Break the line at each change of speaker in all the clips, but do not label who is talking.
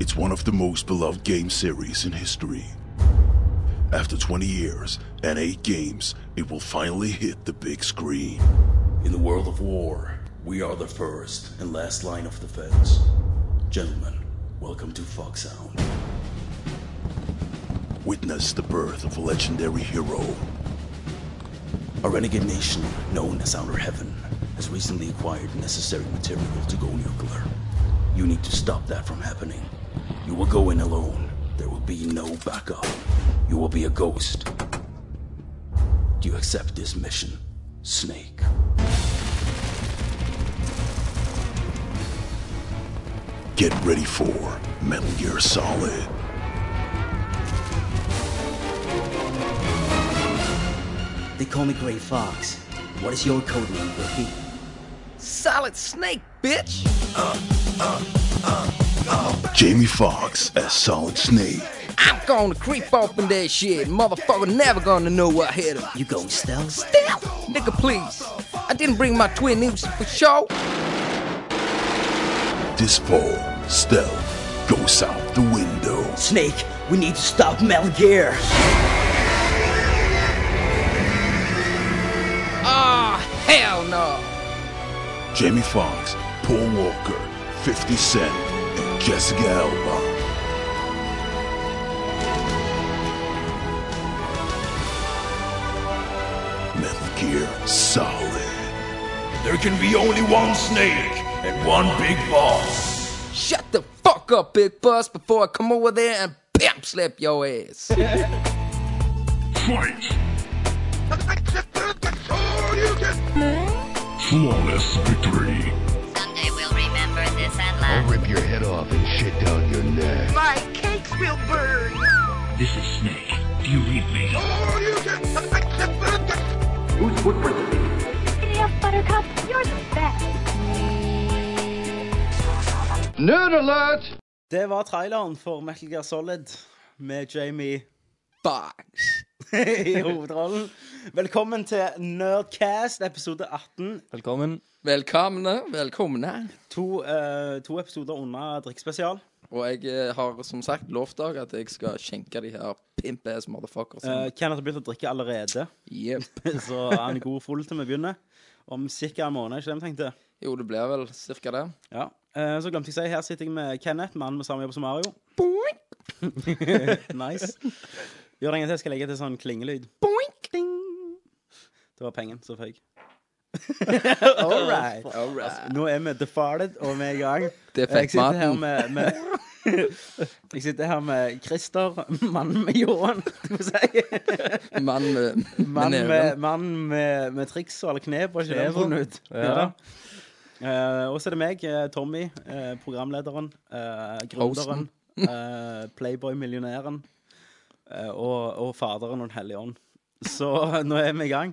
It's one of the most beloved game series in history. After 20 years and 8 games, it will finally hit the big screen.
In the world of war, we are the first and last line of defense. Gentlemen, welcome to Foxhound.
Witness the birth of a legendary hero.
A renegade nation known as Outer Heaven has recently acquired necessary material to go nuclear. You need to stop that from happening. You will go in alone. There will be no backup. You will be a ghost. Do you accept this mission, Snake?
Get ready for Metal Gear Solid.
They call me Gray Fox. What is your code name, Ricky?
Solid Snake, bitch!
Jamie Foxx as Solid Snake.
I'm gonna creep up in that shit. Motherfucker never gonna know what hit him.
You going stealth?
Damn! Nigga, please. I didn't bring my twin nips for show.
This fall, Stealth goes out the window.
Snake, we need to stop Metal Gear.
Ah, hell no.
Jamie Foxx, Paul Walker, 50 Cent, and Jessica Alba. Metal Gear Solid.
There can be only one snake and one big boss.
Shut the fuck up, Big Bus, before I come over there and bam slap your ass.
Fight! Flawless victory!
Someday we'll remember this and laugh.
I'll rip your head off and shit down your neck.
My cakes will burn.
This is Snake. Do you read me?
City of Buttercup, you're the best.
Nerd alert!
Det var traileren for Metal Gear Solid med Jamie
Fox.
i hovedrollen. Velkommen til Nerdcast episode 18.
Velkommen.
Velkomne, velkomne.
To, eh, to episoder unna drikkspesial.
Og jeg eh, har som sagt lovt dere at jeg skal skjenke de her pimp-ass motherfuckers.
Eh, Kenneth har begynt å drikke allerede,
Yep.
så han er god full til vi begynner. Om ca. en måned, ikke det vi tenkte?
Jo, det blir vel cirka det.
Ja. Eh, så glemte jeg å si, her sitter jeg med Kenneth, mannen med samme jobb som Mario.
Boink,
Nice. Gjør det en gang til, skal jeg legge til sånn klingelyd.
boink.
Ding! Det var pengen som føyk. All right.
All right.
Nå er vi defarted, og vi er i gang.
Det er
Jeg sitter her
fettmaten.
med, med Jeg sitter her med Christer, mannen med ljåen, skal vi si.
Mann med, med
Mannen med,
neven.
mann med, med triks og alle knep, var ikke det
Kneven.
funnet ut?
Ja.
da. Eh, og så er det meg, eh, Tommy, eh, programlederen, eh, gründeren,
Hosten.
eh, playboy-millionæren eh, og, og faderen og Den hellige ånd. Så nå er vi i gang.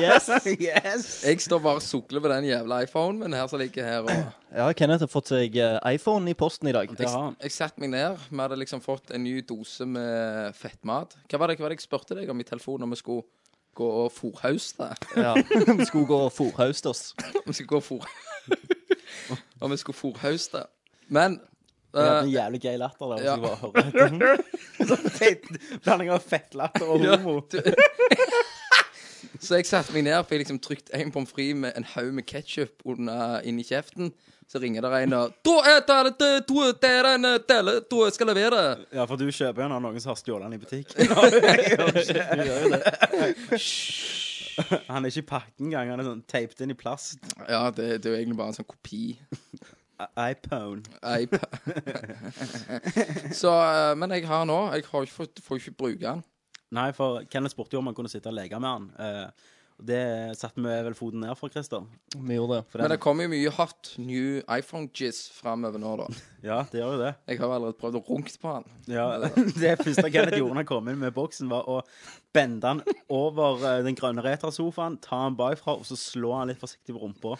yes! yes.
Jeg står bare og sukler ved den jævla iPhonen min her som ligger her. og...
Ja, Kenneth har fått seg eh, iPhone i posten i dag.
Det har han.
Jeg satte meg ned. Vi hadde liksom fått en ny dose med fettmat. Hva var det, hva var det jeg spurte deg om i telefonen om vi skulle gå og fòrhauste?
Ja. Vi skulle gå og fòrhauste oss.
Om vi skulle gå og fòr... om vi skulle fòrhauste. Men
Jeg hadde
eh,
en jævlig gøy latter der.
ja.
Ja. Bare høre. Sånn Blanding av fettlatter og
Ja,
homo.
du- Så jeg satte meg ned, fikk liksom trykt en pommes frites med en haug med ketsjup inni kjeften. Så ringer der en og «Da er det- det- det- det- det er en tele, da skal jeg levere.
Ja, for du kjøper jo den av noen som har stjålet den i butikk. han er ikke i pakke engang. Han er sånn tapet inn i plast.
Ja, det, det er jo egentlig bare en sånn kopi.
iPhone.
iPad. så, eh, men jeg har nå Jeg har ikke fått, får ikke bruke den.
Nei, for Kenneth spurte jo om han kunne sitte og leke med han. Eh, og det satte vi vel foten ned for, Christer.
Vi gjorde det.
Men det kommer jo mye hot new iPhone-jizz framover nå, da.
Ja, det gjør jo det.
Jeg har jo allerede prøvd å runke på den.
Ja, det første Kenneth gjorde da han kom inn med boksen, var å bende han over eh, den grønne retrasofaen, ta han bakfra, og så slå han litt forsiktig på rumpa.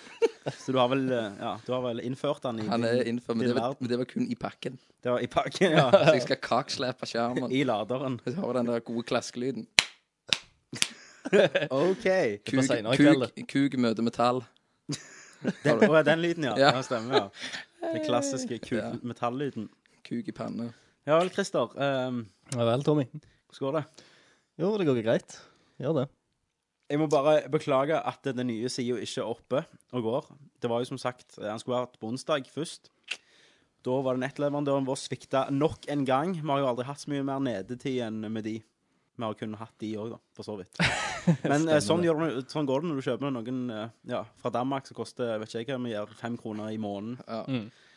Så du har vel, eh, ja, du har vel innført han i
Han er
din,
innenfor, men
din
det, var,
verden.
men det var kun i pakken.
Det var i pakken, ja.
Så jeg skal kakslepe skjermen.
I laderen.
Så hører den der gode klaskelyden.
OK.
Det var
Kug,
senere i kveld,
kug, kug møter metall.
Den, å, den lyden, ja.
Ja.
ja. Stemmer, ja. Den klassiske kuk-metallyden.
Kuk i panne.
Ja vel, Christer. ehm,
Ja vel, Tommy.
hvordan går det?
Jo, det går greit. Gjør det.
Jeg må bare beklage at den nye sida ikke er oppe og går. Det var jo som sagt, eh, Han skulle vært på onsdag først. Da var det nettleverandøren vår svikta nok en gang. Vi har jo aldri hatt så mye mer nedetid enn med de. Vi har kun hatt de òg, da, for så vidt. Men eh, sånn, gjør du, sånn går det når du kjøper noen eh, ja, fra Danmark som koster vet ikke jeg hva, vi gjør fem kroner i måneden.
Ja.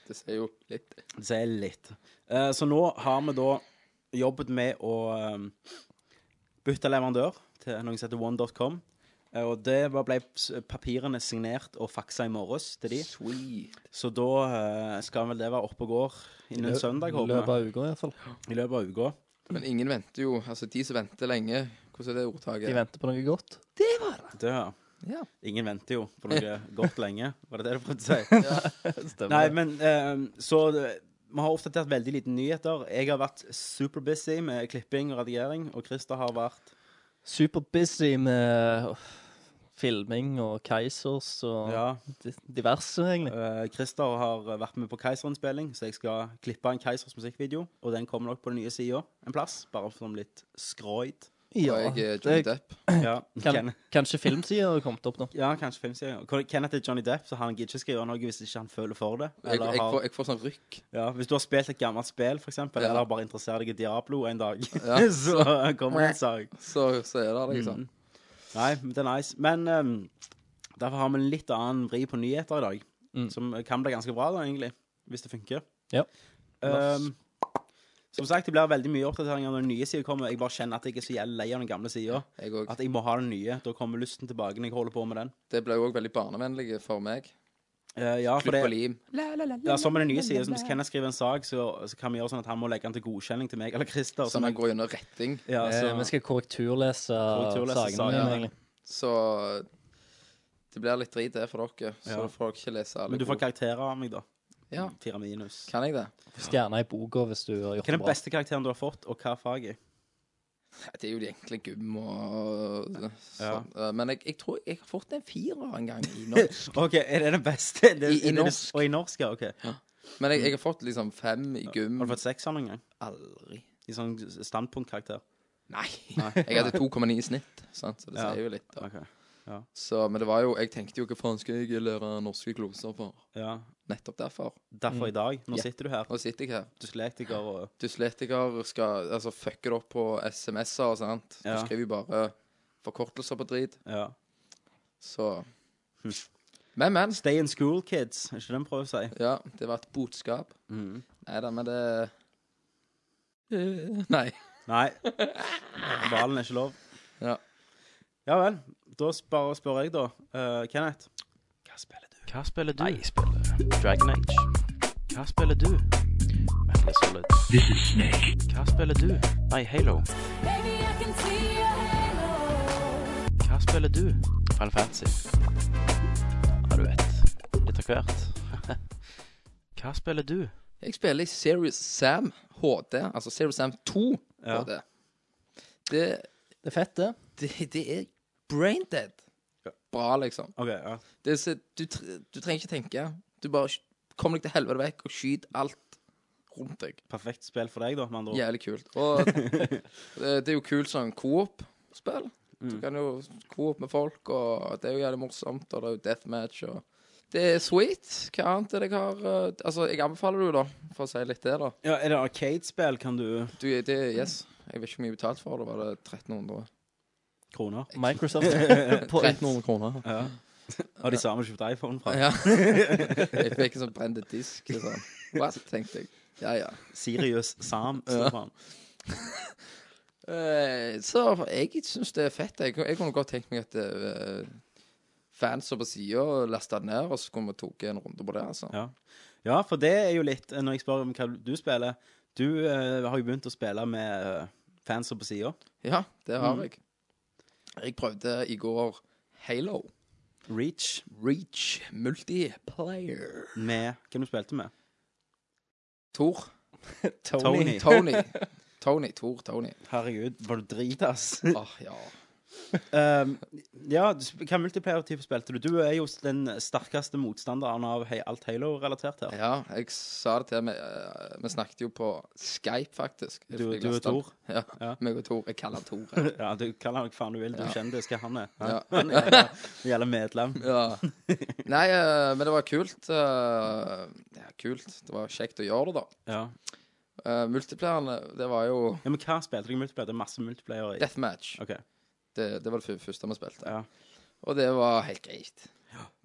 Det sier jo litt.
Det sier litt. Eh, Så nå har vi da jobbet med å eh, bytte leverandør til noen som heter one.com. Eh, Og det var- ble s- papirene signert og faksa i morges til de.
Sweet.
Så da eh, skal vel det være oppe og går innen søndag,
I løpet
håper
av uka, i hvert fall.
vi. I løpet av uka.
Men ingen venter jo. Altså, de som venter lenge Hvordan er det ordtaket?
De venter på noe godt.
Det, ja.
Ja.
Ingen venter jo på noe godt lenge. Var det det du prøvde å si? Nei, men eh, så det- Vi har oppdatert veldig lite nyheter. Jeg har vært superbusy med klipping og redigering, og Christer har vært
Superbusy med åh, filming og Keisers og
Ja.
di- diverse, egentlig.
Eh, Christer har vært med på Keiserinnspilling, så jeg skal klippe en Keisers musikkvideo. Og den kommer nok på den nye sida en plass, bare som litt skroid.
Ja,
Og jeg er Johnny
det,
Depp.
Ja,
kan,
Ken,
kanskje filmsida har kommet opp nå.
ja kanskje filmsida. Ken- Kenneth er Johnny Depp, så han gidder ikke skrive noe hvis ikke han føler for det.
Jeg,
Eller
jeg,
har,
får, jeg får sånn rykk.
ja, hvis du har spilt et gammelt spill, for eksempel,
Ja.
eller bare interesserer deg i Diablo en dag,
Ja,
så kommer det en sak.
Så, så er det liksom.
Mm. Nei, men det er nice. Men ehm, derfor har vi en litt annen vri på nyheter i dag, som kan bli ganske bra, da, egentlig, hvis det funker.
Ja.
Um, som sagt, det blir veldig mye oppdateringer når den nye sida kommer. Jeg bare kjenner at jeg er så jævlig lei av den gamle sida.
Jeg òg.
At jeg må ha den nye. Da kommer lysten tilbake når jeg holder på med den.
Det ble jo òg veldig barnevennlig for meg.
Eh, ja, for
Klipp og
det,
lim.
ja, som med den nye sida. Hvis Kenneth skriver en sak, så, så kan vi gjøre sånn at han må legge den til godkjenning til meg eller Christer.
Så
sånn
man
at-
går gjennom retting.
ja, så,
Eh, vi skal korrekturlese,
Korrekturlese
sagene
sager,
dine,
ja.
egentlig.
Så det blir litt drit, det, for dere. Så
Ja.
får dere ikke lese alle
men du får
gode-
karakterer av meg, da.
Ja,
Fire minus.
kan jeg det?
Stjerner i boka hvis du har
Hva er
gjort det
den
bra.
beste karakteren du har fått, og hva fag i?
Nei, Det er jo de enkle gym og sånn. Men jeg, jeg tror jeg har fått en firer en gang i norsk.
OK, er det den beste? Det,
I- i
er det-
norsk.
Og i norsk, ja. OK.
Men jeg, jeg har fått liksom fem i gym.
Har du fått sekser noen gang?
Aldri.
I sånn standpunktkarakter?
Nei. Jeg hadde 2,9 i snitt, sant? så det
Ja.
sier jo litt. Da.
OK.
Så, men det var jo Jeg tenkte jo hva faen skal jeg lære norske gloser for?
Ja.
Nettopp derfor.
Derfor i dag. Nå
Mm. Ja.
sitter du her.
Nå sitter jeg her.
dyslektiker og
Dyslektiker skal altså fucke det opp på SMS-er og sånt. Du
Ja.
skriver jo bare forkortelser på drit.
ja. Hm.
Så Men, men.
Stay in school, kids. Er ikke det en prøver å si?
Ja, det var et budskap. Nei da, men det Eh, Nei.
Nei. Hvalen er ikke lov.
Ja.
Ja vel. Da s- bare spør jeg, da. Eh, Kenneth. Hva spiller du?
Hva spiller du? Jeg spiller Dragon Age. Hva spiller du? Metal Gear Solid.
This is Snake.
Hva spiller du? Nei, Halo. Hva spiller du? Final Fantasy. Ja, du vet. Litt av hvert. Hva spiller du?
Jeg spiller i Serious Sam HD, altså Serious Sam 2
Ja.
HD. Det,
Det er fett, det.
det, det er brain dead. Bra, liksom.
OK, ja.
Det er, så- du, tre- du trenger ikke tenke. Du bare sk- kom deg til helvete vekk og skyt alt rundt deg.
Perfekt spill for deg, da, med andre ord.
Jævlig kult. Og det, det er jo kult sånn coop-spill. Du kan jo coop med folk, og det er jo jævlig morsomt, og det er jo deathmatch og Det er sweet. Hva annet er det jeg har eh, Altså, jeg anbefaler det jo, da, for å si litt det, da.
Ja, er det Arcade-spill? Kan du
Du, det Yes. Jeg vet ikke hvor mye betalt for det. Var det 1300?
kroner?
Microsoft på
1300 kroner.
Har de samme kjøpt iPhone fra?
Ja. Jeg fikk en sånn brent disk. Liksom. What? tenkte jeg. Ja, ja.
Sirius Sam. står på den.
Eh, Så jeg syns det er fett. Jeg, jeg kunne godt tenkt meg at eh, fanser på sida lasta det ned, og så kunne vi tatt en runde på det. altså.
Ja. ja, for det er jo litt eh, Når jeg spør om hva du spiller Du eh, har jo begynt å spille med eh, fanser på sida.
Ja, det
Mm.
har jeg. Jeg prøvde i går Halo
Reach.
Reach Multiplayer.
Med Hvem du spilte med?
Tor.
Tony.
Tony. Tony, Tor, Tony.
Herregud, var du dritass?
Åh, ja.
Ehm, ja, du sp- hva multiplayer-type spilte du? Du er jo den sterkeste motstanderen av hei, alt Halo-relatert her.
Ja, jeg sa det til Vi, eh, vi snakket jo på Skype, faktisk. Jeg
Du-
fikk
du og
lasta den.
Tor?
Ja, meg og Tor. Jeg kaller han Tor. jeg.
Ja, du kaller han hva faen du vil. Du
Ja.
er kjendis, hva han er.
Ja.
Han er jævla- jævla medlem.
Ja. Nei, eh, men det var kult. eh, ja, kult. Det var kjekt å gjøre det, da.
Ja.
Eh, multiplayerne, det var jo
Ja, men hva spilte du i multiplayer? Det er masse multiplayer i.
Deathmatch.
Ok.
Det, det var det fu- første vi spilte.
Ja.
Og det var helt greit.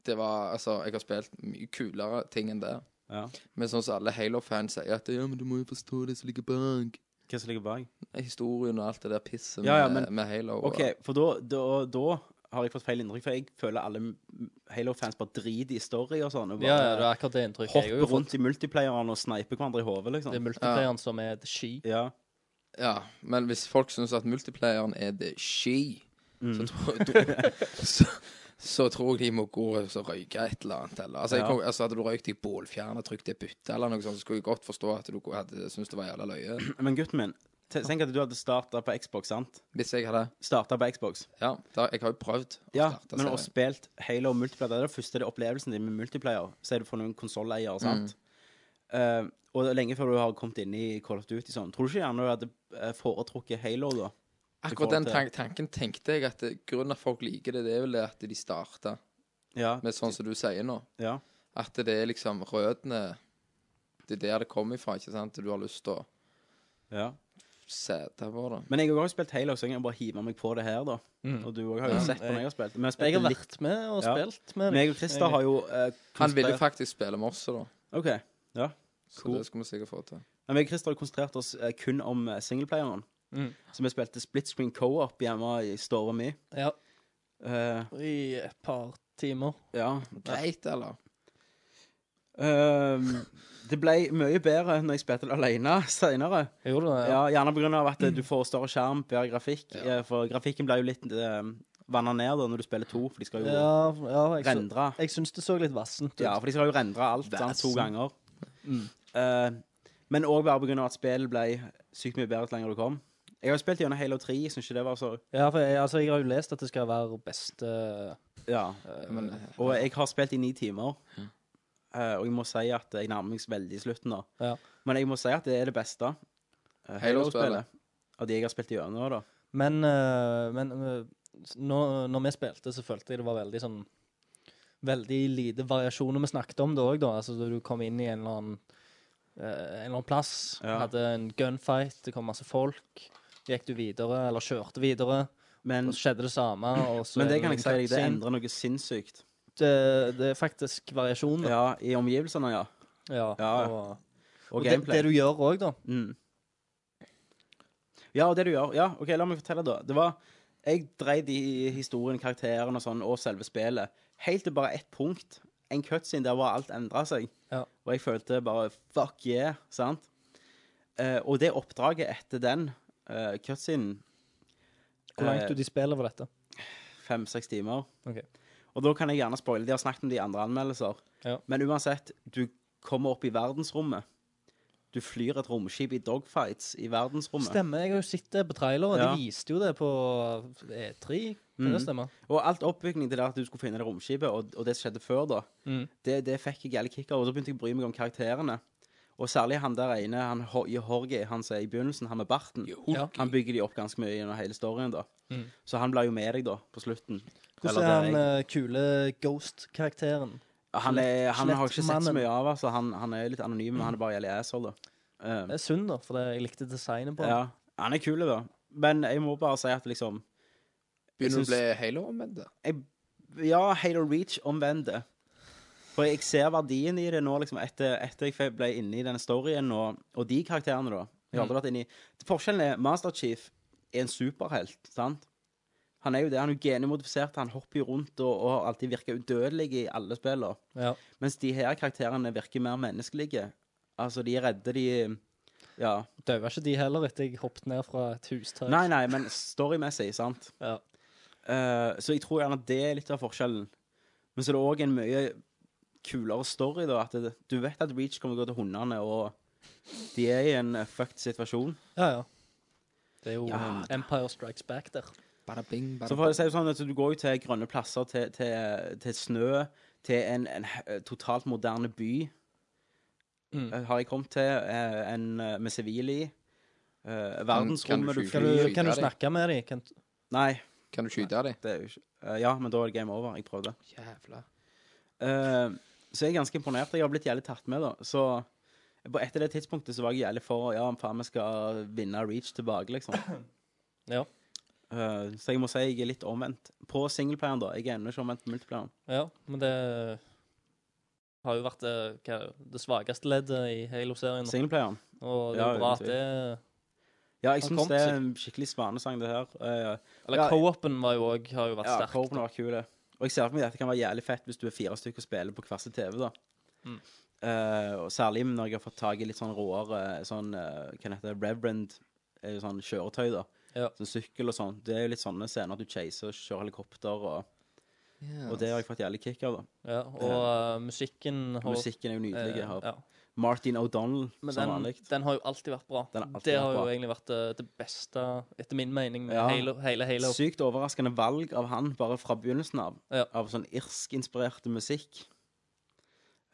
Det var, altså, Jeg har spilt mye kulere ting enn det.
Ja.
Men sånn som alle Halo-fans sier at Ja, men du må jo forstå det som ligger bak.
Hva som ligger bak?
Historien og alt det der pisset
Ja, ja,
med,
men-
med Halo. og-
OK, for da, da, da har jeg fått feil inntrykk, for jeg føler alle m- Halo-fans bare driter i story og sånn. og
Ja,
bare
ja, det er akkurat det inntrykket jeg har
Hopper
jo fått.
rundt i multiplayeren og sniper hverandre i hodet, liksom.
Det er multiplayeren som er the she.
Ja.
Ja, men hvis folk syns at multiplayeren er the she,
Mm.
så, tror, tror- så, så tror jeg de må gå og så røyke et eller annet. Eller. Altså, jeg,
Ja.
kom- altså, hadde du røykt i bålfjerner, trykt i bytte eller noe sånt, så skulle jeg godt forstå at du hadde syntes det var jævla løye.
Men gutten min, te- tenk at du hadde starta på Xbox, sant?
Hvis jeg hadde
Starta på Xbox.
Ja, da, jeg har jo prøvd. å
Ja,
starte
men å
serien.
spilt Halo og multiplayer, det er det første det er opplevelsen din med multiplayer. Så er du for noen konsolleier,
Mm.
sant? Eh, og det er lenge før du har kommet inn i Call of Duty sånn. Tror du ikke gjerne du hadde eh, foretrukket Halo da? I forhold
Akkurat den
til-
tan tanken tenkte jeg at det- grunnen til at folk liker det, det er vel det at de starter
Ja.
med sånn som du sier nå.
ja.
At det er liksom rødene Det er der det kommer ifra, ikke sant? Du har lyst til å
ja.
sete på det.
Men jeg har også spilt Halo, så jeg kan bare hive meg på det her, da.
Mm.
Og du også har jo
Ja.
sett på når jeg har spilt. Men jeg,
Jeg
spilte
har
litt-
vært med og
Ja.
spilt med
Men jeg og Christer har jo eh,
Han ville jo
konsentrert-
faktisk spille med oss da.
OK. Ja.
Så
Cool.
det skulle vi sikkert få til.
Men jeg og Christer har konsentrert oss eh, kun om eh, singleplayeren.
Mm.
Så vi spilte split screen co-op hjemme i stua mi.
Ja,
Eh,
i et par timer.
ja.
Greit, eller?
Ehm, det ble mye bedre når jeg spilte det alene senere.
Gjorde du det?
Ja, gjerne pga. at eh, du får større skjerm, bedre grafikk. eh, For grafikken ble jo litt uh, vanna ned da når du spiller to, for de skal jo
Ja, ja jeg, så,
rendre.
jeg syns det så litt vassent ut.
Ja, for de skal jo rendre alt sant, to
Væsen.
ganger. Eh, men òg bare pga. at spillet ble sykt mye bedre jo lenger du kom. Jeg har jo spilt gjennom Halo 3, jeg syns ikke det var så
Ja, for jeg, altså, jeg har jo lest at det skal være beste
Ja.
Men,
Eh, Og jeg har spilt i ni timer. Eh, og jeg må si at jeg nærmer meg veldig slutten nå.
Ja.
Men jeg må si at det er det beste. eh,
Halo-spillet.
Halo-spillet. Av de jeg har spilt gjennom, da.
Men, eh, men eh, s- når, når vi spilte, så følte jeg det var veldig sånn Veldig lite variasjoner vi snakket om det òg, da. Altså da du kom inn i en eller annen, eh, en eller annen plass,
Ja.
hadde en gunfight, det kom masse folk. Gikk du videre, eller kjørte videre,
Men,
og så skjedde det samme. Og så
men
er
det kan
en
jeg si deg, det
cutscene.
endrer noe sinnssykt.
det, eh, det er faktisk variasjon. da.
Ja, I omgivelsene, ja.
Ja,
Ja, ja.
og,
Og,
og det,
gameplay.
det du gjør òg, da.
Mm. Ja, og det du gjør. Ja, OK, la meg fortelle, da. Det var Jeg dreide i historien, karakteren og sånn, og selve spillet, helt til bare ett punkt. En cutscene der hvor alt endra seg.
Ja.
Og jeg følte bare Fuck yeah, sant? Eh, og det oppdraget etter den uh, cutscenen
Hvor
eh,
langt ut i spillet var dette?
fem-seks timer.
Ok.
Og da kan jeg gjerne spoile. De har snakket om de andre anmeldelser.
Ja.
Men uansett, du kommer opp i verdensrommet. Du flyr et romskip i dogfights i verdensrommet.
Stemmer. Jeg har jo sett det på trailer, og
Ja. Mm.
de viste jo det på eh, E3. Kan det stemme?
Og alt oppbygging til det at du skulle finne det romskipet, og, og det som skjedde før, da,
Mm.
det, det fikk jeg jævlig kick av. Og så begynte jeg å bry meg om karakterene. Og særlig han der ene, han Ho- Jorge, han som er i begynnelsen, han med barten.
Ja.
Han bygger de opp ganske mye gjennom hele storyen, da.
Mm.
Så han blir jo med deg, da, på slutten.
Hvordan er
Eller
han
det
eh, kule ghost-karakteren?
Han,
eh,
er, han har jeg ikke sett så
Skjelettmannen.
mye av, altså. Han, han er litt anonym, men han er bare jævlig asshole, da. Eh,
Det er synd, da, for det- jeg likte designet på
ja.
han.
Han er kul, da. Men jeg må bare si at liksom Jeg
Begynner du å
syns-
bli halo-omvendt?
Ja, Halo Reach omvender. For jeg ser verdien i det nå, liksom, etter, etter jeg ble inne i denne storyen, og, og de karakterene, da. Jeg har aldri vært inne i Forskjellen er Master Chief er en superhelt, sant? Han er jo det. Han er jo genimodifisert, han hopper jo rundt og, og har alltid virka udødelig i alle spillene.
Ja.
Mens de her karakterene virker mer menneskelige. Altså, de er redde, de Ja.
Daua ikke de heller etter jeg hoppet ned fra et hustak?
Nei, nei, men storymessig, sant?
Ja.
Eh, så jeg tror gjerne at det er litt av forskjellen. Men så er det òg en mye kulere story, da. At det, du vet at Reach kommer til å gå til hundene, og de er i en eh, fucked situasjon.
ja, ja. Det er jo
Ja,
Empire Strikes Back der.
Bada bing, bada
Så for å si det sånn, at du går jo til grønne plasser, til, til, til snø, til en, en he- totalt moderne by,
Mm.
eh, har jeg kommet til, eh, en eh, med sivile i. eh,
Kan- kan
verdensrommet
du
du
skyte-
Kan
flyr
du,
Skyter
kan du
de?
snakke med dem? Kan,
Nei,
Kan du skyte dem?
det er jo ikke eh, Ja, men da er det game over. Jeg prøvde.
Jævla.
Eh, så jeg er ganske imponert. Jeg har blitt jævlig tatt med, da. Så på etter det tidspunktet så var jeg jævlig for ja, faen, vi skal vinne Reach tilbake, liksom.
Ja.
Eh, så jeg må si jeg er litt omvendt. På singleplayeren, da. Jeg er ennå ikke omvendt på multiplayeren.
ja, men det har jo vært eh, hva, det svakeste leddet i Halo-serien. nå.
Singleplayeren.
Og det
Ja,
er jo bra at
uten tvil.
det
Ja, jeg
Han
syns
kom
det er
seg.
en skikkelig svanesang, det her. Eh,
Eller
Ja,
co-open var jo også- har jo vært
ja,
sterk.
Copen var kul, det. Og jeg ser for meg at det kan være jævlig fett hvis du er fire stykker og spiller på hver sin TV, da.
Mm.
Eh, og særlig når jeg har fått tak i litt sånn råere sånn eh, Hva heter det? Reverend er jo sånn kjøretøy, da.
Ja.
Sånn sykkel og sånn. Det er jo litt sånne scener at du chaser og kjører helikopter, og,
Yes.
og det har jeg fått jævlig kick av, da.
Ja, og eh, musikken har
Musikken er jo nydelig. jeg
eh,
har
ja.
Martin O'Donnell,
Men
som
den,
vanlig.
den har jo alltid vært bra.
Den har alltid
det
vært
har jo
bra.
egentlig vært eh, det beste, etter min mening, med
Ja.
Halo, hele Halo.
Sykt overraskende valg av han bare fra begynnelsen av.
Ja.
Av sånn irsk-inspirert musikk.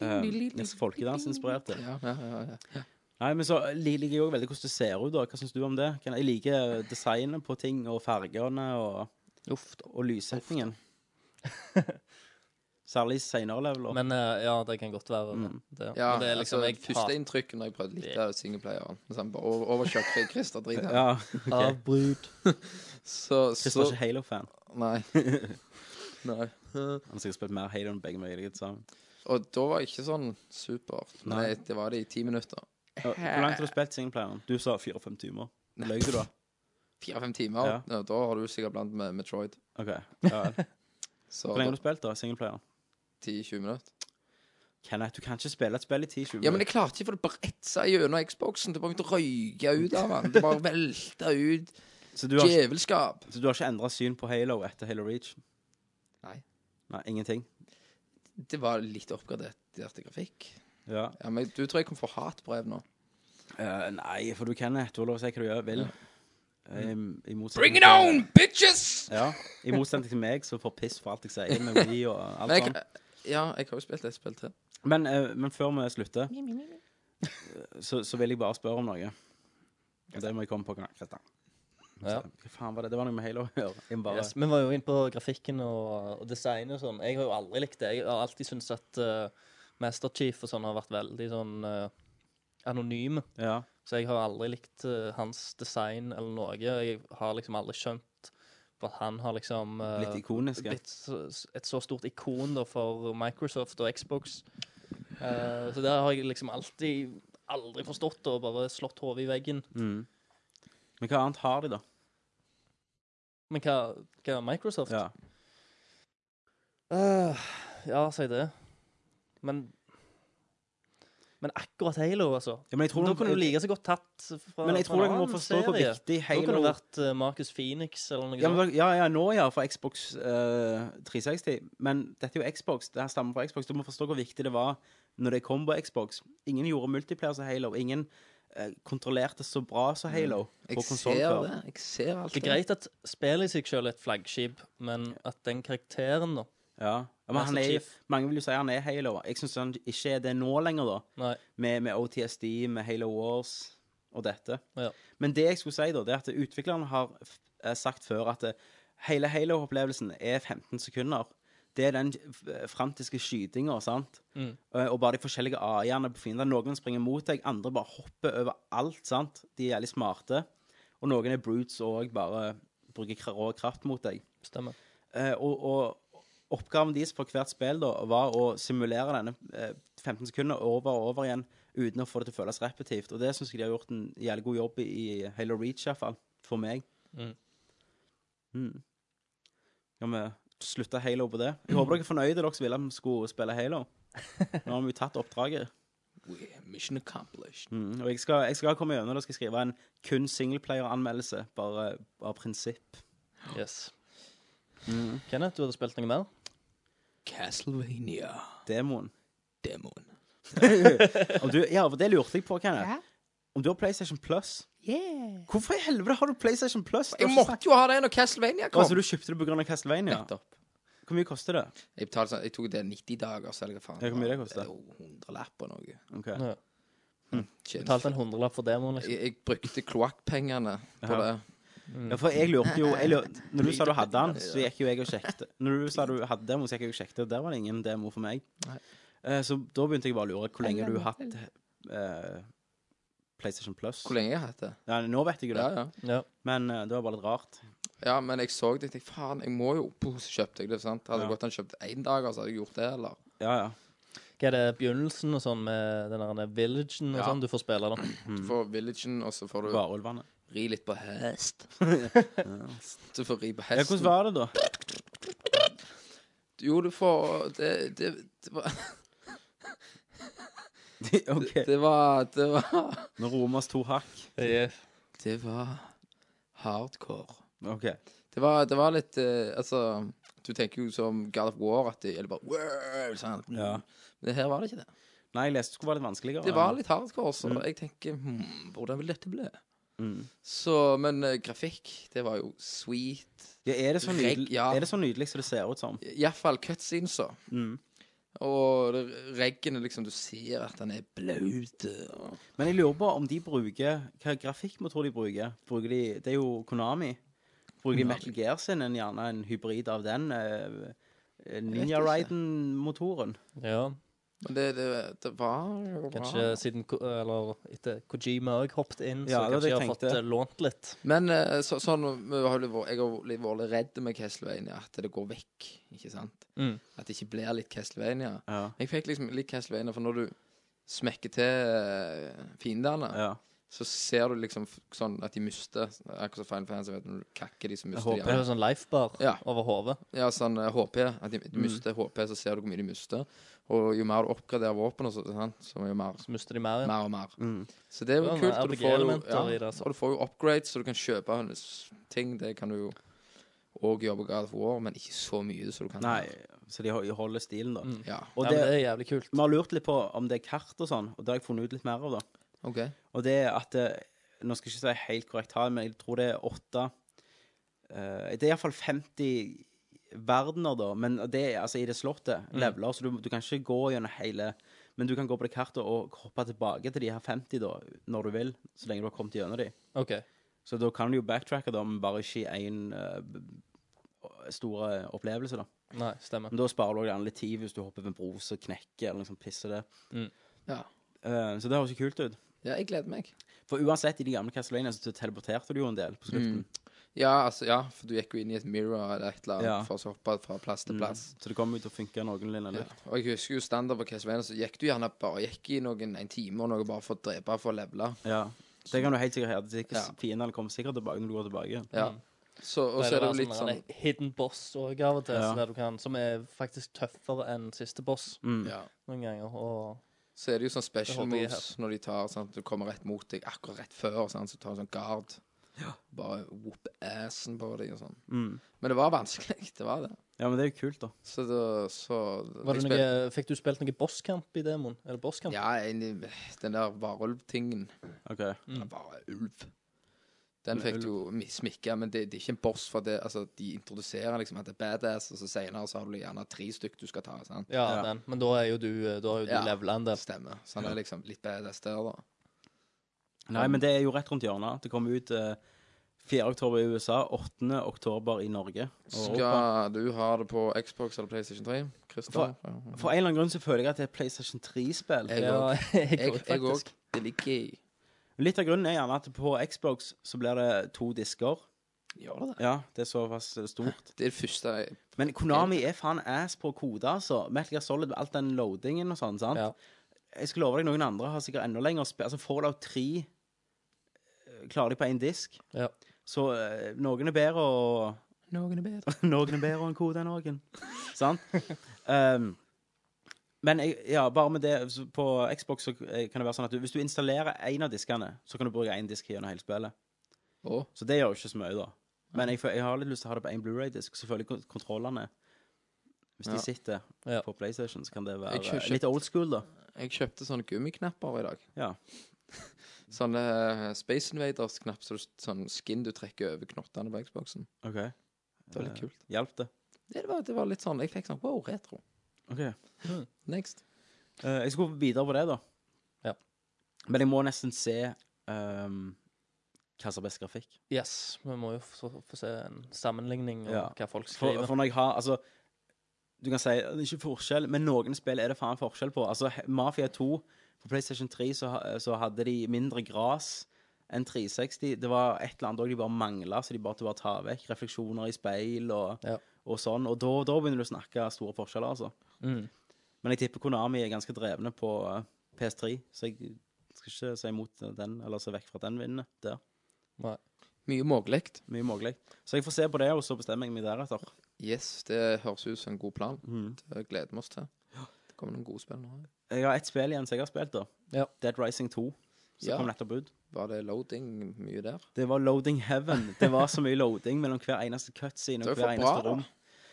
Eh, Irsk folkedans-inspirerte.
Ja, ja, ja, ja.
Nei, men så liker jeg òg veldig hvordan det ser ut. da. Hva syns du om det? Kan- Jeg liker designet på ting og fargene og,
Uff, da.
og lyssettingen. Særlig senere leveler.
Men eh, ja, det kan godt være
Mm.
det.
Ja,
men det er liksom,
altså,
jeg hater
Førsteinntrykk når jeg prøvde litt av singleplayeren. Liksom, bare over- Overkjørt over Christer drit her.
ja, ok.
avbrudd.
Så,
Chris var
så
ikke Halo-fan.
Nei. Nei.
Han har sikkert spilt mer Halo enn begge meg sammen.
Og da var jeg ikke sånn supert. Nei.
Nei.
det var det i ti minutter.
Ja, Hvor langt har du spilt singleplayeren? Du sa fire-fem timer. Løy du, da?
Fire-fem timer.
Ja.
Ja, Da har du sikkert blant med Metroid.
OK. Ja. vel.
Så
Hvor lenge har du spilt, da? Singleplayeren?
10-20 minutter.
Kenneth, du kan ikke spille et spill i 10-20
Ja, men jeg klarte ikke, for det bare etsa gjennom Xboxen. Det bare begynte å røyke ut av den. Det bare velta ut.
så, du har, ikke-
Djevelskap.
så du har ikke endra syn på Halo etter Halo Reach?
Nei.
Nei, Ingenting?
Det var litt oppgradert grafikk.
Ja.
Ja, men Du tror jeg kom for hatbrev nå.
Eh, nei, for du Kenneth, du har lov å si hva du gjør, vil. Eh, I, i motsetning
Bring it
til-
on, bitches!
Ja, I motsetning til meg, som får piss for alt jeg sier med vi og alt
Men jeg,
sånt.
ja, jeg har jo spilt et spill til.
Men, eh, men før vi slutter, eh, så, så vil jeg bare spørre om noe. Og det må jeg komme på, Kristian.
Ja.
Hva faen var det? Det var noe med Halo å gjøre. Jeg må Bare,
Yes, vi var jo inne på grafikken og, og design og sånn. Jeg har jo aldri likt det. Jeg har alltid syntes at eh, Master Chief og sånn har vært veldig sånn eh, anonyme.
ja.
Så jeg har aldri likt eh, hans design eller noe. Jeg har liksom aldri skjønt for at han har liksom eh,
Litt ikoniske.
blitt så- et så stort ikon da, for Microsoft og Xbox. Eh, så der har jeg liksom alltid aldri forstått det, og bare slått hodet i veggen.
Mm. Men hva annet har de, da?
Men hva, hva er Microsoft?
Ja.
Eh, ja, si det. Men Men akkurat Halo, altså.
ja men jeg tror
da
nok-
kunne du like så godt tatt fra,
Men jeg
fra
tror dere
en
må
annen
forstå hvor
serie.
viktig
Da kunne
Halo
det vært eh, Marcus Phoenix eller noe
ja, men,
sånt.
dere- ja, ja, nå ja, for Xbox eh, 360. Men dette er jo Xbox. Det her stammer fra Xbox. Du må forstå hvor viktig det var når det kom på Xbox. Ingen gjorde multiplayer som Halo. Ingen eh, kontrollerte så bra som Halo
Jeg
på
ser
konsoll før.
det. Jeg ser alt
Det er greit at spillet i seg selv er et flaggskip, men at den karakteren, da
Ja. Ja, men
Master
han er, jo-
Chief.
mange vil jo si han er Halo. Jeg syns han ikke er det nå lenger, da.
Nei.
Med, med OTSD, med Halo Wars og dette.
Ja.
Men det jeg skulle si, da, det er at utviklerne har f- eh, sagt før at eh, hele Halo-opplevelsen er 15 sekunder. Det er den f- eh, frantiske skytinga, sant?
Mm.
Eh, Og bare de forskjellige AI-ene på fiendene. Noen springer mot deg, andre bare hopper over alt, sant? De er jævlig smarte. Og noen er brutes og bare bruker kra- rå kraft mot deg.
Stemmer.
Eh, og, og oppgaven deres for hvert spill da, var å simulere denne eh, 15 sekunder over og over igjen uten å få det til å føles repetitivt. Og det syns jeg de har gjort en jævlig god jobb i i Halo Reach, iallfall. For meg.
Mm.
Mm. Skal vi slutte Halo på det? Jeg håper dere er fornøyde, dere som ville at vi skulle spille Halo. Nå har vi jo tatt oppdraget.
Yeah, Mission accomplished.
Mm. Og jeg skal, jeg skal komme gjennom det og skal skrive en kun singleplayer-anmeldelse, bare av prinsipp.
Yes.
Mm.
Kenneth, du hadde spilt noe mer?
Castlevania.
Demoen.
Demon.
Om du, ja, for det lurte jeg på, Kenneth. Om du har PlayStation Plus,
Yeah.
Hvorfor i helvete har du PlayStation Plus? Du har
Jeg
ikke
måtte jo ha det når Castlevania kom.
Altså, du kjøpte det pga. Castlevania?
Nettopp.
Hvor mye koster det?
Jeg, betalte, sånn- jeg tok det 90 dager, så eller hva faen.
Ja, hvor mye det
var.
koster?
er jo 100 lapp og noe.
Ok.
Ja.
Tjent.
Betalte en hundrelapp for demoen, liksom.
Jeg, jeg brukte kloakkpengene på det.
Ja.
Mm.
Ja, for jeg lurte jo jeg lurte, Når du sa du hadde den, så gikk jo jeg og sjekket. Når du sa du hadde demo, så gikk jeg og sjekket, og der var det ingen demo for meg.
Nei.
Eh, Så da begynte jeg bare å lure hvor lenge du har hatt eh, PlayStation Plus.
Hvor lenge jeg har hatt det?
Ja, nå vet jeg jo det,
Ja, ja.
Ja.
men eh, det var bare litt rart.
ja, men jeg så det. Jeg tenkte, faen, jeg må jo Puh, Så kjøpte jeg det, sant. Hadde
Ja.
jeg gått an kjøpt én dag, altså, hadde jeg gjort det, eller?
Ja, ja.
Hva er det begynnelsen og sånn med den der villagen og
Ja.
sånn du får spille, da?
Mm.
Du får villagen, og så får du
Varulvene.
ri litt på hest. du får ri på
Ja, hvordan
hesten.
var det, da?
Jo, du får Det, det, det var
OK.
Det var Det var,
Når Romas to hakk.
det var hardcore.
OK.
Det var, det var litt eh, Altså, du tenker jo som God of War at det gjelder bare wow, sant?
Ja.
Men her var det ikke det.
Nei, jeg leste det skulle være litt vanskeligere.
Det var litt hardcore, så jeg tenker hmm, Hvordan vil dette bli? Så, men eh, grafikk, det var jo sweet.
Ja, er, det så nydelig,
Reg- ja.
er det så nydelig som det ser ut som?
Iallfall cutscenes, så.
Mm.
Og det- reggen er liksom Du ser at den er blaut. og-
Men jeg lurer på om de bruker Hva grafikkmotor de bruker. bruker de, det er jo Konami. Bruker de Metal Gear sin en, gjerne en hybrid av den eh, eh, Ninja
Jeg vet ikke.
Riden-motoren?
Ja.
Men det, det, det var
Kanskje siden Ko- Eller etter Kojima òg hoppet inn, så
Ja, det var
kanskje
det
jeg
jeg
har fått
tenkte.
eh, lånt litt.
Men eh, så, sånn vi har jo vært- Jeg har vært litt vært redd med Castlevania, at det går vekk, ikke sant?
Mm.
At det ikke blir litt Castlevania.
Ja.
Jeg fikk liksom litt Castlevania, for når du smekker til eh, fiendene,
ja.
så ser du liksom f- sånn at de mister Akkurat som Final Fantasy, vet du, når du kakker de, så mister
Det
de
er jo sånn lifebar
Ja.
over hodet.
Ja, sånn eh, HP. At de, de mister HP, så ser du hvor mye de mister. Og jo mer du oppgraderer våpenet, så, sant, så jo mer
Så mister de mer igjen.
mer og mer.
Mm.
Så det er jo
Ja,
kult. Og du, får jo,
RPG-elementer
ja,
i det, altså.
og du får jo upgrades, så du kan kjøpe hennes ting. Det kan du jo òg gjøre på God of War, men ikke så mye så du kan
Nei, så de hol- holder stilen, da.
Mm.
Ja,
Og
ja, men
det,
det er jævlig kult.
vi har lurt litt på om det er kart og sånn, og det har jeg funnet ut litt mer av, da.
OK.
Og det er at eh, Nå skal jeg ikke si helt korrekt tall, men jeg tror det er åtte eh, Det er iallfall 50 verdener, da, men det er altså i det slottet. Leveler. Så du, du kan ikke gå gjennom hele Men du kan gå på det kartet og hoppe tilbake til de her 50 da, når du vil. Så lenge du har kommet gjennom de.
OK.
Så da kan du jo backtracke, da, men bare ikke i én store opplevelse, da.
Nei, stemmer.
Men da sparer du gjerne litt tid hvis du hopper over en bro som knekker, eller liksom pisser det.
Ja.
Eh, så det høres jo kult ut.
ja, jeg gleder meg.
For uansett, i de gamle Castlevania så teleporterte du jo en del på
Mm.
slutten.
Ja, altså, ja, for du gikk jo inn i et mirror eller et eller annet
Ja. Mm.
for å så hoppe fra plass til plass.
Så det kommer jo til å funke noenlunde
Ja.
likt.
Og jeg husker jo standard på Castlevania, så gikk du gjerne bare gikk i noen en time og noe bare for å drepe for å levele.
Ja. Det kan du helt sikkert gjøre. Det er
Ja.
ikke- Fiendene kommer sikkert tilbake når du går tilbake.
Ja. Så, og så er det jo litt sånn
Hidden boss òg av og til,
Ja.
så der du kan, som er faktisk tøffere enn siste boss
Mm.
ja.
noen ganger. Og
Så er det jo sånn
Det
special
håper jeg
moves når de tar sånn at du kommer rett mot deg akkurat rett før, sånn, så tar du sånn guard. Bare whoop assen på dem og sånn.
Mm.
Men det var vanskelig, det var det.
Ja, men det er jo kult, da.
Så da så
var
jeg
det noe,
spilte-
fikk du spilt noe bosskamp i demoen? Er det bosskamp?
Ja, en, den der varulvtingen.
Ok.
Den var ulv. Mm. Den
En
fikk
ulv.
du jo smikka, men det, det er ikke en boss, for det, altså, de introduserer liksom at det er badass, og så senere så har du gjerne tre stykk du skal ta. Sant?
Ja,
Ja.
den. Men da er jo du, eh, da er jo du
Ja.
levela en del.
Stemmer. Så han er liksom litt badass der, da.
Nei, men det er jo rett rundt hjørnet. Det kommer ut eh, 4. oktober i USA, 8. oktober i Norge. Og Europa.
Skal du ha det på Xbox eller PlayStation 3? Christian?
For- For en eller annen grunn så føler jeg at det er PlayStation 3-spill.
Jeg
Ja,
òg.
jeg
Jeg
går
jeg
faktisk.
òg. Det ligger i
Litt av grunnen er gjerne at på Xbox så blir det to disker.
Gjør det det?
Ja, det er såpass eh, stort.
Det er det første jeg
Men Konami er faen ass på koder, altså. Metal Gear Solid med all den loadingen og sånn, sant?
Ja.
Jeg skal love deg, noen andre har sikkert enda lenger spill. Altså, Fallout 3 eh, klarer de på én disk.
Ja.
Så eh, noen er bedre og
Noen er bedre.
Noen er bedre enn kode enn noen. sant? Ehm, men jeg, ja, bare med det så På Xbox så eh, kan det være sånn at du, hvis du installerer én av diskene, så kan du bruke én disk gjennom hele spillet.
Å,
Så det gjør jo ikke så mye, da. Men jeg, jeg har litt lyst til å ha det på én Blu-ray-disk. Selvfølgelig kont- kontrollene. Hvis
Ja.
de sitter
Ja.
på PlayStation, så kan det være
Jeg kjø-
litt old school, da.
jeg kjøpte sånne gummiknapper i dag.
Ja.
Sånne eh, Space Invaders-knapp, så du- sånn skin du trekker over knottene på Xboxen.
OK.
Det var litt kult.
Hjalp Eh, det?
Det var, det var litt sånn Jeg fikk sånn wow, retro.
OK.
Next.
Eh, jeg skal gå videre på det, da.
Ja.
Men jeg må nesten se ehm, hva som har best grafikk.
Yes, vi må jo få, få se en sammenligning og hva folk
for,
skriver.
for når jeg har Altså, du kan si det er ikke forskjell, men noen spill er det faen forskjell på. Altså, He- Mafia 2 på PlayStation 3 så, ha- så hadde de mindre gras enn 360. Det var et eller annet også de bare mangla, så de bare måtte bare ta vekk. Refleksjoner i speil og, og sånn. Og da, da begynner du å snakke store forskjeller, altså.
Mm.
Men jeg tipper Konami er ganske drevne på eh, PS3, så jeg skal ikke se imot den, eller se vekk fra at den vinner der.
Nei.
Mye mulig.
Mye mulig. Så jeg får se på det, og så bestemmer jeg meg deretter.
Yes, det høres ut som en god plan.
Mhm.
Det gleder vi oss til. Det kommer noen gode spill nå.
Jeg har ett spill igjen som jeg har spilt, da.
Ja.
Dead Rising 2. Som
Ja.
kom nettopp ut.
Var det loading mye der?
Det var Loading Heaven. Det var så mye loading mellom hver eneste cutscene
Det er
og
jo for
hver
bra,
eneste
da.
rom.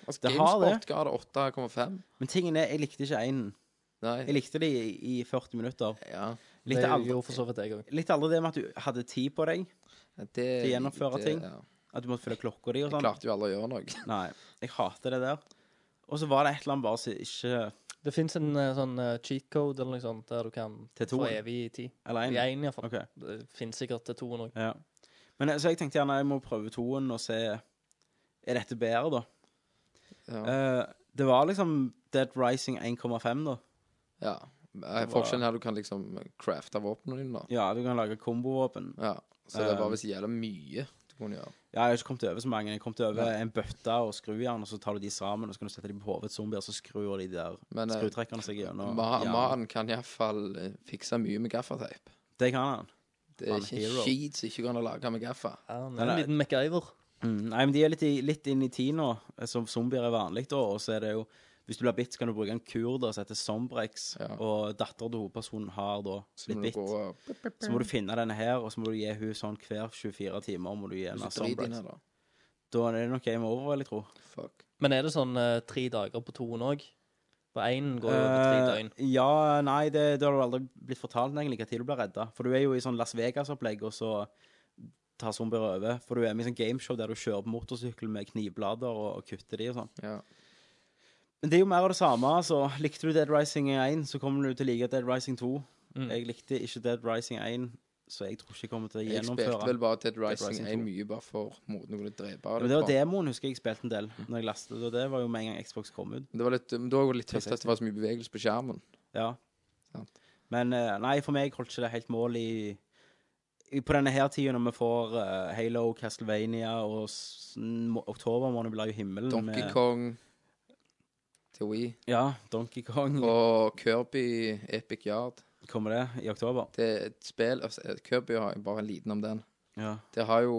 Altså,
Det har
GameSpot ga det 8,5.
Men tingen er, jeg likte ikke einen. Jeg likte de i i 40 minutter. Jeg
Det
Likte aldri,
gjorde for så vidt jeg òg.
likte aldri det med at du hadde tid på deg til å gjennomføre
det-
ting.
ja.
At du måtte følge klokka di og
Jeg
sånn.
klarte jo aldri å gjøre noe.
Nei. Jeg hater det der. Og så var det et eller annet bare som ikke
Det fins en eh, sånn eh, cheat code eller noe sånt der du kan
Til
få
toen?
evig tid.
Eller en.
I én, iallfall.
Ok.
Det fins sikkert til toen òg.
Ja. Men eh, så jeg tenkte gjerne jeg må prøve toen og se Er dette bedre, da? Eh, det var liksom Dead Rising 1,5, da.
Ja. Eh,
Det var-
Forskjellen er at du kan liksom crafte våpnene dine. da.
Ja, du kan lage kombovåpen.
Ja. Så det var
Eh,
visst jævla mye du kunne gjøre.
Ja, jeg har ikke kommet over så mange. Jeg har kommet over
Nei.
en bøtte og skrujern, og så tar du de sammen, og så kan du sette de på hodet til zombier, og så skrur de der
Men, eh,
skrutrekkerne seg gjennom.
Ma-
hjernen.
Mannen kan iallfall eh, fikse mye med gaffateip.
Det kan han.
Det er
Han
ikke
hero.
en skit som ikke kan lage med gaffa.
Han
Nei,
er en
nei.
liten MacGyver.
Mm, nei, men de er litt, i, litt inn i tid nå, eh, som zombier er vanlig, da, og så er det jo hvis du blir bitt, så kan du bruke en kur der som heter Sombrex, og datteren til hovedpersonen har da
må
blitt
du
bitt.
gå og-
Så må du finne denne her, og så må du gi hun sånn hver 24 timer. må du gi henne
Så drit inn
Sombrex.
her, da.
Da er det nok game over, vil jeg tro.
Fuck.
Men er det sånn eh, tre dager på toen òg? På én går det over tre
Eh,
døgn.
Ja, nei, det, det har du aldri blitt fortalt egentlig hva tid du blir redda. For du er jo i sånn Las Vegas-opplegg, og så tar zombier over. For du er med i sånn gameshow der du kjører på motorsykkel med knivblader og, og kutter de og sånn. Men det er jo mer av det samme. altså. Likte du Dead Rising 1, så kommer du til å like Dead Rising 2.
Mm.
Jeg likte ikke Dead Rising 1, så jeg tror ikke jeg kommer til å
Jeg
gjennomføre
spilte vel bare Dead Rising
2.
1 mye bare for moten å kunne drepe.
Ja,
det
men det var
på.
demoen husker jeg spilte en del
Mm.
når jeg lastet det. Og det var jo med en gang Xbox kom ut.
Det var litt, men det var jo litt tøft at det var så mye bevegelse på skjermen.
Ja.
Sant.
Men eh, nei, for meg holdt ikke det helt mål i, i På denne her tida når vi får eh, Halo, Castlevania og s- må- oktober måned blir jo himmelen
Donkey Kong til Wii.
Ja, Donkey Kong
Og Kirby Epic Yard.
kommer det i oktober.
Det er et spill altså, Kirby har jeg bare en liten om den.
Ja,
Det har jo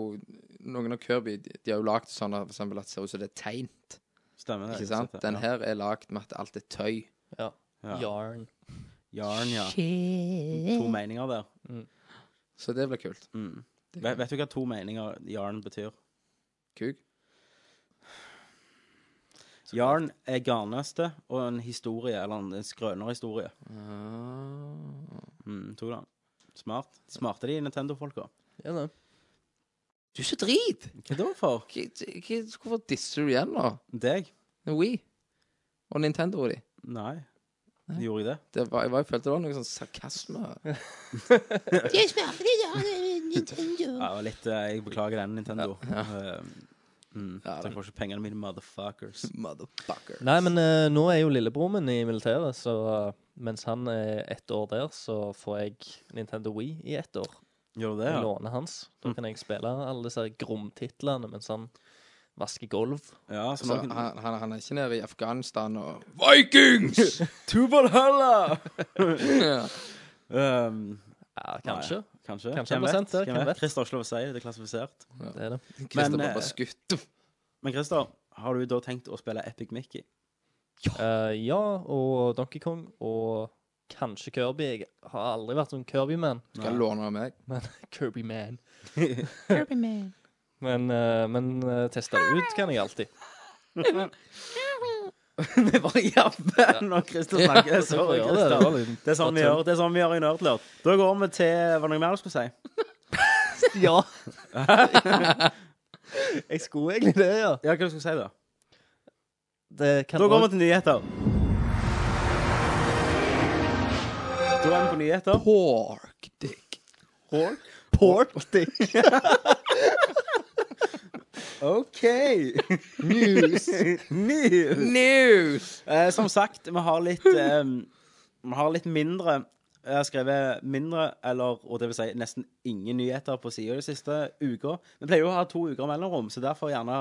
Noen av Kirby De, de har jo lagd sånn at for eksempel at det ser ut som det er tegnt.
stemmer det.
Ikke sant? Den her er lagd med at alt er tøy.
Ja.
Ja.
Yarn.
Yarn, ja. To meninger der.
Så det blir kult.
Mm. Vet, vet du hva to meninger yarn betyr?
Kuk.
Yarn er garnnøste og en historie, eller en skrønerhistorie. Mm, tok den. Smart. Smarte de Nintendo-folka.
Ja, det.
Du er så drit!
Hva da for?
Hva- hva- Hvorfor disser du igjen nå?
Deg?
Wii og Nintendo og de.
Nei. Gjorde jeg det?
Det var, jeg, var, jeg følte det var noe sånn sarkasme.
Ja, det var litt, eh, jeg beklager den, Nintendo. Eh, Mm,
den-
Dere får ikke pengene mine, motherfuckers.
Motherfucker.
Nei, men eh, nå er jo lillebroren min i militæret, så eh, mens han er ett år der, så får jeg Nintendo Wii i ett år.
Gjør du det?
Jeg
Ja. Mm.
låner hans. Da kan jeg spille alle disse gromtitlene mens han vasker gulv.
ja så
Så
noen...
han, han, han er ikke nede i Afghanistan og Vikings!
To Valhalla!
ja.
um,
Ja, kanskje.
kanskje.
Kanskje
Hvem
han ble
vet?
sendt der,
Hvem
hvem
vet?
vet?
Christer har ikke lov å si det. Det er klassifisert.
Det er det.
Christer
Men,
bare
eh,
ble skutt.
Men Christer, har du da tenkt å spille Epic Mickey?
Eh, ja, og Donkey Kong og kanskje Kirby. Jeg har aldri vært sånn Kirby-man.
Skal jeg låne av meg?
Men Kirby-man. eh, Men, uh, men eh, teste det ut kan jeg alltid.
vi var i jobben når Christer snakker.
Ja,
Sorry,
det var
Christer.
det var litt-
Det er sånn vi
bare tull.
gjør, det er sånn vi gjør i Nerdlurt. Da går vi til Var det noe mer du skulle si?
Ja.
jeg skulle egentlig det, ja. Ja, Hva du skulle du si, da? Da går vi til nyheter. Da er vi på nyheter. Pork dick. Pork? Pork dick. OK. News. News. Eh, som sagt, vi har litt eh, Vi har litt mindre Jeg har skrevet mindre, eller og det vil si nesten ingen nyheter på sida de siste uka. Vi pleier jo å ha to uker mellomrom, så derfor gjerne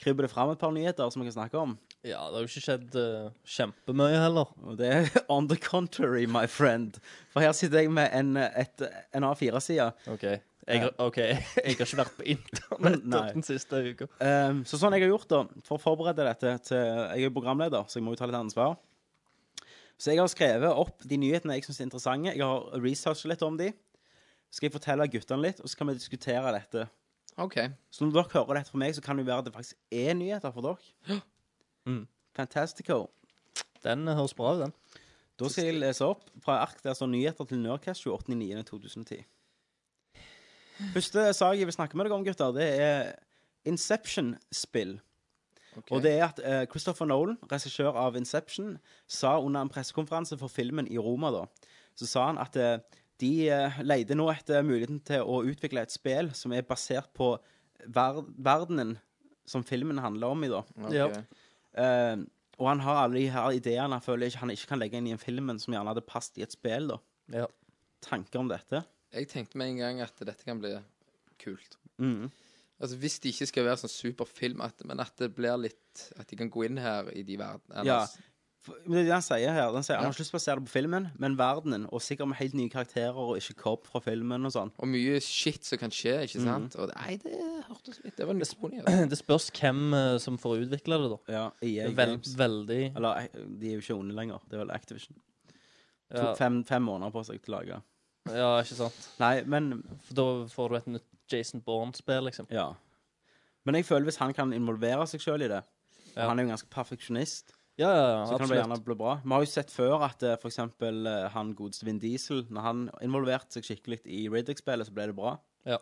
krybber det fram et par nyheter som vi kan snakke om.
Ja, det har jo ikke skjedd eh, kjempemye heller.
Og det er on the contrary, my friend. For her sitter jeg med en, et, en A4-side.
OK. Jeg, har- OK, jeg har ikke vært på
Nei.
internett den siste uka.
Ehm, så sånn jeg har gjort da, for å forberede dette til Jeg er programleder, så jeg må jo ta litt ansvar. Så jeg har skrevet opp de nyhetene jeg syns er interessante. Jeg har researchet litt om de. Så skal jeg fortelle guttene litt, og så kan vi diskutere dette.
OK.
Så når dere hører dette fra meg, så kan det jo være at det faktisk er nyheter for dere. Fantastico.
Den eh, høres bra ut, den.
Da skal jeg lese opp fra ark der står nyheter til Nerdcast 28.9.2010. Første sak jeg vil snakke med dere om, gutter, det er Inception-spill. Og det er at eh, Christopher Nolan, regissør av Inception, sa under en pressekonferanse for filmen i Roma, da, så sa han at eh, de uh, leide nå etter muligheten til å utvikle et spill som er basert på ver verdenen som filmen handler om i, da.
Ok. Ja.
Eh, og han har alle de her ideene han føler ikke, han ikke kan legge inn i en filmen som gjerne hadde passet i et spill, da. Tanker om dette?
Jeg tenkte med en gang at dette kan bli kult.
Mhm.
Altså Hvis det ikke skal være sånn superfilm, at, men at det blir litt At de kan gå inn her i de verden
Ja.
ellers.
For- men Det er det han sier her. Han sier Han
Ja.
har ikke lyst til å basere det på filmen, men verdenen. Og sikkert med helt nye karakterer og ikke cop fra filmen og sånn.
Og mye shit som kan skje, ikke
Mhm.
sant? Og nei, det hørtes litt Det var en disponering.
Det spørs hvem eh, som får utvikle det, da.
Ja, EA
Vel,
Games.
veldig
Eller eh, de er jo ikke onde lenger. Det er vel Activision. To,
Ja.
fem, fem måneder på seg til å lage.
Ja, ikke sant?
Nei, men
For da får du et nytt Jason Bourne-spill, liksom.
Ja. Men jeg føler hvis han kan involvere seg sjøl i det og
Ja.
Han er jo ganske perfeksjonist.
Ja, ja, ja,
så kan det
absolutt.
gjerne bli bra. Vi har jo sett før at eh, for eksempel eh, han godeste Vin Diesel, når han involverte seg skikkelig i Riddick-spillet, så ble det bra.
Ja.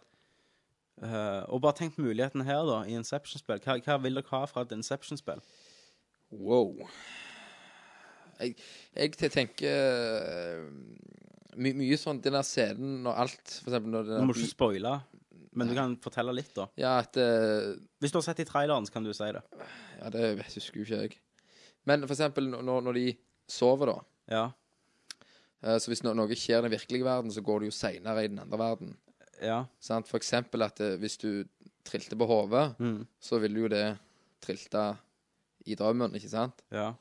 Eh, og bare tenk på muligheten her, da, i Inception-spill. Hva, hva vil dere ha fra et Inception-spill?
Wow. Jeg, jeg te- tenker øh, my, mye sånn den der scenen når alt For eksempel når den
Nå
der
må du
by-
ikke spoile, men du kan fortelle litt, da.
Ja, at eh,
Hvis du har sett i traileren, så kan du si det.
Ja, det vet- husker jo ikke jeg. Men for eksempel når, når de sover, da.
Ja.
Eh, Så hvis no noe skjer i den virkelige verden, så går det jo seinere i den andre verden.
Ja.
Sant? For eksempel at eh, hvis du trilte på hodet,
Mm.
så vil jo det trilte i drømmen, ikke sant?
Ja.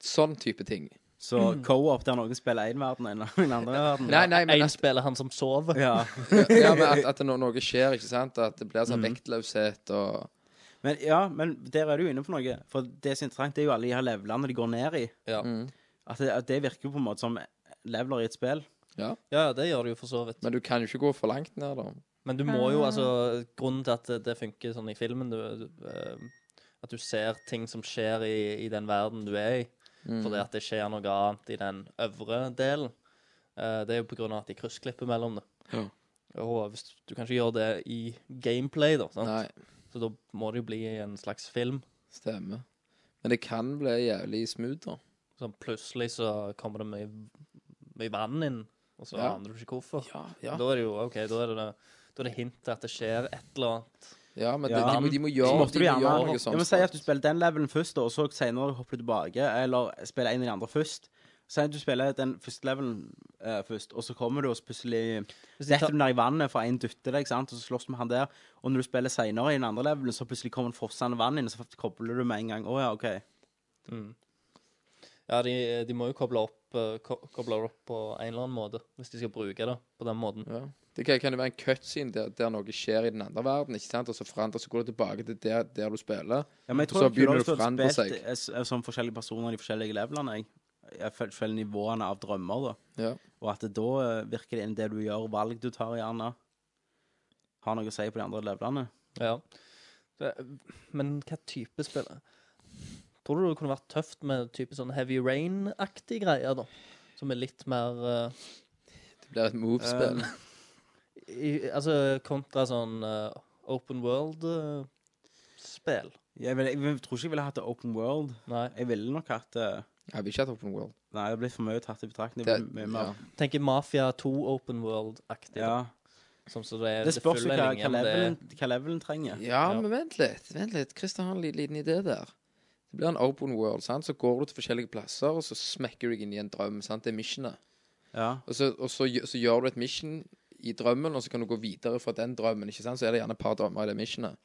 Sånn type ting.
Så
Mm.
co-op der noen spiller én verden, og noen andre verden.
Nei, nei, men
En
at-
spiller han som sover.
Ja.
ja, men at, at når noe skjer, ikke sant? At det blir sånn vektløshet og
Men, ja, men der er du inne på noe. For det som er interessant, det er jo alle de her levelene de går ned i.
Ja.
Mm.
At, det, at det virker jo på en måte som leveler i et spill.
Ja.
Ja, det gjør det jo for så vidt.
Men du kan jo ikke gå for langt ned, da.
Men du må jo, altså Grunnen til at det- det funker sånn i filmen, du, du, eh, at du ser ting som skjer i, i den verden du er i,
Mm.
fordi at det skjer noe annet i den øvre delen. Eh, det er jo på grunn av at de kryssklipper mellom det.
Ja.
Og hvis du kan ikke gjøre det i gameplay, da, sant?
Nei.
så da må det jo bli en slags film.
Stemmer. Men det kan bli jævlig smooth, da.
Sånn plutselig så kommer det mye, mye vann inn, og så
Ja.
aner du ikke hvorfor.
ja.
Da er det jo OK, da er det, da er det hint til at det skjer et eller annet.
Ja, men det-
Ja.
de, må- de må
Så
gjøre,
måtte
de
du
må
gjerne
gjøre noe sånn sånt.
Jeg må si at du spiller den levelen først, da, og så senere hopper du tilbake, eller spiller en av de andre først. Si at du spiller den første levelen eh, først, og så kommer du og så plutselig
Hvis de
detter
tar-
du ned i vannet, for en dytter deg, ikke sant, og så slåss du med han der. Og når du spiller senere i den andre levelen, så plutselig kommer en fossende vann inn, og så kobler du med en gang. Å ja, OK.
Mm. Ja, de, de må jo koble opp, eh, ko koble opp på en eller annen måte, hvis de skal bruke det på den måten.
Ja. Det kan, kan jo være en cutscene der, der noe skjer i den andre verden, ikke sant? og så forandrer så går det tilbake til der, der du spiller.
Ja, men jeg
og
tror
så begynner det å
du
forandre seg.
spilt eh, s- eh, som forskjellige personer i de forskjellige levelene. Jeg, jeg føler forskjellige nivåene av drømmer, da.
Ja.
Og at det da eh, virker det inn det du gjør, valg du tar, gjerne har noe å si på de andre levelene.
eh, Ja. Det, men hva type spill Tror du det kunne vært tøft med type sånn Heavy Rain-aktig greier, da? Som er litt mer eh,
Det blir et move-spill.
eh, i- altså kontra sånn eh, open eh, world-spill.
Jeg, vil, jeg, vil- tror ikke jeg ville hatt det open world. Jeg ville nok hatt det
Jeg vil ikke hatt open world.
Nei, det blir for mye tatt i betraktning. Det,
Det-
blir mye mer-
Tenker Mafia 2 open world-aktig. da.
Ja.
Som så det, er-
det spørs jo
følger
hva,
en linje,
hva,
men det er-
levelen, hva levelen trenger.
Ja, men vent litt. Vent litt. Christer har en liten, liten idé der. Det blir en open world, sant? så går du til forskjellige plasser, og så smekker du deg inn i en drøm. sant? Det er missionet.
Ja.
Og, så, og så, gjø- så gjør du et mission i drømmen, og så kan du gå videre fra den drømmen. ikke sant? Så er det gjerne et par drømmer i det missionet.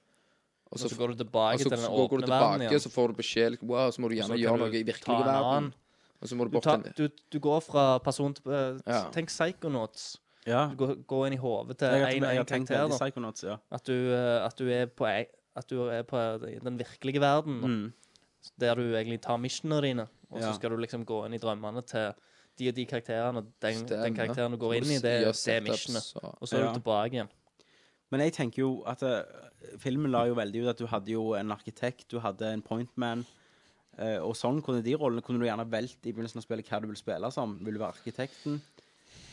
Og så går du tilbake
og så-
til den
så går du
åpne
tilbake,
verden igjen.
Så får du beskjed liksom, Wow, så må du
Og så
gjerne
kan
gjøre
du
noe i
ta en
virkelige verden.
annen.
Og så må du
Du,
bort til
tar,
en
du, du går fra person til eh,
Ja.
Tenk Psychonauts.
Ja.
Du går, går inn i hodet til
Jeg har-
én og
jeg har
én
tenkt
karakter.
veldig
da.
Psychonauts, ja.
At, du, eh, at du er på ei- at du er på eh, den virkelige verden, da.
Mm.
der du egentlig tar missionene dine, og
Ja.
så skal du liksom gå inn i drømmene til de og de karakterene, og den, den
Stemmer.
karakteren du
Så må
går inn
du
i, det,
gjøre
det er
setups
missionet.
og-
Og så er
Ja.
du tilbake igjen.
Men jeg tenker jo at eh, filmen la jo veldig ut at du hadde jo en arkitekt, du hadde en pointman, eh, og sånn kunne de rollene kunne du gjerne velt i begynnelsen av spillet hva du vil spille som. Vil du være arkitekten?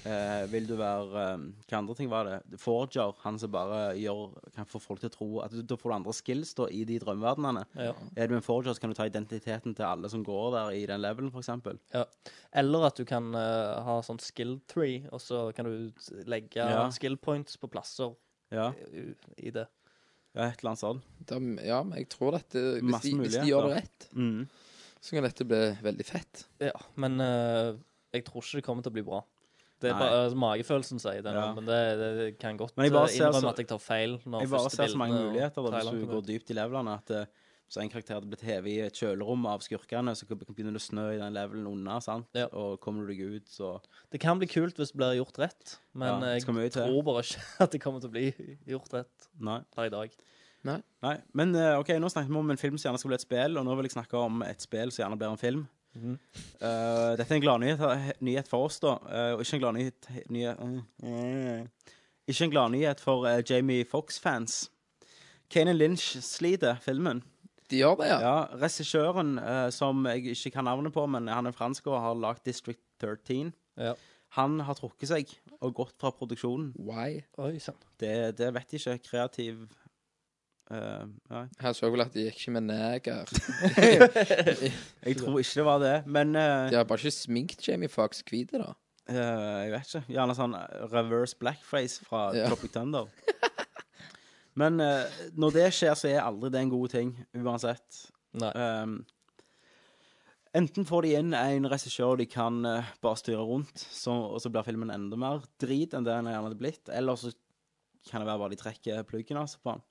Eh, vil du være eh, Hva andre ting var det? Forger, han som bare gjør, kan få folk til å tro at du, Da får du andre skills da, i de drømmeverdenene.
Ja.
Er du en forger, så kan du ta identiteten til alle som går der i den levelen, f.eks.
Ja. Eller at du kan eh, ha sånn skill tree, og så kan du legge
Ja.
skill points på plasser
Ja.
i, i det.
Ja, et eller annet sånt.
ja, men jeg tror dette Hvis,
Masse
de, hvis de
muligheter.
gjør det rett,
Mm.
så kan dette bli veldig fett.
Ja, men eh, jeg tror ikke det kommer til å bli bra. Det er
Nei.
bare altså, magefølelsen sier det,
Ja.
men det, det kan godt
Men jeg bare
eh,
ser
innrømme
så-
at jeg tar feil. Når
Jeg bare
første
ser så mange
bildene og
muligheter da, hvis
traileren
du
kommer
går
ut.
dypt i levelene. At eh, hvis en karakter hadde blitt hevet i et kjølerom av skurkene, så begynner det å snø i den levelen under, sant? og kommer du deg ut, så
Det kan bli kult hvis det blir gjort rett, men
Ja, det
jeg
skal mye til.
tror bare ikke at det kommer til å bli gjort rett
Nei.
per i dag.
Nei.
Men eh, OK, nå snakket vi om en film som gjerne skal bli et spill, og nå vil jeg snakke om et spill som gjerne blir en film.
Mhm.
Eh, dette er en gladnyhet nyhet for oss, da. eh, og ikke en gladnyhet nyhet, eh, Ikke en gladnyhet for eh, Jamie Fox-fans. Kane Lynch sliter filmen.
De gjør det, ja.
ja Regissøren, eh, som jeg ikke kan navnet på, men han er fransk og har lagd District 13,
Ja.
han har trukket seg og gått fra produksjonen.
Why?
Oi, sant.
Det, det vet jeg ikke. Kreativ eh, Nei.
Her så vel at de gikk ikke med neger.
Jeg tror ikke det var det, men eh,
De har bare ikke sminkt Jamie Fox hvit, da.
eh, Jeg vet ikke. Gjerne sånn reverse blackface fra
Ja.
Tropic Thunder. Men eh, når det skjer, så er aldri det en god ting, uansett. Um, enten får de inn en regissør de kan eh, bare styre rundt, så, og så blir filmen enda mer drit enn det den gjerne hadde blitt, eller så kan det være bare de trekker pluggen altså, på han.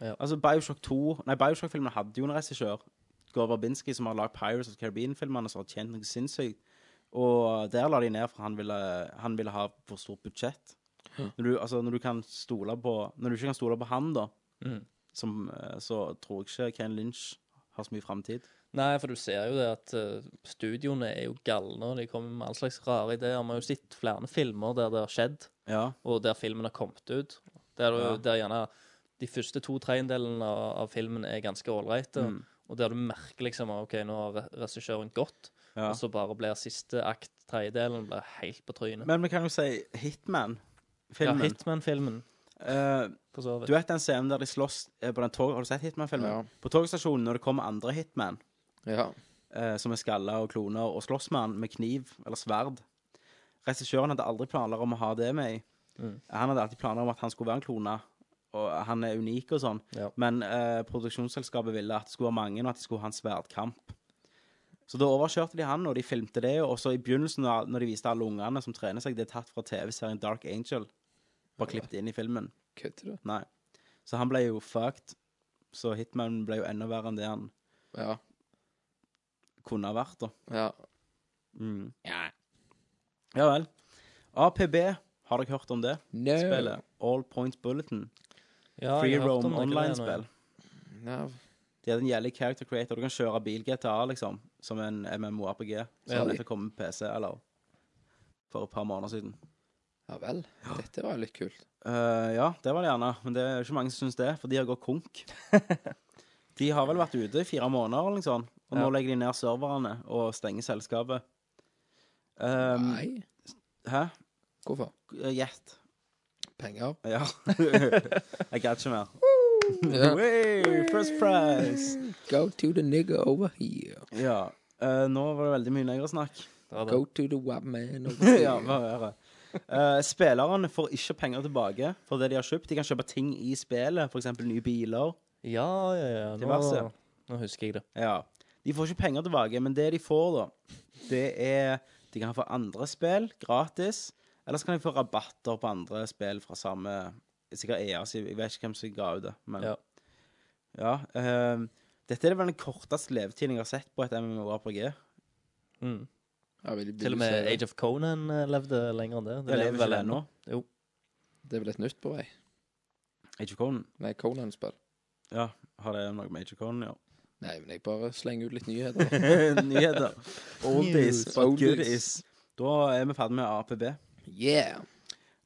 Ja.
Altså, Bioshock 2 Nei, Bioshock-filmen hadde jo en regissør, Gore Verbinski, som har lagd Pirates of the Caribbean-filmene, som har tjent noe sinnssykt. Og der la de ned, for han ville, han ville ha for stort budsjett.
Hm.
Når du, altså, når du kan stole på Når du ikke kan stole på han, da,
Mhm.
som, eh, så tror jeg ikke Ken Lynch har så mye framtid.
Nei, for du ser jo det at eh, studioene er jo galne, og de kommer med all slags rare ideer. Vi har jo sett flere filmer der det har skjedd,
Ja.
og der filmen har kommet ut. Der, du,
Ja.
der gjerne de første to tredjedelene av, av filmen er ganske ålreite,
Mm.
og der du merker liksom OK, nå har re- regissøren gått,
Ja.
og så bare blir siste akt, tredjedelen, blir helt på trynet.
Men vi kan jo si Hitman-filmen.
Ja, Hitman-filmen.
Eh,
For så vidt.
du vet den scenen der de slåss eh, på den tog... Har du sett Hitman-filmen?
Ja.
På togstasjonen når det kommer andre Hitman
Ja.
eh, som er skalla og kloner, og slåss med han med kniv eller sverd. Regissøren hadde aldri planer om å ha det med i.
Mm.
Han hadde alltid planer om at han skulle være en klone, og han er unik og sånn.
Ja.
Men eh, produksjonsselskapet ville at det skulle være mange, og at de skulle ha en sverdkamp. Så da overkjørte de han, og de filmte det. Og så i begynnelsen, da- når de viste alle ungene som trener seg, det er tatt fra TV-serien Dark Angel. Bare klippet inn i filmen.
Kødder du?
Nei. Så han ble jo fucked. Så Hitman ble jo enda verre enn det han
Ja.
kunne ha vært, da.
Ja.
Mm. Ja vel. APB, har dere hørt om det?
No.
Spillet All Points Bulletin.
Ja,
Free
jeg har hørt om
Roam
det greiene,
Online-spill. De hadde en gjeldig character creator. Du kan kjøre bil GTA, liksom, som en MMORPG. Som
Ja.
ja. nettopp kom med PC, eller for et par måneder siden.
Ja vel. Dette var jo litt kult.
Eh, ja, det var det gjerne. Men det er ikke mange som syns det, for de har gått konk. de har vel vært ute i fire måneder, eller noe sånt. Og nå legger de ned serverne og stenger selskapet. Um,
Nei.
Hæ?
Hvorfor?
Gjett.
Penger.
Ja. Jeg gadd ikke mer. Hey, first prize.
Go to the nigger over here.
Ja. eh, nå var det veldig mye negresnakk.
Go to the web man over here.
ja, hva er det? Eh, spillerne får ikke penger tilbake for det de har kjøpt. De kan kjøpe ting i spillet, f.eks. nye biler.
Ja, ja, ja.
Diverse.
Nå, nå husker jeg det.
Ja. De får ikke penger tilbake, men det de får, da, det er De kan få andre spill gratis, eller så kan de få rabatter på andre spill fra samme Sikkert EA, så jeg vet ikke hvem som ga ut det, men
Ja.
Ja, ehm, dette er vel den korteste levetiden jeg har sett på et MMORPG.
Mm.
Ja, vil- vil du
Til og
se
med
det?
Age of Conan eh, levde lenger enn det.
Det lever
vel
ikke ennå.
Jo.
Det er vel et nytt på vei?
Age of Conan.
Nei, Conan-spill.
Ja, har det noe med Age of Conan å gjøre?
Nei, men jeg bare slenger ut litt nyheter.
Nyheter. Oldies,
News.
but
Oldies.
goodies. Da er vi ferdig med APB.
Yeah!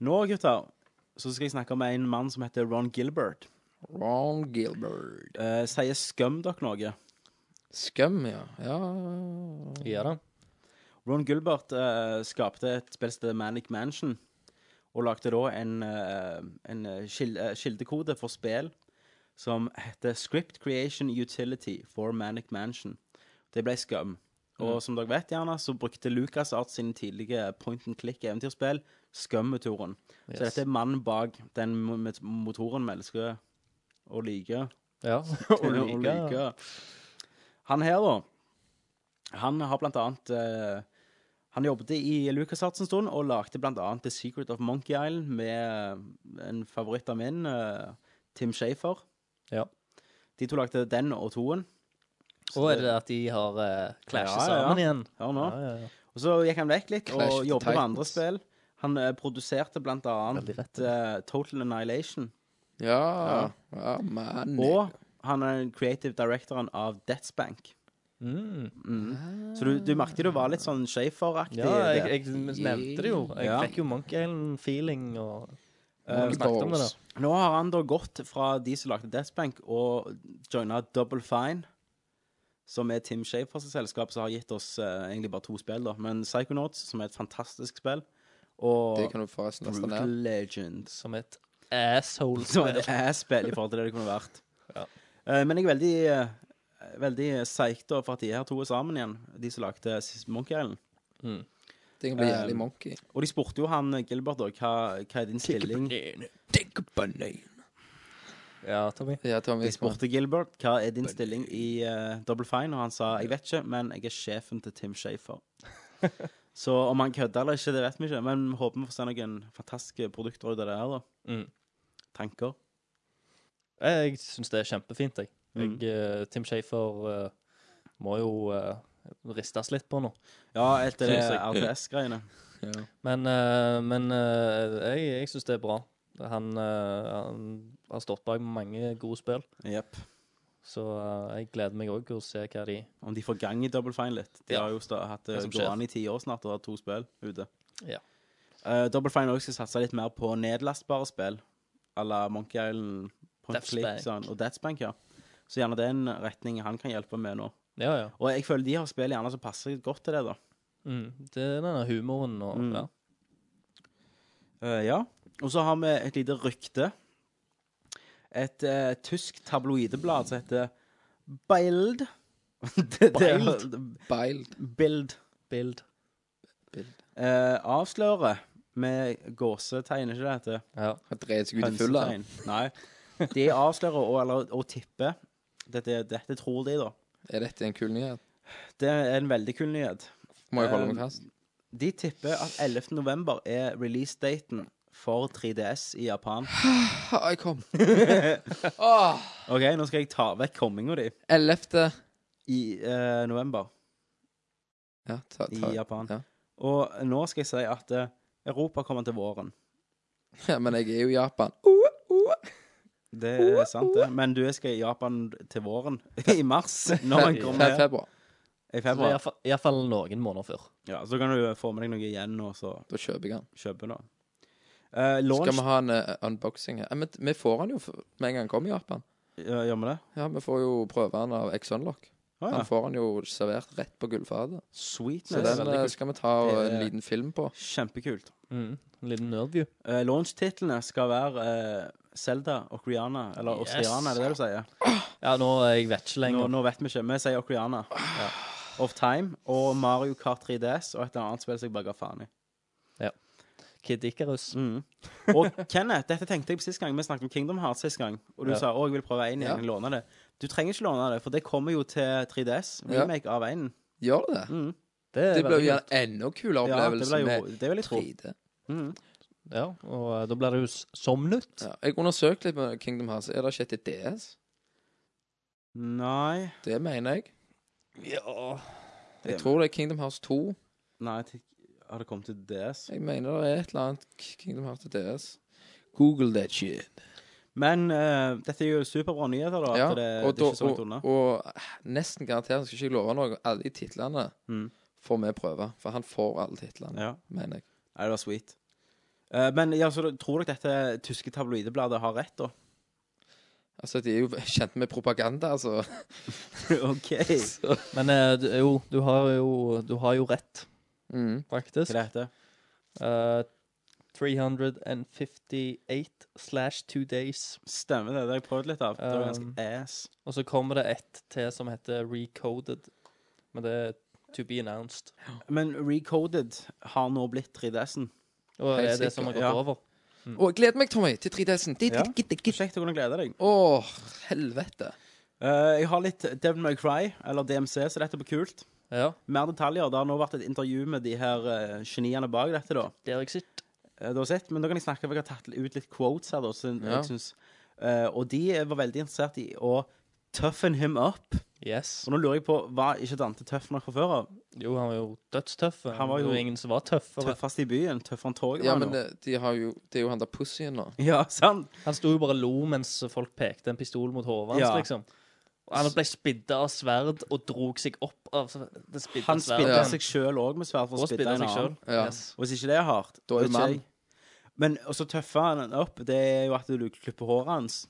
Nå, gutter, så skal jeg snakke om en mann som heter Ron Gilbert.
Ron Gilbert.
Eh, sier skum dere noe?
Skum, ja. Ja
Ja da.
Ron Gilbert eh, skapte et spill som heter Manic Mansion, og lagde da en, eh, en eh, skil eh, kildekode for spill som heter Script Creation Utility for Manic Mansion. Det ble skum. Og som dere vet, gjerne, så brukte LucasArts sine tidlige point and click-eventyrspill skum-motoren. Så
Yes.
dette er mannen bak den mo- met- motoren vi elsker å like.
Ja.
Og like. Han her, da. Han har blant annet eh, Han jobbet i LucasArts en stund og lagde blant annet The Secret of Monkey Island med eh, en favoritt av min, eh, Tim Shafer.
Ja.
De to lagde den og toen.
Og er det at de har uh, clashet sammen igjen?
Hør nå.
Ja, ja, ja.
Og så gikk han vekk litt
Clash of
og
the
jobbet med andre
Titans.
spill. Han eh, produserte blant annet
Veldig rett.
eh, Total Annihilation.
Ja, ja man.
Og han er den creative directoren av Deathsbank.
Mm.
Så du, du merket du var litt sånn Shafer-aktig.
Ja,
i det.
jeg, jeg nevnte det jo. Jeg
Ja.
fikk jo Monkey Island-feeling og
Eh,
Vi snakket om det, da.
Nå har han da gått fra de som lagde Deathbank, og joina Double Fine, som er Tim Shafers selskap, som har gitt oss eh, egentlig bare to spill, da. Men Psychonauts, som er et fantastisk spill,
Det
og
kan du forresten laste
Brutal
ned.
Legends,
Som et asshole
som er et ass-spill i forhold til det det kunne vært.
Ja.
Eh, men jeg er veldig uh, Veldig psyched da, for at de her to er sammen igjen, de som lagde Monkey Island.
Det kan bli
Eh,
jævlig monkey.
Og de spurte jo han eh, Gilbert da, hva, hva er din stilling?
Take a banane.
Ja, Tommy.
Ja, Tommy.
De spurte Gilbert hva er din stilling i eh, Double Fine, og han sa jeg vet ikke, men jeg er sjefen til Tim Shafer. Så om han kødder eller ikke, det vet vi ikke, men vi håper vi får se noen fantastiske produkter ut av det her. da
Mm.
Tanker.
Jeg syns det er kjempefint, jeg.
Mm.
jeg eh, Tim Shafer eh, må jo eh, ristes litt på nå.
Ja, etter det
Synes jeg.
RTS-greiene.
Men, eh, men eh, jeg, jeg syns det er bra. Han, eh, han har stått bak mange gode spill,
Jepp.
så eh, jeg gleder meg òg til å se hva de
Om de får gang i Double Fine litt. De
Ja.
har jo sta- hatt
Det
det
som skjer.
gående i ti år snart og har to spill ute.
Ja.
Eh, Double Fine også skal satse litt mer på nedlastbare spill, à la Monkey Island, Point Click
Deathsbank.
sånn, og Deathsbank. Ja. Så gjerne det er en retning han kan hjelpe med nå.
Ja, ja.
Og jeg føler de har spill gjerne som passer godt til det, da.
Mm. Det er denne humoren og
Mm.
ja.
Eh, ja. Og så har vi et lite rykte. Et eh, tysk tabloideblad som heter Bild. det, Det,
Beiled.
Bild.
Bild.
Eh, avslører med gåsetegn, ikke det heter?
Ja.
Han dreier seg ut i fulla.
Hønsetegn. Nei. De avslører og, eller, og tipper. Dette, dette tror de, da.
Er dette en kul nyhet?
Det er en veldig kul nyhet.
Må jeg holde
Um,
meg fast?
De tipper at 11. november er release-daten for 3DS i Japan.
Ha, jeg kom. Åh,
OK, nå skal jeg ta vekk komminga di.
11.
I eh, november
Ja, ta,
i
ta.
Japan.
ja.
Og nå skal jeg si at eh, Europa kommer til våren.
Ja, men jeg er jo i Japan. Uh, uh.
Det er sant, det. Men du skal i Japan til våren. I mars, når man kommer
Fem
her.
februar.
I
Så det er
februar.
iallfall- iallfall noen måneder før.
Ja, så kan du få med deg noe igjen, og så
Da kjøper jeg den.
kjøpe noe. Eh, launch
Skal vi ha en eh, unboxing her? Ja, men vi får den jo f- med en gang den kommer i Japan.
Ja, Gjør vi det?
Ja, vi får jo prøve den av X-Unlock.
Ah, ja.
Han får han jo servert rett på gullfatet.
Sweetness.
Så den
Veldig
eh,
kult.
skal vi ta eh, en
Det er-
liten film på.
Kjempekult.
Mm. En liten nerdview.
Uh, Launch-titlene skal være eh, Zelda, Okriana, eller
Yes.
Ostriana, er det det du sier?
Ja, nå eh, jeg vet ikke
Nå,
lenger.
nå vet vi ikke. Vi sier Okriana. Of Time og Mario Kart 3DS og et eller annet spill som jeg bare ga faen i.
Kid Icarus.
Mm. Og Kenneth, dette tenkte jeg på sist gang. Vi snakket om Kingdom Hearts sist gang. Og du
Ja.
sa å, jeg vil prøve én
Ja.
igjen. Låne det. Du trenger ikke låne det, for det kommer jo til 3DS.
Ja.
Remake av én.
Gjør det?
Mm.
Det, er
Det blir
veldig
jo
kult.
en enda kulere
Ja, det
opplevelse
blir jo
med
Det vil jeg tro.
3D.
Mm.
Ja, og eh, da blir det jo s- som nytt.
Ja, jeg undersøkte litt med Kingdom Hearts. Er det ikke et DS?
Nei
Det mener jeg.
Ja.
det-
Jeg tror det er Kingdom Hearts 2.
Nei, jeg tenk- har det kommet til DS?
Jeg mener det er et eller annet K- Kingdom Hearts til DS. Google that shit.
Men eh, dette er jo superbra nyheter, da.
Ja,
at det,
og,
det er
da,
ikke så langt unna.
og, og eh, nesten garantert, skal ikke jeg love noe, alle de titlene
Mm.
får vi prøve. For han får alle titlene,
Ja.
mener jeg.
Nei, det var sweet. Eh, men ja, så da- tror dere dette tyske tabloidebladet har rett, da?
Altså, de er jo kjent med propaganda, altså.
OK. Hva
Så,
Men eh, du, jo, du har jo, du har jo rett,
mm.
faktisk.
er dette?
Eh, 358 slash two days.
Stemmer det. Det har jeg prøvd litt av. Det var ganske
Um,
ass.
Og så kommer det ett til som heter recoded. Men det er to be announced.
Men Recoded har nå blitt 3DS-en.
Og
Helt
det er det
sikkert,
som har gått
ja.
over.
Og jeg gleder meg, Tommy, til 3DS-en.
Mm. Ja. Kjekt å kunne glede deg.
Å, helvete.
Eh, jeg har litt Devil May Cry, eller DMC, så dette blir kult.
Ja.
Mer detaljer. Det har nå vært et intervju med de her eh, geniene bak dette, da.
Det har jeg sett.
Eh, det var sett, men da kan jeg snakke, for jeg har tatt ut litt quotes her, da, som
Ja.
jeg synes. Eh, og de var veldig interessert i å toughen him up.
Yes.
Og nå lurer jeg på, var ikke Dante tøff nok fra før av?
Jo, han var jo dødstøff.
Han var
Det
jo
ingen som var tøffere.
Tøffest i byen, tøffere enn toget.
Ja,
var han
men
jo.
det, de har jo, det er jo han der pussyen nå.
Ja, sant?
Han sto jo bare og lo mens folk pekte en pistol mot hodet hans,
Ja.
liksom. Og han ble spidda av sverd og drog seg opp av s- det spidda
Han
sverdet.
spidda
Ja.
seg sjøl òg med sverd for å
og
spidde
spidda
en
seg sjøl.
annen.
Ja.
Yes.
Og hvis ikke det er hardt
Da er
vet
du
ikke
mann.
jeg. Men også tøffer han den opp, det er jo at du klipper håret hans.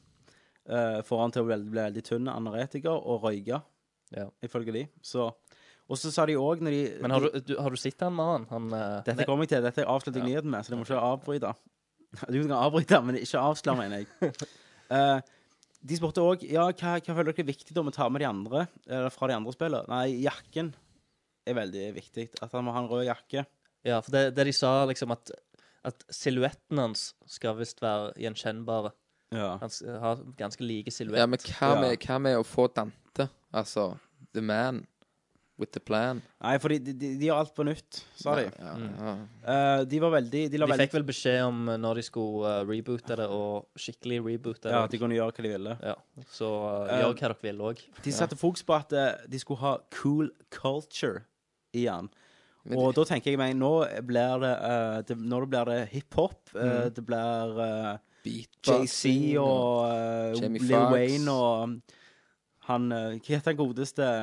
eh, får han til å bli, bli veldig tynn, anoretiker og røyke,
Ja.
ifølge de. Så Og så sa de òg når de
Men har du, du, har du sett han mannen? Han eh,
Dette kommer jeg til. Dette avslutter jeg nyheten med, så du må ikke avbryte. Du kan avbryte, men ikke avsløre, mener jeg. Eh, de spurte òg ja, hva, hva føler dere er viktig om å ta med de andre Eller fra de andre spillene. Nei, jakken er veldig viktig. At han må ha en rød jakke.
Ja, for det, det de sa, liksom, at, at silhuetten hans skal visst være gjenkjennbare.
Ja.
Han s- har ganske like silhuett.
Ja, men hva
Ja.
med, hva med å få Dante? Altså, the man with the plan.
Nei, for de, de, de gjør alt på nytt, sa de. Mm.
Ja, ja.
Eh, de var veldig De la
de
veldig
fikk vel beskjed om eh, når de skulle eh, reboote det, og skikkelig reboote
Ja, at
det.
de kunne gjøre hva de ville.
Ja, så eh,
Eh,
gjør hva dere vil òg.
De satte fokus på at eh, de skulle ha cool culture i han.
Men
Og da tenker jeg meg, nå blir det, eh, det Når det blir det hiphop, eh, det blir eh,
Beatboxing
JC
og
og eh,
Jamie
Lil
Foxx.
Wayne og um, han eh, Hva heter han godeste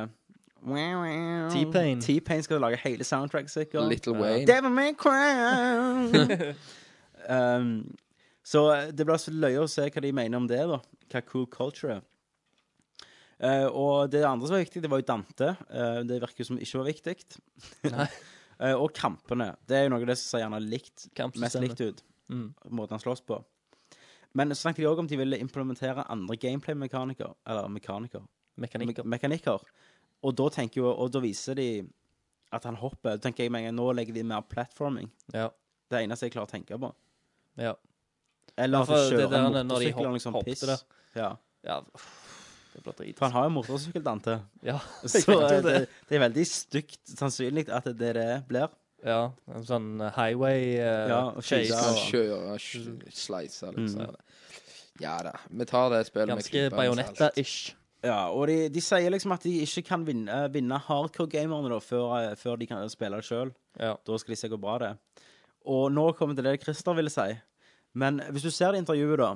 T-Pain.
T-Pain skal lage hele soundtrack, sikkert.
Little Wayne.
Devil May Cry. um, så det blir så løye å se hva de mener om det, da. Hva cool culture er. Eh, og det andre som var viktig, det var jo Dante. Eh, det virker jo som ikke var viktig.
Nei.
Eh, og kampene. Det er jo noe av det som ser gjerne likt, mest
Kampsystemet.
likt ut.
Mm.
Måten han slåss på. Men så snakket de òg om de ville implementere andre gameplay-mekanikker. Eller mekanikker.
Mekanikker.
Me mekanikker. Og da tenker jo, og da viser de at han hopper. Da tenker jeg med en gang, Nå legger de mer platforming.
Ja.
Det er det eneste jeg klarer å tenke på.
ja.
Eller at
Ja, for
du
det
kjører
der når de
en motorsykkel
hopp-
eller noe sånt
hoppte
piss.
der.
Ja.
ja. uff, Det blir drit.
For han har jo motorsykkel, Dante.
Ja.
Så
vet jo
eh, det, det er veldig stygt sannsynlig at det er det det blir.
ja. En sånn eh, highway eh,
Ja, og
chase.
skyte.
Kan
Ja.
kjøre
Mm.
sj- slice, liksom. Ja da. Vi tar det spillet med
Ganske
klypa med salt.
bajonetta-ish.
Ja, og de, de sier liksom at de ikke kan vinne, eh, vinne hardcore-gamerne da, før, eh, før de kan spille det sjøl.
Ja.
Da skal de se hvor bra det er. Og nå kommer det det Christer ville si. Men hvis du ser det intervjuet, da,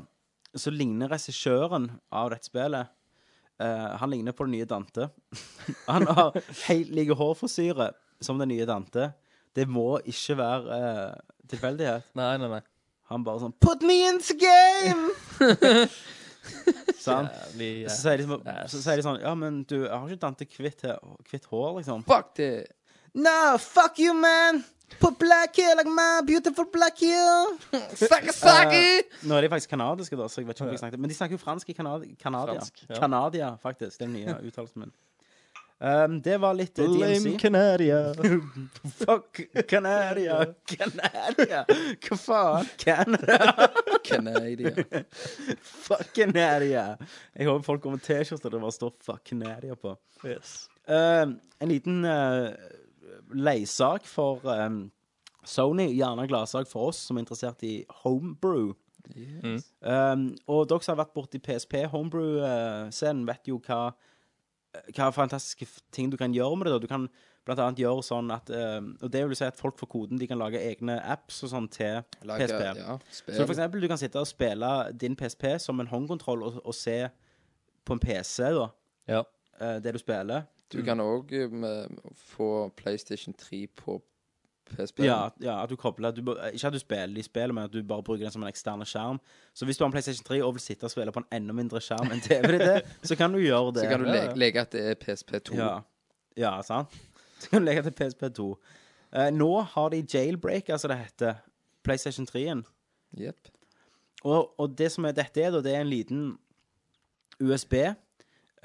så ligner regissøren av dette spillet eh, Han ligner på den nye Dante. han har helt like hårfrisyre som den nye Dante. Det må ikke være eh, tilfeldighet.
Nei, nei, nei.
Han bare sånn Put me in the game! Sant?
Jævlig, ja.
Så sier de sånn- så sier de sånn Ja, men du, jeg har ikke Dante kvitt, he- kvitt hår, liksom.
Fuck det!
No, fuck you, man! Put black hair like my beautiful black hair!
Sucky, sucky!
Eh, nå er de faktisk kanadiske, da, så jeg vet ikke om de snakker Men de snakker jo fransk i Kanad Kanadia.
Fransk, ja.
Kanadia, faktisk. Den nye uttalelsen min. Um, det var litt eh,
Blame
DMC.
Canaria.
Fuck Canaria. Canaria. Hva faen? Canada.
Canadian.
Fuck Canaria. Jeg håper folk går med T-skjorter der det bare står Fuck Canaria på.
Yes.
Eh, en liten uh, leiesak for eh, Sony, gjerne en gladsak for oss som er interessert i homebrew. Eh, og dere som har vært borti PSP homebrew-scenen, eh, vet jo hva eh, hva fantastiske f- ting du kan gjøre med det. da. Du kan blant annet gjøre sånn at eh, Og det vil si at folk får koden, de kan lage egne apps og sånn til
Lage,
PSP.
ja, spill.
så for eksempel, du kan sitte og spille din PSP som en håndkontroll og, og se på en PC, da,
Ja.
eh, det du spiller.
Du kan òg få PlayStation 3 på PSP.
Ja, ja, at du kobler du, bør- Ikke at du spiller i spillet, men at du bare bruker den som en ekstern skjerm. Så hvis du har en PlayStation 3 og vil sitte og spille på en enda mindre skjerm enn TV-en din, så kan du gjøre det.
Så kan du
Ja, ja.
le leke at det er PSP2.
Ja, ja sant? Så kan du legge til PSP2. Eh, nå har de jailbreak, altså det heter, PlayStation 3-en.
Jep.
Og, og det som er dette er, da, det er en liten USB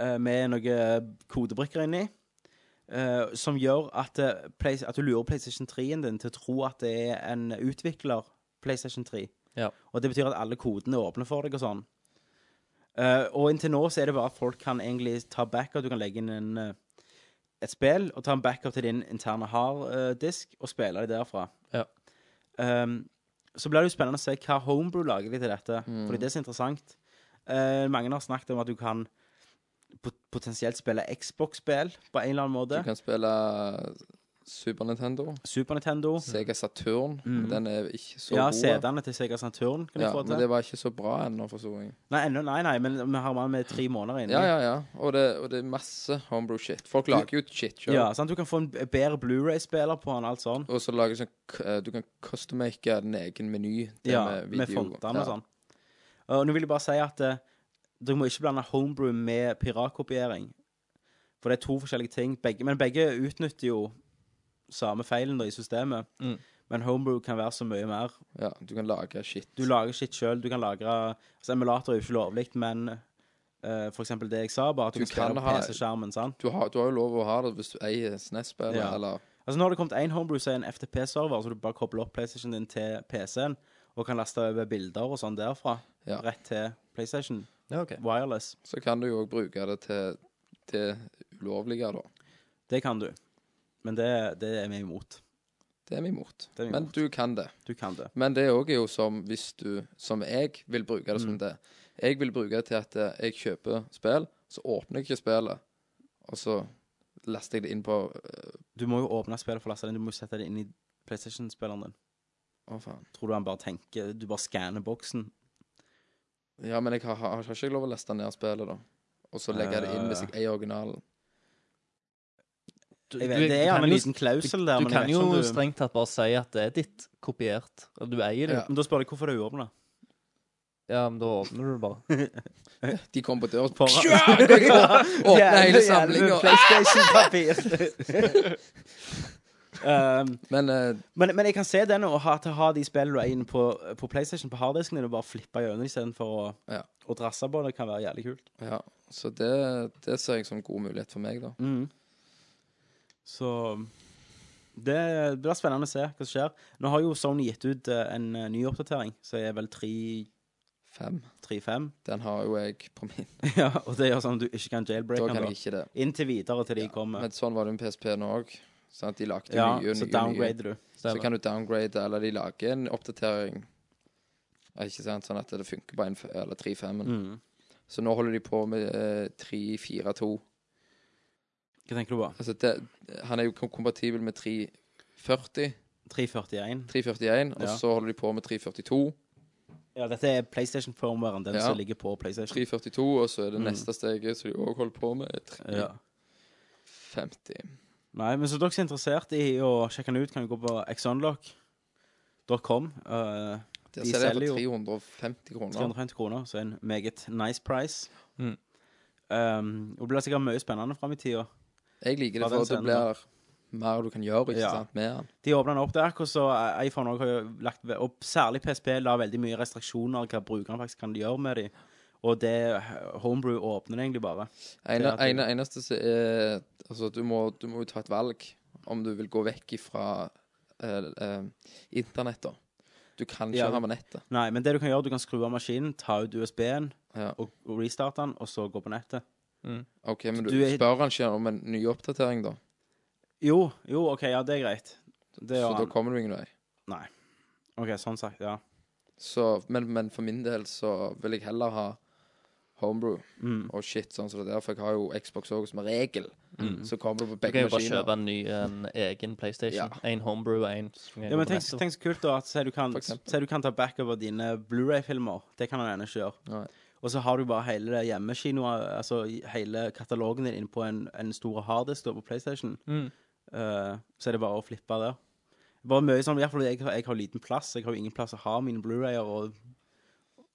eh, med noen kodebrikker inni, eh, som gjør at, eh, Play- at du lurer PlayStation 3-en din til å tro at det er en utvikler PlayStation 3.
Ja.
Og det betyr at alle kodene er åpne for deg og sånn. Eh, og inntil nå så er det bare at folk kan egentlig ta backup. Du kan legge inn en, eh, et spill og ta en backup til din interne harddisk og spille det derfra.
Ja.
Ehm, så blir det jo spennende å se hva homebrew lager de til dette,
Mm.
fordi det er så interessant. Eh, mange har snakket om at du kan pot potensielt spille Xbox-spill på en eller annen
Du
måte.
kan spille Super Nintendo,
Super Nintendo.
Sega Saturn. men Den er ikke så
Mm. Ja,
god.
CD-ene til Sega Saturn kan du
Ja, men
få til.
det var ikke så bra ennå, forsto jeg.
Nei, ennå, nei, nei, men vi har man med tre måneder inne.
Ja, ja, ja. Og det, og det er masse homebrew-shit. Folk lager jo shit sjøl.
Ja, sant? Du kan få en b- bedre Blu-ray-spiller på den, alt sånn.
Og så lager du sånn k- eh, Du kan customake din egen meny. det
Ja,
med
med
video.
fontene og
Ja.
sånn. Og nå vil jeg bare si at eh, du må ikke blande homebrew med piratkopiering. For det er to forskjellige ting. Begge, men begge utnytter jo samme feilen da, i systemet.
Mm.
Men homebrew kan være så mye mer.
Ja, du kan lage shit.
Du lager shit sjøl. Du kan lagre altså Emulator er jo ikke lovlig, men eh, for eksempel det jeg sa, bare at du,
Du
kan spille
kan
på
ha-
PC-skjermen. sant?
Du har, du har jo lov å ha det hvis du eier SNES-spillet,
Ja.
eller
Altså Nå har det kommet én homebrew som er en FTP-server, så du bare kobler opp PlayStation din til PC-en og kan laste over bilder og sånn derfra.
Ja.
Rett til PlayStation.
Ja, OK.
Wireless.
Så kan du jo òg bruke det til det ulovlige, da.
Det kan du. Men det, det er vi imot.
Det er vi imot.
Det er vi
Men
imot.
du kan det.
Du kan det.
Men det òg er jo som hvis du Som jeg vil bruke det som det. Jeg vil bruke det til at eh, jeg kjøper spill, så åpner jeg ikke spillet, og så laster jeg det inn på eh,
Du må jo åpne spillet for å laste det inn. Du må jo sette det inn i PlayStation-spilleren din.
Å, faen.
Tror du han bare tenker Du bare skanner boksen?
Ja, men jeg har, har, har ikke lov å laste ned spillet, da. Og så legger jeg det inn hvis jeg eier originalen.
Jeg vet, det er jo en liten klausul der,
Du
men jeg
kan
vet ikke
jo
om du
strengt tatt bare si at det er ditt kopiert, og du eier det.
Ja.
Men da spør jeg hvorfor det er uåpna.
Ja, men da åpner du det bare.
De kommer på døra
For-
Psja! Åpner hele samlinga.
PlayStation-papir. um,
Men eh,
Men, men jeg kan se den og ha, til å ha de spillene du er inne på, eh, på PlayStation på harddisken din og bare flippe gjennom istedenfor å,
Ja.
å drasse på det, kan være jævlig kult.
ja. Så det, det ser jeg som en god mulighet for meg, da.
Så det blir spennende å se hva som skjer. Nå har jo Sony gitt ut eh, en eh, ny oppdatering, som er vel 3.5.
Fem. Den har jo jeg på min.
ja, og det gjør sånn at du ikke kan
Da
jailbreake
kan
den.
jeg
da.
ikke det.
Inntil videre, til de kommer.
Men sånn var det med PSP nå òg. Sånn at de lagde
Ja,
nye,
så
nye, nye.
downgrader du.
Så
Stemmer.
kan du downgrade, eller de lager en oppdatering. Ja, Ikke sant? Sånn at det funker på en f- eller 3-5-en.
Mm.
Så nå holder de på med eh, 3-4-2.
Hva tenker du på?
Altså det, han er jo kom- kompatibel med 340,
341.
341, og
Ja.
så holder de på med 342.
Ja, dette er PlayStation-formeren, den
Ja.
som ligger på PlayStation.
342, og så er det neste steget som de òg holder på med, er
Mm. Ja.
350.
Nei, men så dere som er interessert i å sjekke den ut, kan jo gå på xunlock.com. eh,
De selger for 350 kroner.
350 kroner, så en meget nice price.
Mm.
Um, og det blir sikkert mye spennende fram i tida.
Jeg liker det, for det blir mer du kan gjøre ikke sant, med den.
De åpner den opp der, og så eh, iPhone også har jo lagt ve- Og særlig PSP la veldig mye restriksjoner hva brukerne faktisk kan gjøre med dem. Og det eh, Homebrew åpner det egentlig bare.
Ene,
Det er at-
ene, eneste som er Altså, du må, du må jo ta et valg om du vil gå vekk ifra eh, eh, internett, da. Du kan ikke
Ja.
ha med nettet.
Nei, men det du kan gjøre, du kan skru av maskinen, ta ut USB-en
Ja.
og, og restarte den, og så gå på nettet.
OK, men du,
Du er-
spør han ikke om en ny oppdatering, da.
Jo, jo, OK, ja, det er greit. Det
Så
gjør
da
han.
kommer du ingen vei.
Nei. OK, sånn sagt, ja.
Så, men, men for min del så vil jeg heller ha Homebrew
Mm.
og shit sånn som det der, for jeg har jo Xbox òg som regel.
Mm.
Så kommer du på
Du kan
begge
jo bare kjøpe
maskiner.
en ny en egen
Ja.
PlayStation. En homebrew, en som
Ja, men tenk, tenk så kult da at si du kan,
For eksempel.
si du kan ta backup av dine Blu-ray-filmer. Det kan han ennå ikke gjøre.
Nei.
Og så har du bare hele det hjemmekinoet, altså hele katalogen din inne på en, en stor harddisk da, på PlayStation.
Mm.
Eh, så er det bare å flippe der. Bare mye sånn, i hvert fall jeg, har- jeg har liten plass. Jeg har jo ingen plass å ha mine Blu-rayer og,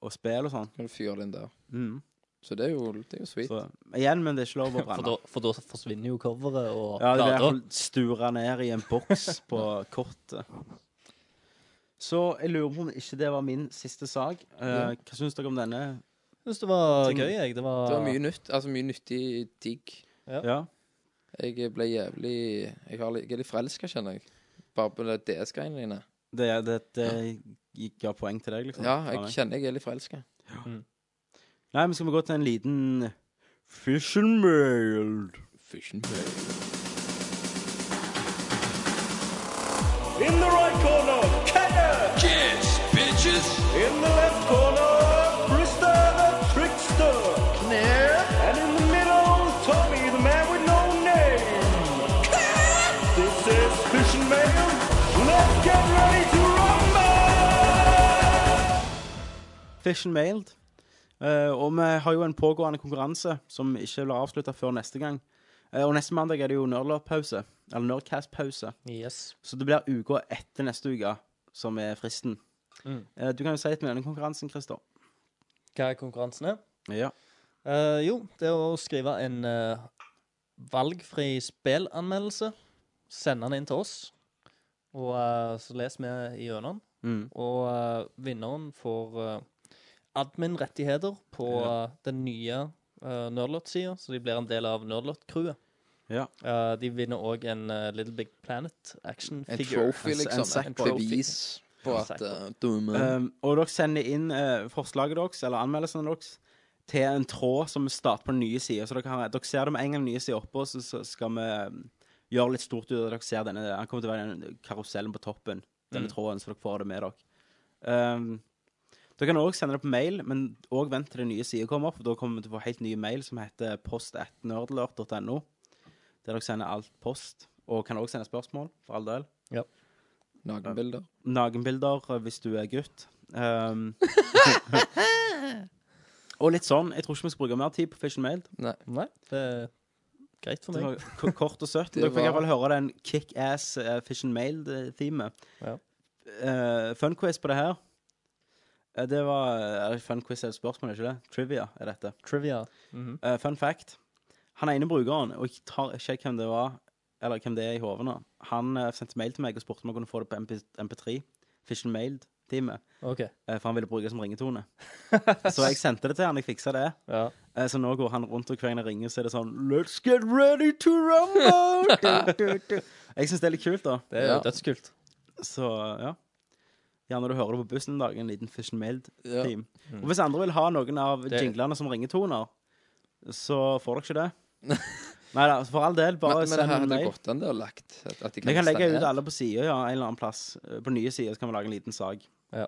og spill og sånn.
Kan du fyre den der.
Mm.
Så det er jo, det er jo sweet.
Så igjen, men det er ikke lov å
For da,
brenne.
for da forsvinner jo coveret og
Ja, det
plata.
blir stura ned i en boks på kortet. Så jeg lurer på om ikke det var min siste sak. Eh,
Ja.
Hva syns dere om denne?
Jeg syns det var
Ting-
gøy, jeg. Det var,
Det var mye nytt. Altså mye nyttig digg.
Ja.
Ja.
Jeg ble jævlig Jeg, har, litt- jeg er litt forelska, kjenner jeg. Bare på de DS-greiene dine.
Det, det, det gikk- ga poeng til deg, liksom?
Ja,
fra
jeg
meg.
kjenner jeg er litt forelska.
Nei, men skal vi gå til en liten Fission mail?
In the right corner, Kenneth. Yes, bitches. In the left corner, Brister the trickster. Knair. And in the middle, Tommy, the man with no name. this is Fish and Mail. Let's get ready to rumble!
Fish and mailed. Eh, og vi har jo en pågående konkurranse som ikke blir avslutta før neste gang. Eh, og neste mandag er det jo Nerdlop-pause. Eller Nerdcast-pause.
Yes.
Så det blir uka etter neste uke som er fristen.
Mm.
Eh, Du kan jo si litt med denne konkurransen, Christer.
Hva er konkurransen? er?
Ja.
Eh, jo, det er å skrive en eh, valgfri spillanmeldelse. Sende den inn til oss, og eh, så leser vi gjennom den.
Mm.
Og eh, vinneren får eh, admin-rettigheter på eh, den nye uh, Nerdlot-sida, så de blir en del av Nerdlot-crewet.
Ja.
Eh, de vinner òg en eh, Little Big Planet action
En
figure.
trophy, liksom.
sackboy.
Et bevis på
En
at
sackboy.
eh, dumme
Um, og dere sender inn eh, forslaget deres, eller anmeldelsene deres, til en tråd som vi starter på den nye sida. Så dere, har, dere ser det med en gang den nye sida oppå, så, så skal vi um, gjøre litt stort ut av at dere ser denne. Han kommer til å være den karusellen på toppen, denne
Mm.
tråden, så dere får det med dere. Um, dere kan òg sende det på mail, men òg vent til den nye sida kommer opp. for Da kommer vi til å få helt ny mail som heter post1nerdlert.no, der dere sender alt post. Og kan òg sende spørsmål, for all del
nakenbilder.
nagenbilder eh, hvis du er gutt. Um, og litt sånn. Jeg tror ikke vi skal bruke mer tid på Fish and Mail.
Nei, det er greit for
Det
meg.
var k- kort og søtt.
Det
Dere fikk
var-
iallfall høre den kickass uh, Fish and Mail-teamet.
Ja.
fun quiz på det her. Eh, det var eh, Fun quiz er et spørsmål, er ikke det? Trivia er dette.
Trivia. Mhm.
Eh, fun fact. Han ene brukeren, og jeg tar ikke hvem det var, eller hvem det er i hodet nå, han eh, sendte mail til meg og spurte om jeg kunne få det på MP, MP3. Fish and Mail-teamet.
OK.
Eh, For han ville bruke det som ringetone. Så jeg sendte det til han, jeg fiksa det.
Ja.
Eh, Så nå går han rundt og hver gang jeg ringer, så er det sånn Let's get ready to rumble! Du, du, du. Jeg syns det er litt kult, da.
Det er
Ja.
jo dødskult.
Så ja. Gjerne du hører det på bussen en dag, en liten Fish and
Ja. Mm.
Mailed-team. Og hvis andre vil ha noen av
Det-
jinglene som ringetoner, så får dere ikke det. Nei da, for all del,
Men,
bare
men det
send
her
en
hadde
mail.
gått an det å lagt at at de
Vi kan legge
installere.
ut alle på sida, ja, en eller annen plass. Eh, På nye sider så kan vi lage en liten sak.
Ja.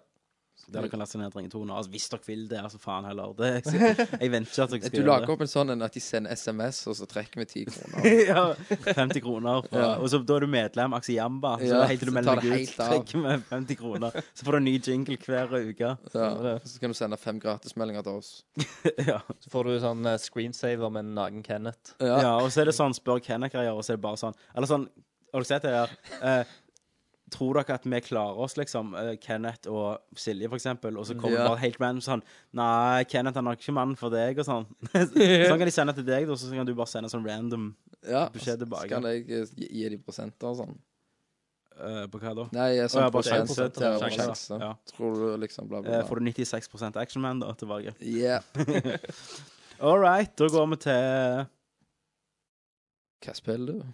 Der dere kan laste ned ringetoner. Altså, hvis dere vil det, altså faen heller. Det, jeg, jeg venter ikke at dere
Du
skal gjøre
lager
det.
opp en sånn en at de sender SMS, og så trekker vi 10 kroner.
ja, 50 kroner. For,
Ja.
Og så da er du medlem Aksijamba. Så
Ja,
helt til du
så
melder
tar
deg
det
ut,
helt av.
trekker vi 50 kroner. Så får du en ny jingle hver uke.
Ja. Så kan du sende fem gratismeldinger til oss.
ja.
Så får du sånn eh, screensaver med en naken Kenneth.
ja, og så er det sånn spør Kenneth-greier, og så er det bare sånn Eller sånn Har du sett det der? Eh, Tror dere at vi klarer oss, liksom? eh, Kenneth og Silje, for eksempel. Og så kommer
Ja.
det bare helt random sånn Nei, Kenneth han er nok ikke mannen for deg, og sånn. sånn kan de sende til deg, da, så kan du bare sende sånn random
Ja,
beskjed
så
tilbake.
kan jeg eh, gi, gi de prosenter og sånn.
Eh, på hva da?
Nei, jeg er
Å,
sånn
ja, bare
prosent,
sjanse.
ja, bare
Sjanse,
sjanse.
ja.
Tror du liksom bla, bla,
Eh,
bla.
Får du 96 Action Man da tilbake?
Yeah.
All right, da går vi til
Hva spiller du?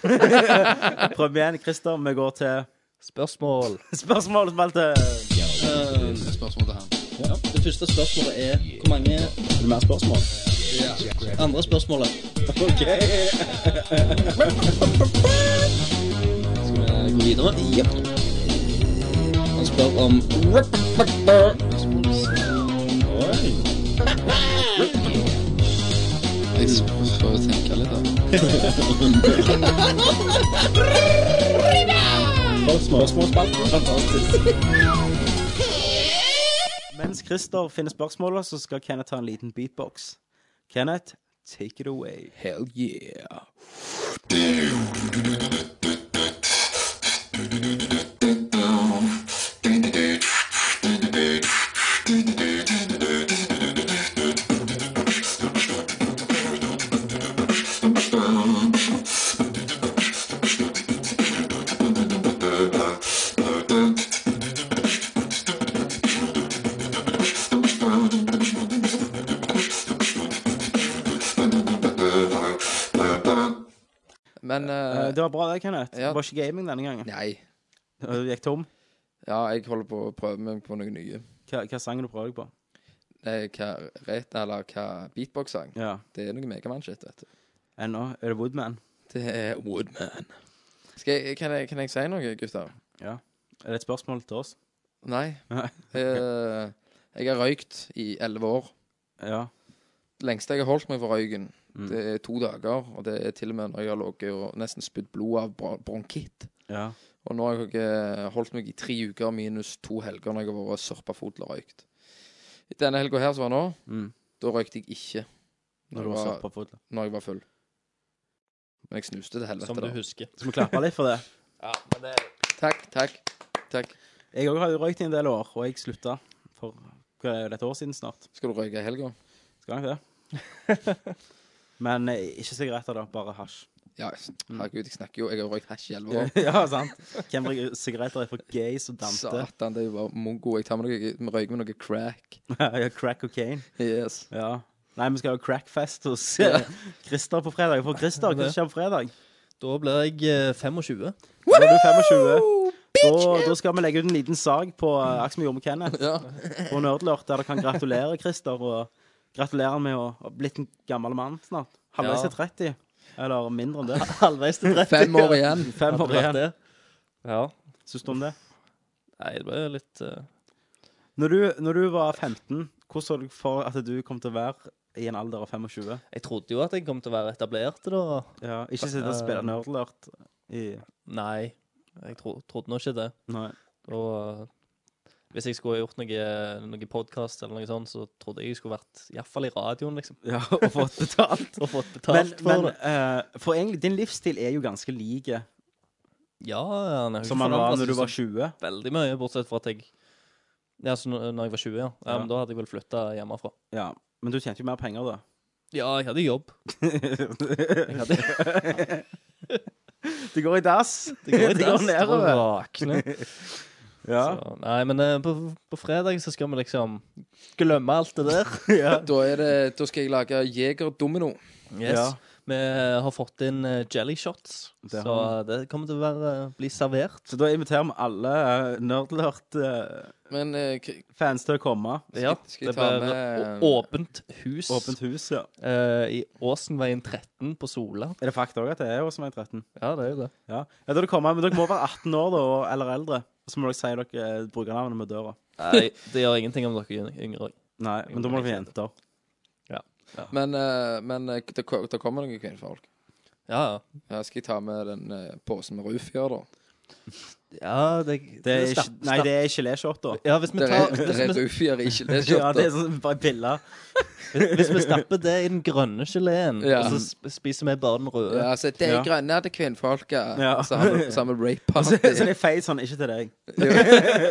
Prøv igjen, Christer. Vi går til
Spørsmål.
Spørsmålsspalten.
Spørsmål til han. Ja. Det første spørsmålet er hvor mange Er det mer spørsmål? Ja. Andre spørsmålet. OK. Skal vi gå videre? Ja. Han spør om Oi.
Jeg får jo tenke litt, da.
Spørsmålsspalten. Mens Christer finner spørsmålet, så skal Kenneth ta en liten beatbox. Kenneth, take it away.
Hell yeah. Men eh,
Eh, det var bra det, Kenneth.
ja.
Det var ikke gaming denne gangen.
Nei.
Du gikk tom?
Ja, jeg holder på å prøve meg på noe nye.
Hva, hva sang du prøver deg på?
Nei, hva rett, eller hva beatbox-sang.
Ja.
Det er noe megamann-shit, vet du.
Ennå? Er det Woodman?
Det er Woodman. Skal jeg, kan, jeg, kan jeg si noe, gutter?
Ja. Er det et spørsmål til oss?
Nei. Eh, jeg har røykt i elleve år.
Ja.
Lengste jeg har holdt meg for røyken, det er to dager. Og det er til og med når jeg har ligget og nesten spydd blod av bron- bronkitt.
Ja.
Og nå har jeg eh, holdt meg i tre uker minus to helger når jeg har vært sørpafotla og røykt. Denne helga her som var nå,
Mm.
da røykte jeg ikke.
Når du
jeg
var sørpafotla.
Når jeg var full. Men jeg snuste til helvete.
Som du
da.
husker.
Så vi klapper litt for det.
Ja, men det
Takk, takk. Takk.
Jeg òg har jo røykt i en del år, og jeg slutta for hva er det, et år siden snart.
Skal du røyke i helga?
Skal nok det. Men eh, ikke sigaretter, da. Bare hasj.
Ja,
Mm.
herregud, jeg snakker jo Jeg har røykt hasj i elleve år.
ja, sant. Hvem røyker sigaretter er for gays og dante?
Satan, det er jo bare mongo. Jeg tar med noe, vi røyker med noe crack.
Ja, crack cocaine.
Yes.
Ja. Nei, vi skal ha crackfest hos
Ja.
eh, Christer på fredag. For Christer, hva skjer på fredag?
Da blir jeg eh, 25.
Da er du 25. Da, da skal vi legge ut en liten sag på eh, Aksel Jorm og Kenneth på Nerdlurt, der dere kan gratulere Christer. Og gratulere med å ha blitt en gammel mann snart. Halvveis
Ja.
til 30. Eller mindre enn det.
Halvveis til 30.
Fem år igjen. Fem år
Akkurat
igjen.
det. Ja.
Syns du om det?
Nei, det ble litt eh,
Når du, når du var 15, hvordan så du for at du kom til å være i en alder av 25?
Jeg trodde jo at jeg kom til å være etablert da.
Ja, ikke sitte og
Eh,
spille nerdlert i
Nei, jeg tro, trodde nå ikke det.
Nei.
Og eh, hvis jeg skulle ha gjort noe, noe podkast eller noe sånt, så trodde jeg jeg skulle vært iallfall i radioen, liksom.
Ja, og fått betalt.
og fått betalt
men, men,
for det.
eh, for egentlig, din livsstil er jo ganske lik
Ja, han er jo ikke
som han var
forandret
når
seg
du var
så
20.
Veldig mye, bortsett fra at jeg Ja, så når når jeg var 20, ja. ja,
Ja.
Men da hadde jeg vel flytta hjemmefra.
Ja, Men du tjente jo mer penger da.
Ja, jeg hadde jobb. Jeg hadde
det går i dass.
Det går i
Det går
dass. Det går
nedover.
rakende.
Ja.
Så, nei, men eh, på, på fredag så skal vi liksom glemme alt det der.
Da, er det, da skal jeg lage Jeger Domino.
Yes. Vi eh, har fått inn eh, jelly shots,
Det
så
har
det kommer til å være, eh, bli servert.
Så da inviterer vi alle eh, nerdlert eh, fans til å komme.
Ja, det blir å- åpent hus.
Åpent hus, ja.
eh, I Åsenveien 13 på Sola.
Er det fakta òg at det er oss som er 13?
Ja, det er jo det.
Ja, ja da det kommer, men Dere må være 18 år da, og- eller eldre. Og så må dere si dere eh, brukernavnet med døra.
Nei, det gjør ingenting om dere er yngre.
Nei, men da må dere være jenter.
Ja.
Men, eh, men eh, det, ko- det kommer noen kvinnfolk.
Ja,
ja. Skal jeg ta med den eh, posen med Rufia, da?
Ja, det,
Det er
stapp-
ikke, nei, det er geléshotter.
Ja, hvis vi tar hvis vi-
Ja, det er sånn bare piller.
Hvis- Hvis vi stapper det i den grønne geleen,
Ja.
og så sp- spiser vi bare den røde
Ja, altså, det er
sånn- Ja.
grønne til kvinnfolket.
Ja. Altså,
Samme, samme rape party.
Så, så det er feil sånn, ikke til deg.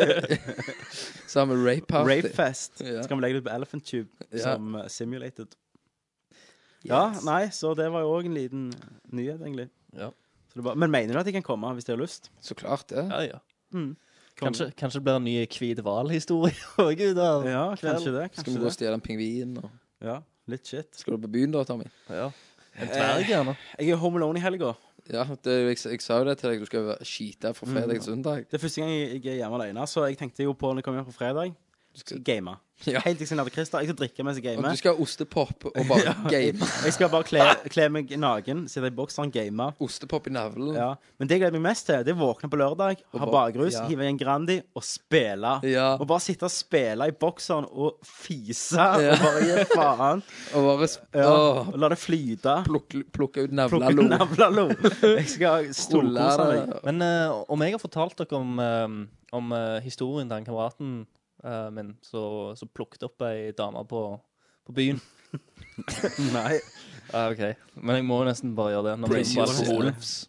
samme rape party.
Rapefest.
Ja.
Så kan vi legge det ut på Elephant Tube
Ja.
som eh, simulated. Ja, nei, så det var jo òg en liten nyhet, egentlig. Så det bare, men mener du at jeg kan komme hvis jeg har lyst?
Så klart det.
Ja, ja.
Mm. Kom.
Kanskje, kanskje det blir en ny hvit hval-historie òg ut av
Ja, kanskje det.
Skal vi gå
Kanskje
og
det.
stjele en pingvin? Og...
Ja, litt shit.
Skal du på byen da, Tommy?
Ja. En
Eh, Jeg er home alone i helga.
Ja, det, jeg, jeg sa jo det til deg. Du skal være- skite fra fredag til søndag.
Det er første gang jeg jeg er hjemme alene, så jeg tenkte jo på når jeg kom hjem på fredag Du skal game.
Ja.
Helt til jeg hadde Christer. Jeg skal drikke mens jeg
Og
gamer.
du skal ha ostepop og bare game.
jeg skal bare kle, kle meg naken, sitte i sånn bokseren, game.
Ostepop i navlen.
Ja. Men det jeg gleder meg mest til, det er å våkne på lørdag,
Og
ha
bare-
bakrus,
ja.
hive i en Grandi og spille.
Ja.
Og bare sitte og spille i bokseren og fise
Ja.
og bare gi faen.
Og bare s-
Ja.
Åh.
Og la det flyte.
Plukke, plukke ut
Plukke
navlelo.
navlelo. Jeg skal storkose meg.
Men eh, om jeg har fortalt dere om, eh, om eh, historien til den kameraten eh, min som som plukket opp ei dame på, på byen
Nei.
Ja, OK. Men jeg må jo nesten bare gjøre det. Når
Praise
vi bare
yourself.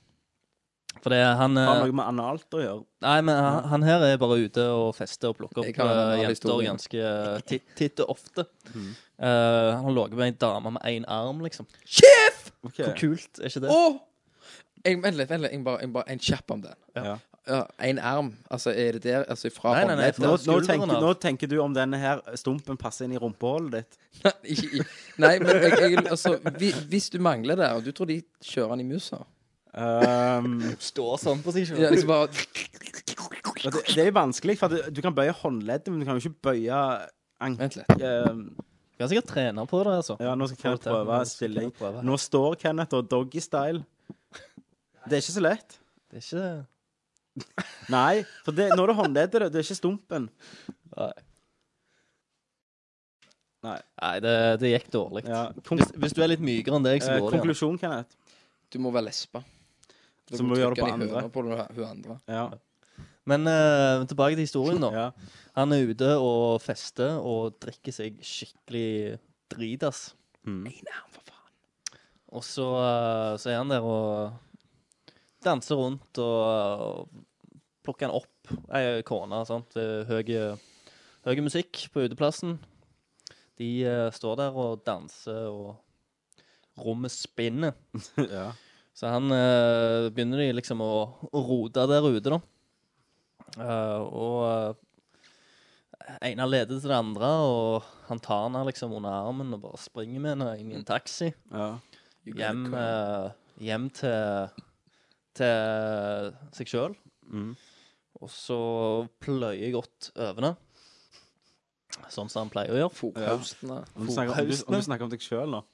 For det er han eh,
Har noe med analt å gjøre.
Nei, men han, han her er bare ute og fester og plukker
Jeg
opp
kan ha
eh,
en
jenter
historie.
ganske eh, titt, titt og ofte.
Mhm.
Eh, han har ligget med ei dame med én arm, liksom.
Sjef!
Ok.
Hvor kult er ikke det?
Åh! Jeg, vent litt, vent litt. Jeg bare, jeg bare en kjapp om den.
Ja.
Ja, en arm. Altså, er det der? Altså, fra
Nei, nei, nei,
håndleddet?
for nå, nå, tenker, nå tenker du om denne her stumpen passer inn i rumpehullet ditt.
Ikke i- Nei, men jeg, jeg, altså, vi, hvis du mangler det, og du tror de kjører den i musa
Ehm,
Står sånn på seg selv.
Ja, liksom bare
Og Det, det er vanskelig, for du, du kan bøye håndleddet, men du kan jo ikke bøye Vent
litt.
Du kan sikkert trene på det, altså.
Ja, nå skal Kenneth
Få det til.
prøve stilling. Nå står Kenneth og doggy-style. Det er ikke så lett.
Det er ikke det.
Nei, for det, når du håndleder det, det er ikke stumpen.
Nei.
Nei.
det, det gikk dårlig.
Ja, konk-
Hvis, hvis du er litt mykere enn deg, så
Eh,
går det.
konklusjon, Kenneth.
Du må være lesbe. Du
Så må du gjøre det
trykke
på
den i
andre.
høna På den- hun andre.
Ja.
Men eh, tilbake til historien, da.
Ja.
Han er ute og fester og drikker seg skikkelig dritas.
Mm.
Og så, eh, så er han der og danser rundt og eh, plukker han opp ei kone. sant? Det er Høy, høy musikk på uteplassen. De eh, står der og danser, og rommet spinner.
Ja.
Så han eh, begynner de liksom å, å rote der ute, da. Eh, og uh, ene leder til det andre, og han tar henne liksom under armen og bare springer med henne inn i en taxi. Hjem, eh, hjem til, til seg sjøl.
Mm.
Og så pløyer jeg godt over henne. Sånn som han pleier å gjøre.
Ja. Om, du snakker, om, du, om du snakker om deg sjøl nå?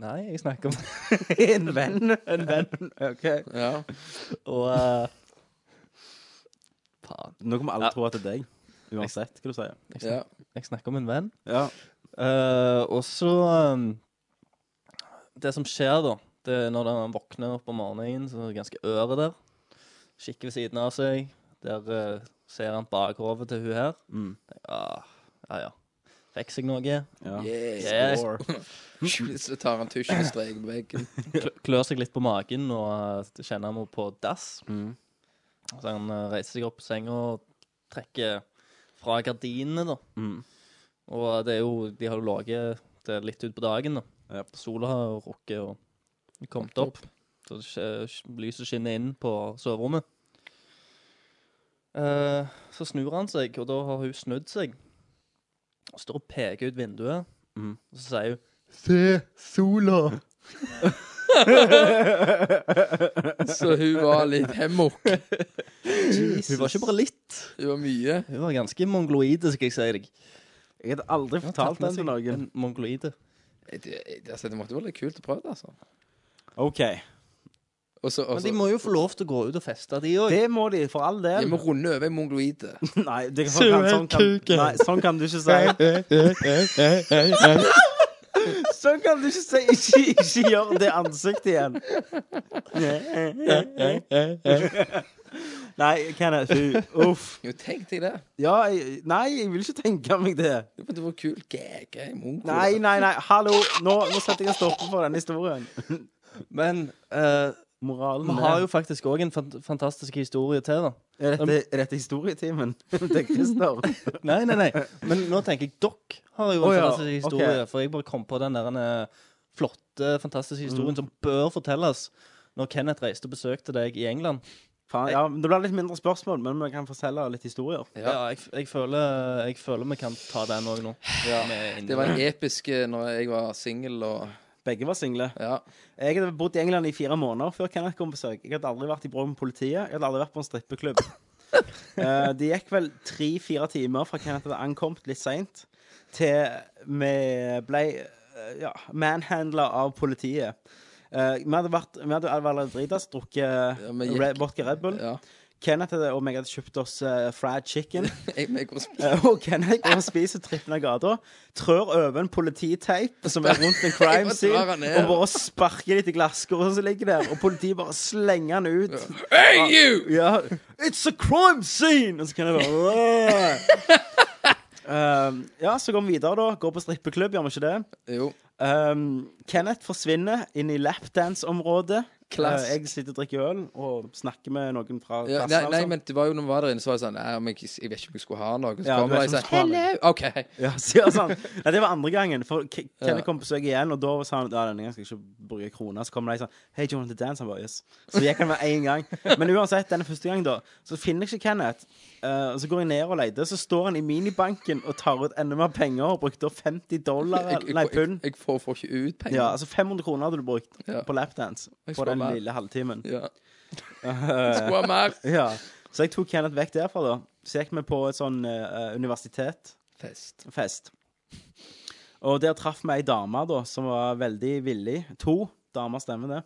Nei, jeg snakker om
en venn. En venn. OK.
Ja.
Og eh, Faen.
Nå kommer alle tro at det er deg. Uansett hva du sier.
Jeg snakker, jeg snakker om en venn.
Ja.
Eh, og så um, Det som skjer, da, det er når han våkner opp om morgenen, så er det ganske øre der. Kikker ved siden av seg. Der eh, ser han bakhovet til hun her.
Mm.
Ja, Ah, ja, ja. Fikk seg noe. Yes.
Så tar han tusjen og streker på veggen.
Klø- Klør seg litt på magen og eh, kjenner henne på dass.
Mm.
Så han eh, reiser seg opp på senga og trekker fra gardinene, da.
Mm.
Og eh, det er jo, de har jo laget det litt ut på dagen, da. Sola har jo rukket og kommet opp. Så det skje- lyset skinner inn på soverommet. Eh, så snur han seg, og da har hun snudd seg. Og står og peker ut vinduet,
Mhm.
og så sier hun
Se sola!
Så hun var litt hemmok.
Hun var ikke bare litt.
Hun var mye.
Hun var ganske mongoloide, skal jeg si deg. altså
Jeg hadde aldri fortalt den til noen.
En mongoloide.
Det, det, altså, det måtte jo være litt kult å prøve det, altså.
OK.
Og så- og
Men de
så-
må jo få lov til å gå ut og feste, de òg.
Det må de, for all
Vi
del.
må runde over i mongoloide.
Nei, det kan,
Suger
sånn, kan,
kuken.
nei, sånn kan du ikke si. sånn kan du ikke si. Ikke, ikke gjør det ansiktet igjen. Nei, Kenneth, fy. Uff.
Jo, tenk deg det.
Ja, jeg, nei, jeg vil ikke tenke meg det.
Jo, men det var kult. GG, Mongo.
Nei, nei, nei. Hallo, nå, nå setter jeg en stopper for denne historien.
Men eh,
Moralen
vi
er-
har jo faktisk òg en fant fantastisk historie til, da.
Er dette, er dette historietimen til Christer?
Nei, nei, nei. Men nå tenker jeg dere har jo en
Å, ja.
fantastisk historie.
Ok.
For jeg bare kom på den der eh, flotte, fantastiske historien som bør fortelles når Kenneth reiste og besøkte deg i England.
Faen, ja, men det blir litt mindre spørsmål, men vi kan fortelle litt historier.
Ja, jeg, jeg, føler, jeg føler vi kan ta den òg nå. Med
Det var en episk eh, når jeg var singel og
Begge var single.
Ja.
Jeg hadde bodd i England i fire måneder før Kenneth kom på besøk. Jeg hadde aldri vært i bråk med politiet. Jeg hadde aldri vært på en strippeklubb. Eh, det gikk vel tre-fire timer fra Kenneth hadde ankommet litt seint, til vi ble eh, ja, manhandla av politiet. Eh, vi hadde vært Vi hadde allerede dritas, drukket
gikk-
Red- vodka Red Bull. Kenneth hadde, og meg hadde kjøpt oss eh, fried chicken.
Jeg, jeg går og sp-
Eh, Og Kenneth går og spiser trippen av gata, trør over en polititeip som er rundt en
Jeg må
crime scene,
dra han ned.
og bare sparker litt i glasskåret som ligger der, og politiet bare slenger han ut.
Hey, you!
Ja. It's a crime scene! Og så kan jeg bare Um, Ja, så går vi videre, da. Går på strippeklubb, gjør vi ikke det?
Jo.
Um, Kenneth forsvinner inn i lapdance-området.
Klassisk.
Eh, jeg sitter og drikker øl og snakker med noen fra
ja,
klassen.
nei, nei,
altså.
men det var jo når vi var der inne, så var det sånn Nei, men jeg, jeg vet ikke om jeg skulle ha noe. Så
Ja, du
kommer
vet
de og
ikke
sier
om du skulle ha
Hello! OK.
Ja, sier sånn. Nei, det var andre gangen. For K-
Ja.
Kenneth kom på besøk igjen, og da sa han ja, denne gangen skal jeg ikke bruke kroner. Så kom de sånn Hei, do you want to dance? Han bare yes. Så gikk han med én gang. Men uansett, denne første gangen, da, så finner jeg ikke Kenneth. Eh, og så går jeg ned og leter. Så står han i minibanken og tar ut enda mer penger. Og brukte 50 dollar,
Jeg, jeg,
nei,
jeg,
pund.
jeg får, får ikke ut penger.
Ja, altså 500 kroner hadde du brukt
Ja.
på lapdance
Jeg
på
skulle
den
ha mer.
lille halvtimen.
Ja.
Eh,
Skulle ha mer.
ja. Så jeg tok Kenneth vekk derfra, da. Så gikk vi på et sånn eh, universitet.
Fest.
Fest. Og der traff vi ei dame da, som var veldig villig. To damer, stemmer det.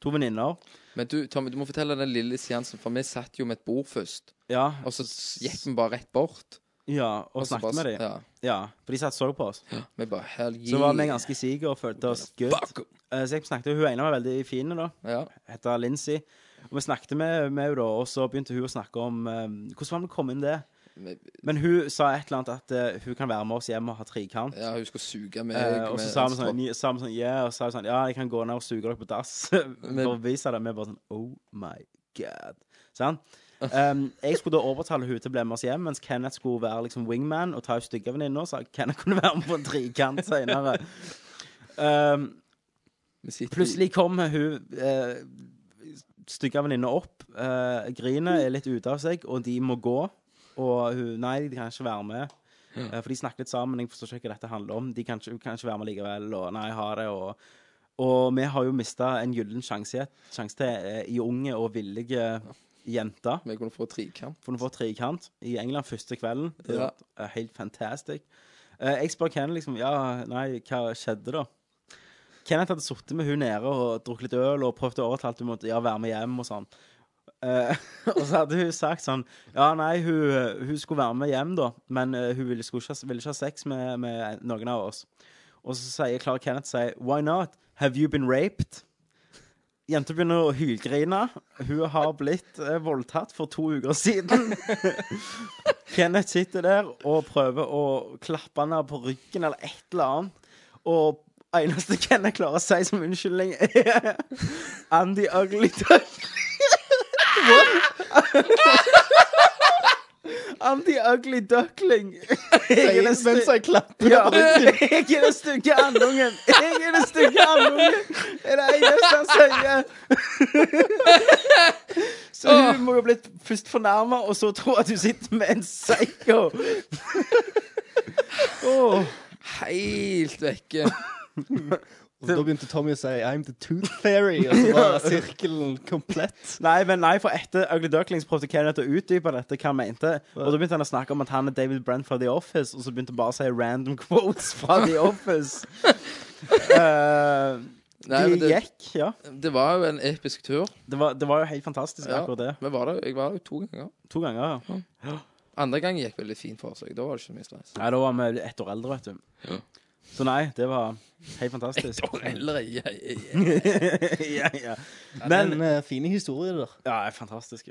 To venninner.
Men du, Tommy, du må fortelle den lille seansen, for vi satt jo med et bord først.
Ja.
Og så s- gikk vi bare rett bort.
Ja, og,
Og så
snakket
bare-
med dem.
ja.
For de satt og så på oss.
Vi bare Hell
Så var vi ganske sige og følte oss good. Eh, Så jeg snakket, Hun ene var veldig fin, da.
Ja.
Heter Lincy. Og vi snakket med med henne, da, og så begynte hun å snakke om eh, hvordan var det å komme inn det. Men hun sa et eller annet at eh, hun kan være med oss hjem og ha trekant.
Ja, hun skal suge meg.
Eh, og så
med-
sa vi sånn, ni- sa vi sånn yeah, og så sa vi sånn Ja, jeg kan gå ned og suge dere på dass. For å vise det. Vi bare sånn Oh my god. Sånn. Um, jeg skulle da overtale hun til å bli med oss hjem, mens Kenneth skulle være liksom wingman og ta ut stygge venninner. Så Kenneth kunne være med på en trikant senere. Um, plutselig kommer hun eh, stygge venninna opp, eh, griner, er litt ute av seg, og de må gå. Og hun Nei, de kan ikke være med. Eh, for de snakker litt sammen. Jeg forstår ikke hva dette handler om. De kan ikke, kan ikke være med likevel. Og nei, ha det. Og, og vi har jo mista en gyllen sjanse sjanse til eh, i unge og villige jenter.
Vi kunne få trikant.
Kunne få trikant i England første kvelden. Det
Ja.
var eh, helt fantastisk. Eh, jeg spør Ken liksom Ja, nei, hva skjedde da? Kenneth hadde sittet med hun nede og drukket litt øl og prøvd å overtale henne om å ja, være med hjem og sånn. Eh, og så hadde hun sagt sånn Ja, nei, hun, hun skulle være med hjem, da, men eh, hun ville, skulle ikke, ha- ville ikke ha sex med, med noen av oss. Og så sier klarer Kenneth å si Why not? Have you been raped? Jenta begynner å hylgrine. Hun har blitt eh, voldtatt for to uker siden. Kenneth sitter der og prøver å klappe henne på ryggen eller et eller annet. Og eneste Kenneth klarer å si som unnskyldning, er I'm the ugly duck. I'm the ugly duckling. Jeg
Mens jeg klapper
ja,
på ryggen.
Jeg er den stygge andungen. Jeg er den stygge andungen. Det er det eneste han sier. Så hun må jo ha blitt først fornærma, og så tro at hun sitter med en psycho. Åh. Mm.
Helt vekke.
Og da begynte Tommy å si 'I'm the tooth fairy', og så var sirkelen komplett.
Nei, men nei, for etter Ugly Ducklings prøvde Kenneth å utdype dette, hva han mente. Og da begynte han å snakke om at han er David Brent fra The Office, og så begynte han bare å si random quotes fra The Office. Eh,
Nei,
de
men det-
gikk, ja.
Det var jo en episk tur.
Det var, det var jo helt fantastisk,
Ja,
akkurat det.
Vi var der, jeg var der jo to ganger.
To ganger, ja.
Andre gang gikk veldig fint for seg. Da var det ikke så mye stress.
Nei, da var vi ett år eldre, vet du. Så nei, det var helt fantastisk.
Ett år eldre, ja, ja,
ja.
ja.
Men
Men uh, fine historier der.
Ja, er fantastisk.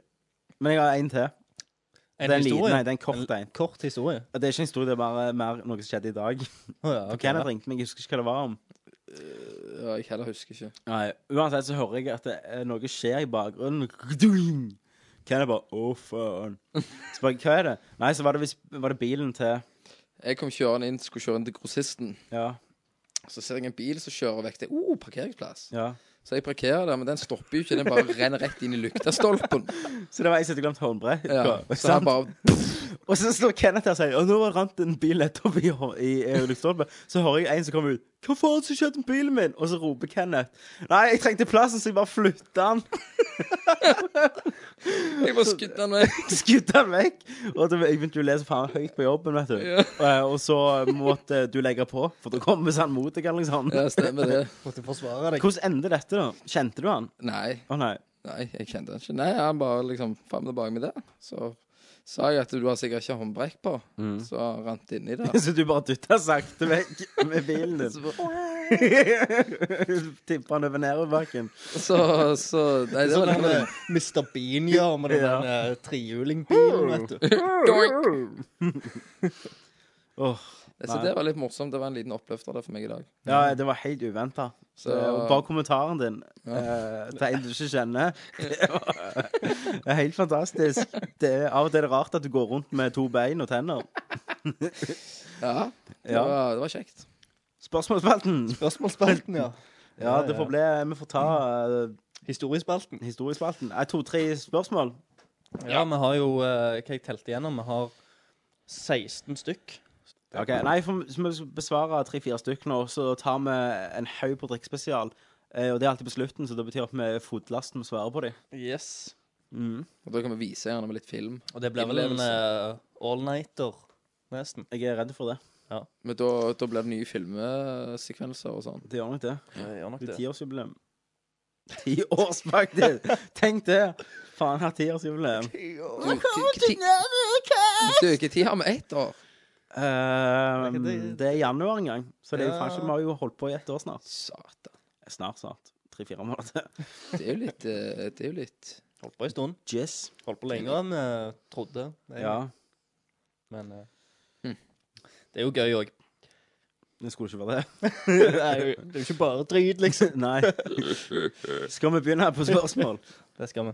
Men jeg har en til.
En
Det er en
historie?
liten- Nei, det er en kort en.
Kort historie?
Det er ikke en historie, det er bare mer noe som skjedde i dag.
Å ja,
For
ok,
Kenneth
ja.
ringte meg, jeg husker ikke hva det var om.
Ja, jeg heller husker ikke.
Nei, Uansett så hører jeg at det, eh, noe skjer i bakgrunnen. Kdung! Kenneth bare 'Å, faen'. Så bare 'Hva er det?' Nei, så var det, vis- var det bilen til
Jeg kom kjørende inn, skulle kjøre inn til grossisten.
Ja.
Så ser jeg en bil som kjører vekk. Det er oh, parkeringsplass.
Ja.
Så jeg parkerer der, men den stopper jo ikke. Den bare renner rett inn i lyktestolpen.
Så det var jeg som hadde glemt håndbrett.
Ja,
Ikke
så han
sant?
bare
Og så står Kenneth der og sier 'Å, nå rant en bil nettopp i, i, i lyktestolpen'. Så hører jeg en som kommer ut 'Hva faen som skjedde med bilen min?' Og så roper Kenneth 'Nei, jeg trengte plassen, så jeg bare flytta den'.
Jeg bare skudde han vekk.
Skudde han vekk. Og det, jeg begynte jo å lese faen høyt på jobben, vet du.
Ja.
Eh, og så måtte du legge på, for da kommer han mot deg, eller noe sånt.
Ja, stemmer det.
Måtte forsvare
sånn. Hvordan endte dette, da? Kjente du han?
Nei.
Å nei.
Nei, jeg kjente han ikke. Nei, han bare liksom fram og tilbake med det. Så sa jeg at du har sikkert ikke håndbrekk på.
Mm.
Så han rant inni der.
Så du bare dytta sakte vekk med bilen
Så
din? Tippa han over nedoverbakken.
Så, så Nei, det
Sånn
var
den
litt-
eh, Mr. Bean gjør med den
Ja.
der, eh, trehjulingbilen, vet du.
Doink.
Åh,
Så
nei.
det var litt morsomt. Det var en liten oppløfter der for meg i dag.
Ja, det var helt uventa.
Så-
Bare kommentaren din
Ja.
eh, til en du ikke kjenner. Det var- det er helt fantastisk. Det er, av og til er det rart at du går rundt med to bein og tenner.
Ja, det,
Ja.
Var, det var kjekt.
Spørsmålsspalten!
Spørsmålsspalten, ja.
Ja, det får bli Vi får ta eh,
Historiespalten.
historiespalten. Eh, To-tre spørsmål.
Ja, vi har jo eh, Hva jeg telte igjennom? Vi har 16 stykk.
Ok, Nei, for så må vi besvare tre-fire stykk nå, så tar vi en haug på drikkspesial. Eh, og det er alltid på slutten, så det betyr at vi er fotlasten med å svare på dem.
Yes.
Mm.
Og da kan vi vise gjerne med litt film.
Og det blir vel en
Innlevelse.
eh, all-nighter, nesten.
Jeg er redd for det.
Men da, da blir det nye filmsekvenser og sånn.
Det gjør nok det.
Jeg gjør nok
Det er
det.
tiårsjubileum. Tiårs, faktisk! Tenk det! Faen, her tiårsjubileum.
Du, ikke tid har vi ett år.
Uh,
ikke det-
det er januar en gang, så det er jo
Ja.
faktisk, vi har jo holdt på i ett år snart.
Satan.
Snart, snart. Tre-fire måneder til.
Det er jo litt eh, Det er jo litt
Holdt på en stund.
Jizz.
Holdt på lenger enn vi trodde. egentlig.
Ja.
Men eh,
Hmm.
det er jo gøy òg.
Det skulle ikke være det.
det er jo det er jo ikke bare drit, liksom.
Nei. Skal vi begynne her på spørsmål?
Det skal vi.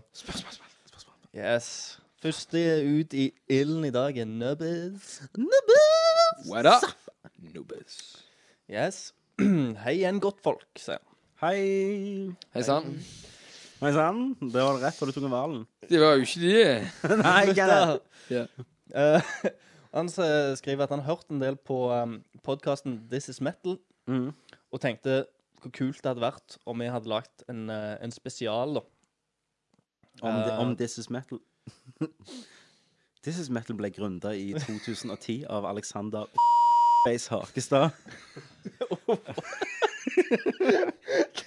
Yes. Første ut i ilden i dag er Nubbies.
What up? Noobs.
Yes. Hei igjen, godtfolk, sier han.
Hei.
Hei sann.
Hei sann. Det var rett før du tok en hvalen.
Det var jo ikke det.
Nei, Kenneth.
Ja.
Eh, han eh, skriver at han har hørt en del på um, podkasten This Is Metal,
Mm.
og tenkte hvor kult det hadde vært om vi hadde lagt en, eh, en spesial, da.
Om,
Eh.
om This Is Metal. This Is Metal ble grunda i 2010 av Alexander Beis Hakestad.
Hva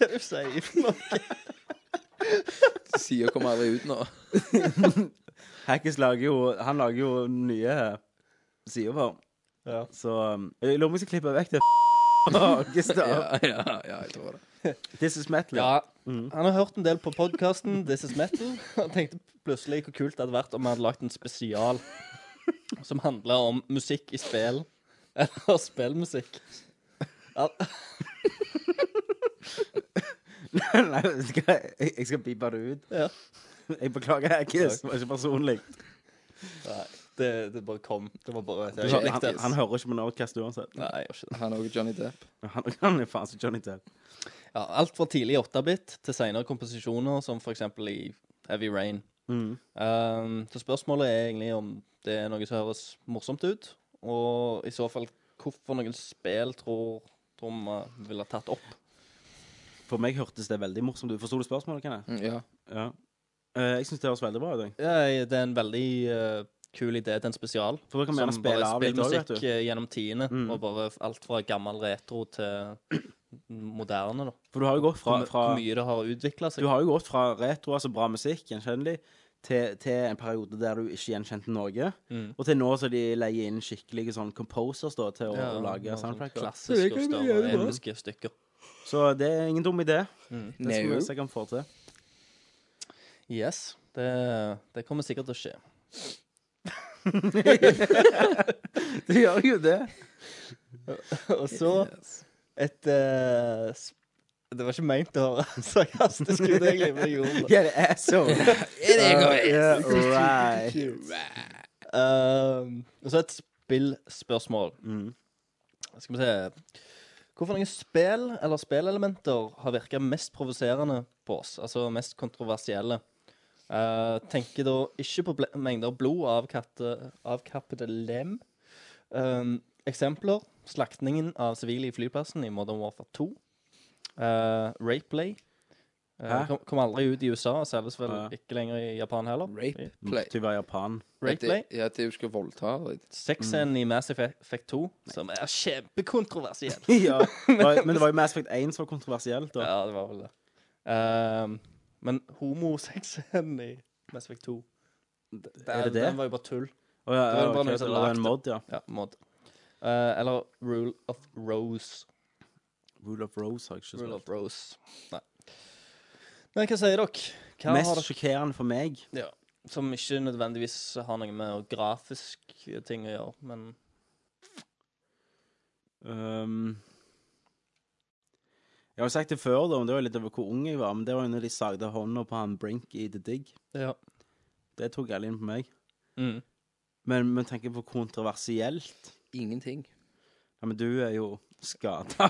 er det du sier for noe?
Sida kommer aldri ut nå.
Hackis lager jo Han lager jo nye eh, sider for.
Ja.
Så um, jeg lurer på om jeg skal klippe vekk det Hakestad.
Ja, ja, ja, jeg tror det.
This Is Metal.
Ja,
Ja.
Han har hørt en del på podkasten This Is Metal. Han tenkte plutselig hvor kult det hadde vært om vi hadde lagt en spesial som handla om musikk i spill. Eller spillmusikk. Al-
Nei, skal, jeg, jeg skal bippe det ut.
Ja.
Jeg beklager, Hackis. Det var ikke personlig.
Nei, det, det bare kom. Det var bare
Du,
jeg
han,
likte
han,
det.
han hører ikke på Nordcast uansett.
Nei, jeg gjør ikke det.
Han og Johnny Depp.
Han, han er faen så Johnny Depp.
Ja, alt fra tidlig 8-bit til senere komposisjoner, som for eksempel i Heavy Rain.
Mm.
Um, så spørsmålet er egentlig om det er noe som høres morsomt ut, og i så fall hvorfor noen spill tror tror vi ville ha tatt opp.
For meg hørtes det veldig morsomt ut. Forsto du spørsmålet, Kenneth?
Mm, Ja.
Ja. Eh, jeg syns det høres veldig bra ut. jeg.
Ja, det er en veldig eh, kul idé til en spesial.
For da kan vi gjerne
som
spille
bare
av litt òg, vet
spillmusikk
du.
eh, gjennom tiende,
Mm.
og bare alt fra gammel retro til moderne, da.
For du har jo gått fra,
Hvor my-
fra
Hvor mye det har utvikla
Du
seg.
har jo gått fra retro, altså bra musikk, gjenkjennelig, til, til en periode der du ikke gjenkjente noe.
Mm.
Og til nå så de leier inn skikkelige sånn composers da, til å, å lage
sånn
soundtracker.
Klassiske og større engelske stykker.
Mm. Så det er ingen dum idé. Det skal
Neo.
vi se hva vi får til.
Yes. Det, det kommer sikkert til å skje.
det gjør jo det.
Og så et eh, sp- Det var ikke meint å være sarkastisk, ut, egentlig, men jeg gjorde det.
Yeah, the asshole. It ain't gonna Yeah, happen. right.
Um, og så et spillspørsmål.
Mm.
Skal vi se Hvorfor noen spill eller spillelementer har virka mest provoserende på oss? Altså mest kontroversielle. Eh, tenker da ikke på ble- mengder blod av katte, avkappede lem. Um, eksempler slaktingen av sivile i flyplassen i Modern Warfare 2. Uh, Rapeplay. Uh,
Hæ?
kom, kom aldri ut i USA, og selges vel
Ja.
ikke lenger i Japan heller.
Play. Til å være Mm, Japan.
Rapeplay.
Ja, det er jo ikke voldta.
Sexen i Mass Effect 2, som er kjempekontroversiell.
ja, det var- men det var jo Mass Effect 1 som var kontroversielt. Da.
Ja, det var vel det. Ehm, men homosexen i Mass Effect 2
er det det?
Den var jo bare tull.
Å ja,
det var jo
ja,
bare
ok,
noen som
det var en
lagde-
mod, ja.
ja mod. Eh, eller Rule of Rose.
Rule of Rose har jeg ikke
Rule of
spilt.
Rose. Nei. Men hva sier dere? Hva har
Mest
dere-
sjokkerende for meg
Ja, som ikke nødvendigvis har noe med grafisk ting å gjøre, men
Ehm, Jeg har jo sagt det før, da, men det var jo litt over hvor ung jeg var. Men det var jo når de sagde hånda på han Brink i The Dig.
Ja.
Det tok alle inn på meg.
Mm.
Men men tenker på kontroversielt
Ingenting.
Ja, men du er jo skada.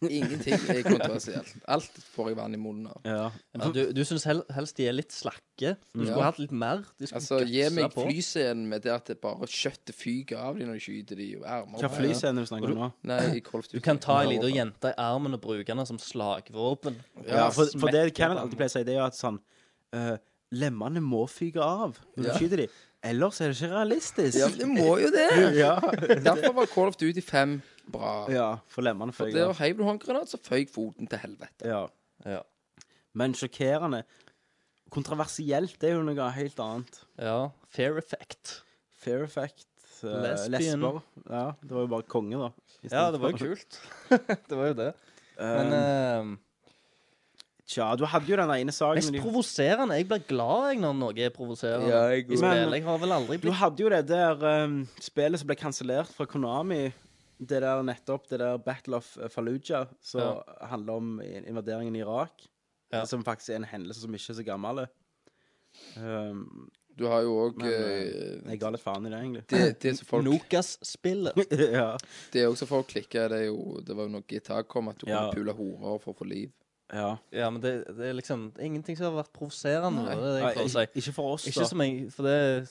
Ingenting er kontroversielt. Alt får jeg vann i munnen av.
Ja.
Ja, du du syns hel, helst de er litt slakke? Du skulle
Ja.
hatt litt mer. De skulle
Altså, gi
gutsa
meg
på.
flyscenen med det at det bare kjøttet fyker av dem når de skyter de og ermer.
Hva flyscene er det du snakker om nå?
Nei, i Call of
Du
Duty.
kan ta ei lita jente i armen og bruke henne som slagvåpen.
Ja, for, for det Kenneth alltid pleier å si, det er jo at sånn eh, Lemmene må fyke av
Ja.
når du skyter dem. Ellers er det ikke realistisk.
Ja, det må jo det.
ja.
Derfor var Call of Duty 5 bra.
ja, for lemmene
For
føyer
der heiv du håndgranat, så føyk foten til helvete.
Ja. Men sjokkerende Kontroversielt det er jo noe helt annet.
Ja. Fair effect.
Fair effect. eh,
Lesbian.
Lesber. Ja, det var jo bare konge, da. i
Ja,
stedet
det var jo
for-
kult. det var jo det. Men
Tja, du hadde jo den ene saken
mest
med de-
provoserende Jeg blir glad jeg når noe er provoserende
Ja, jeg
i
går.
spill.
Men-
Jeg har vel aldri
Du
blitt
hadde jo det der ehm, spillet som ble kansellert fra Konami. Det der nettopp, det der Battle of eh, Fallujah, som handler om in- invaderingen i Irak. Som faktisk er en hendelse som ikke er så gammel. Ehm,
Du har jo òg
men eh, jeg ga litt faen i det, egentlig.
Det- det som folk-
Nokas-spillet.
ja.
Det er også for å klikke. Det, er jo, det var jo når GTA kom, at du
Ja.
kunne pule horer for å få liv.
Ja.
Ja, men det, det er liksom det er ingenting som har vært provoserende.
Nei.
Det er det jeg
Nei,
prøver å si.
ikke- ikke for oss,
Ikke
da.
Som jeg, for det, jeg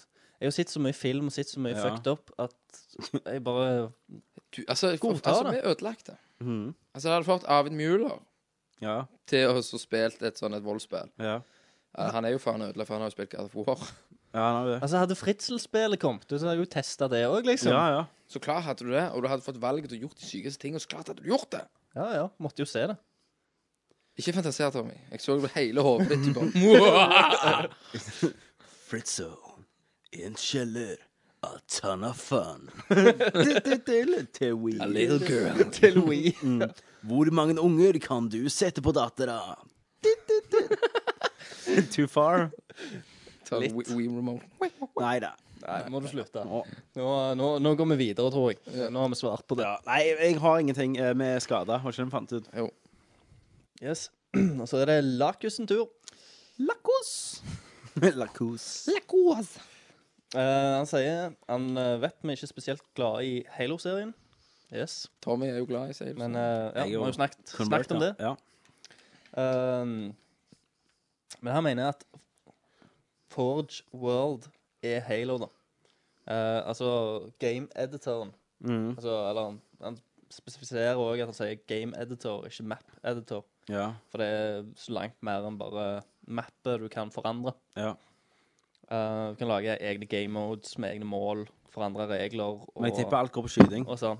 har jo sett så mye film og sett så mye
Ja.
fucked up at jeg bare
Du, altså, for,
Godta
altså,
det.
vi ødelagte.
Mhm.
Altså, jeg hadde fått Arvid Mueller
Ja.
til å ha spilt et sånn et voldsspill.
Ja.
Eh, han er jo faen ødelagt, for han har jo spilt God of War.
Ja, han har det.
Altså, hadde fritzelspillet kommet ut, så hadde jeg jo testa det òg, liksom.
Ja, ja.
Så klart hadde du det, og du hadde fått valget til å gjort de sykeste tingene, så klart hadde du gjort det.
ja, ja. Måtte jo se det.
Ikke fantaser, Tommy. Jeg så det hele hodet ditt. du bare-
Fritzo, i en kjeller. A ton of fun.
Til we.
A little girl.
Til we.
Mm. Hvor mange unger kan du sette på dattera?
Too far?
Ta Wii- Wii sånn Remote.
Nei da.
Nei, må du slutte. Nå, nå, nå går vi videre, tror jeg. Nå har vi svart på det.
Nei, jeg har ingenting eh, med skader. Har ikke den fant ut?
Jo.
Yes. Og så er det Lakus sin tur. Lakus!
Lakos.
Lakus.
Eh, han sier han eh, vet vi er ikke spesielt glade i Halo-serien. Yes.
Tommy er jo glad i seg.
Men eh, ja,
Jeg er
vi
jo
har jo snakket,
convert,
snakket om det.
Ja.
Um, men han mener at Forge World er Halo, da. Eh, altså game-editoren.
Mhm.
Altså, eller han, han spesifiserer òg at han sier game-editor, ikke map-editor.
Ja.
For det er så langt mer enn bare mappet du kan forandre.
Ja.
Eh, du kan lage egne game modes med egne mål, forandre regler og
Men jeg tipper alt går på skyting.
Og sånn.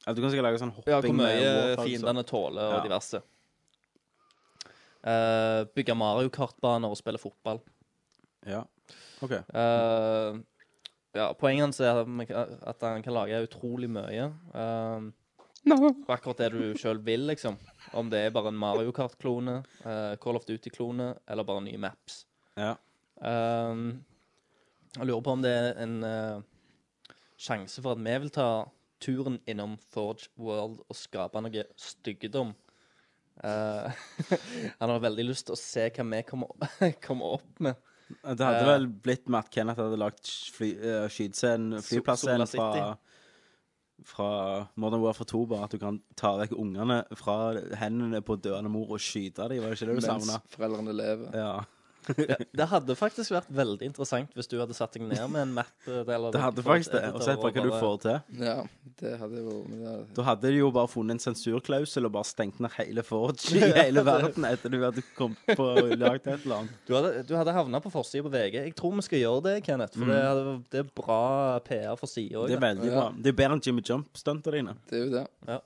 Eller du kan sikkert lage sånn hopping
Ja, hvor mye eh,
med warthog,
fiendene
så.
tåler, og
Ja.
diverse. Eh, bygge Mario Kart-baner og spille fotball.
Ja. OK.
Eh, ja, poenget hans er at man kan- at han kan lage utrolig mye. eh, på Akkurat det du sjøl vil, liksom. Om det er bare en Mario Kart-klone, eh, Call of Duty-klone, eller bare nye maps.
Ja.
Ehm, jeg lurer på om det er en eh, sjanse for at vi vil ta turen innom Forge World og skape noe styggedom. Eh, han har veldig lyst til å se hva vi kommer, kommer opp med.
Det hadde
Eh,
vel blitt med at Kenneth hadde lagd fly, eh, skytscenen,
Sol-
flyplassen
Sola
fra, fra Modern Warfare 2, bare at du kan ta vekk ungene fra hendene på døende mor og skyte dem, var det ikke det du
Mens
savna?
foreldrene lever.
Ja.
Ja, det hadde faktisk vært veldig interessant hvis du hadde satt deg ned med en map. eh, Eller
Det hadde faktisk det, og sett på hva du får til.
Ja, det hadde jo men det hadde-
Da hadde de jo bare funnet en sensurklausul og bare stengt ned hele Forge i hele verden etter du hadde kommet på og lagd et eller annet.
Du hadde, du hadde havna på forsida på VG. Jeg tror vi skal gjøre det, Kenneth. For
Mm.
det, hadde- det er bra PR for sida òg.
Det er veldig bra. Det er bedre enn Jimmy Jump-stuntene dine.
Det er jo det.
Ja.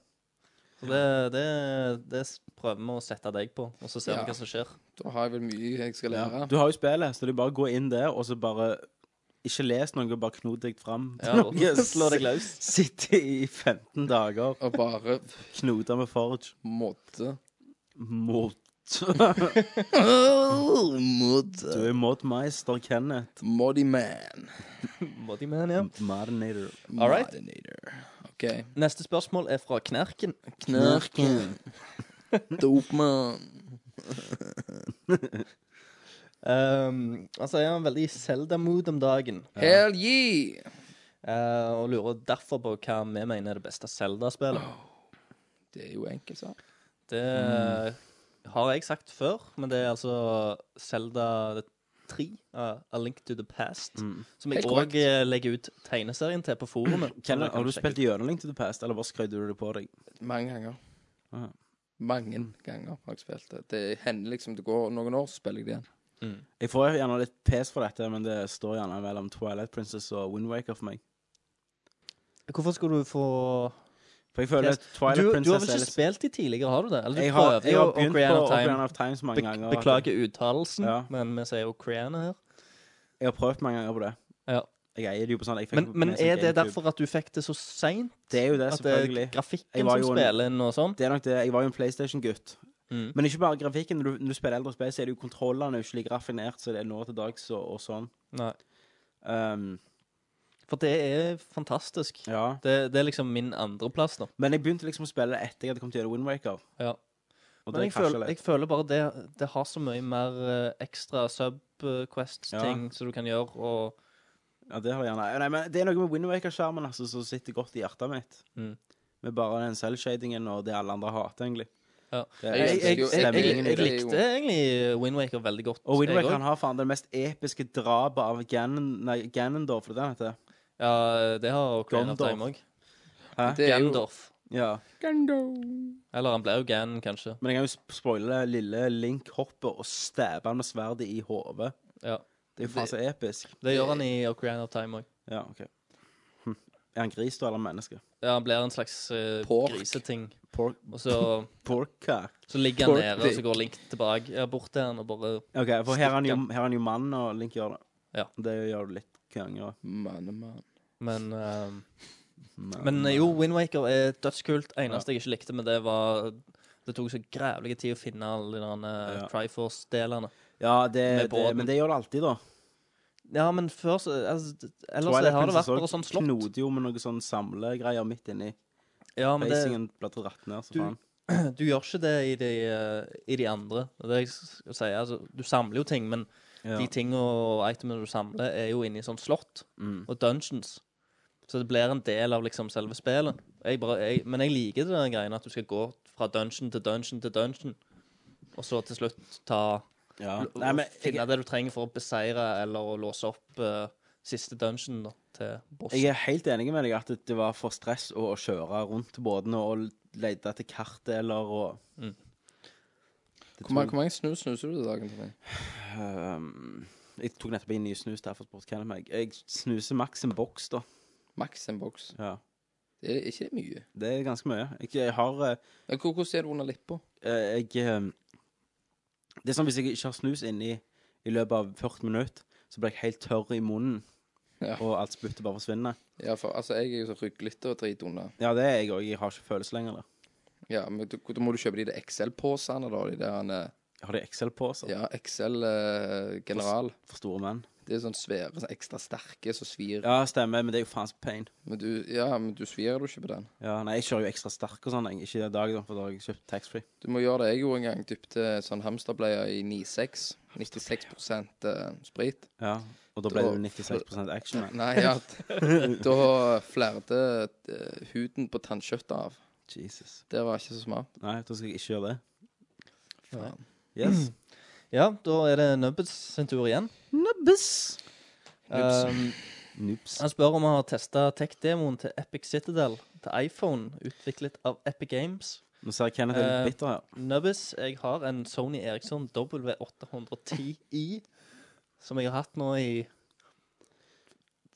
Så det, det, det s- prøver vi å sette deg på, og så ser vi
Ja.
hva som skjer.
Da har jeg vel mye jeg skal lære.
Du har jo spillet, så du bare går inn der, og så bare ikke les noe, bare knot deg fram.
Ja, og slå deg løs.
Sitte i 15 dager
og bare
knote med Forge.
Måte.
Mot.
Oh,
Mod.
Du er modmeister, Kenneth.
Modiman.
Bodyman, ja.
Modinator.
All right.
OK.
Neste spørsmål er fra Knerken.
Knarken. Dopmann.
Um, altså er han veldig i Zelda-mood om dagen.
Hell yeah!
Eh, og lurer derfor på hva vi mener er det beste Zelda-spillet.
Det er jo enkelt, sak.
Det har jeg sagt før, men det er altså Zelda 3, eh, A Link to the Past,
Mm.
som jeg
Helt
òg legger ut tegneserien til på forumet.
Kenneth, har du
Så da kan
spilt gjennom Link to the Past, eller bare skrøyde du det på deg?
Mange ganger.
Ah.
Mange ganger har jeg spilt det. Det hender liksom det går noen år, så spiller jeg det igjen.
Jeg får gjerne litt pes for dette, men det står gjerne mellom Twilight Princess og Windwaker for meg.
sjekke ut. Hvorfor skulle du få
For jeg føler at Twilight
du, du har
Princess
vel
er
ikke
litt-
spilt de tidligere, har du det? Eller du
Jeg har-
prøvde
jeg har
jo
begynt
Ocarina
på
of Time.
Ocarina of Time så mange
Bek-
ganger at-
Beklager uttalelsen,
Ja.
men vi sier Ocarina her.
Jeg har prøvd mange ganger på det.
Ja.
Jeg eier det jo på sånn jeg fikk
Men,
det på
men
meg som
er det
GameCube.
derfor at du fikk det så seint?
Det er jo det,
at det er
selvfølgelig.
grafikken
Jeg var
som
jo en-
spiller inn og sånn?
Det er nok det. Jeg var jo en PlayStation-gutt.
Mm.
Men ikke bare grafikken. Når du, når du spiller eldre spill, så er det jo kontrollene ikke like raffinert som det er nå til dags, og, og sånn.
Nei.
Um,
For det er fantastisk.
Ja.
Det, det er liksom min andreplass, da.
men jeg begynte liksom å spille det etter jeg hadde kommet gjennom Windwaker.
Ja.
Og
Men
det
jeg føler,
krasja
jeg
litt.
føler bare det, det har så mye mer eh, ekstra subquests-ting
Ja.
som du kan gjøre, og
Ja, det har jeg gjerne. Nei, men det er noe med Windwaker-skjermen altså, som sitter godt i hjertet mitt.
Mm.
Med bare den selvshadingen og det alle andre hater, egentlig.
ja.
Det er-
jeg, jeg, jeg, jeg, jeg,
Stemningen i det er jo-
likte egentlig Windwaker veldig godt.
Og
jeg
Windwaker
også.
han har faen det mest episke drapet av Ganon, nei, Ganondorf, for det er det han heter.
Ja, det har Ocarina of
Gondorf.
Time òg.
Hæ?
Det er jo-
Gandorf.
Ja.
Eller han ble jo Gan, kanskje.
Men jeg kan jo sp- spoile det lille Link hopper og stabber han med sverdet i hodet.
Ja.
Det er jo faen så episk.
Det gjør han i Ocarina of Time òg.
Ja, OK. Hm. Er han gris da, eller menneske?
Ja, han blir en slags eh,
Pork.
griseting.
Pork.
Og så,
Porka.
så ligger han
Pork
nede, og så
dick.
går Link tilbake ja, bort til han og bare
OK, for her er han jo,
stikker.
her er han jo mann, og Link gjør det.
Ja.
Det gjør du litt kongere.
Mann, mann.
Men, ehm, men eh, jo, Windwaker er dødskult. Eneste jeg ikke likte med det, var Det tok så grævlig tid å finne alle de der, eh,
Ja.
Triforce-delene.
Ja, det,
Med
det,
båten.
men det gjør det alltid, da.
Ja, men før så altså, d- Ellers
Twilight
har det vært
Princess
bare
også
sånn slott.
Knoter jo med noe sånn samlegreier midt inni.
Ja, men det-
Basingen ble dratt ned, så
Du,
faen.
du gjør ikke det i de, eh, i de andre. Det er det jeg skal si. Altså, du samler jo ting, men
Ja.
de tingene og itemene du samler, er jo inni sånn slott
Mm.
og dungeons. Så det blir en del av liksom selve spillet. Jeg bare, jeg, men jeg liker den greien at du skal gå fra dungeon til dungeon til dungeon, og så til slutt ta
Ja.
l-
Nei, men jeg-
Finne det du trenger for å beseire eller å låse opp eh, siste dungeon da, til boss.
Jeg er helt enig med deg at det var for stress å å kjøre rundt båtene og lete etter kartdeler og
Mm.
Det
Hvor mange,
tok-
hvor mange snus snuser du til dagen? Tommy?
Ehm, jeg tok nettopp inn ny snus derfor spurte Kenneth meg. Jeg snuser maks en boks, da.
Maks en boks?
Ja.
Det er ikke det mye.
Det er ganske mye. Jeg, jeg har eh,
Men hvor- Hvordan er det under lippa?
eh, Jeg eh, Det er sånn hvis jeg ikke har snus inni i løpet av 40 minutter, så blir jeg helt tørr i munnen,
Ja.
og alt spyttet bare forsvinner.
Ja, for altså, jeg er jo så ryglete og drit under.
Ja, det er jeg òg. Jeg har ikke følelse lenger. da.
Ja, men du- da må du kjøpe de der XL-posene, da. De der eh,
Har de Excel på seg?
Ja, Excel-general.
for store menn.
Det er sånn svære, sånn ekstra sterke som svir.
Ja, stemmer, men det er jo faen så pain.
Men du, ja, men du svir jo ikke på den.
Ja, nei, jeg kjører jo ekstra sterk og sånn, jeg. ikke i dag, da, for da har jeg kjøpt taxfree.
Du må gjøre det jeg gjorde en gang. Dypte sånn hamsterbleie i 96. 96 eh, sprit.
Ja, og da ble det jo 96% action,
Nei,
man.
ja. Da flærte eh, huden på tannkjøttet av.
Jesus.
Det var ikke så smart.
Nei, da skal jeg ikke gjøre det.
Faen.
Yes.
Ja, da er det Nubbets sin tur igjen.
Nubbes. Nubbes.
Um,
Nubbes.
Han spør om han har testa tech-demoen til Epic Citadel til iPhone, utviklet av Epic Games.
Nå ser jeg Kenneth er
Eh,
litt bitter her.
Nubbes, jeg har en Sony Eriksson W810i som jeg har hatt nå i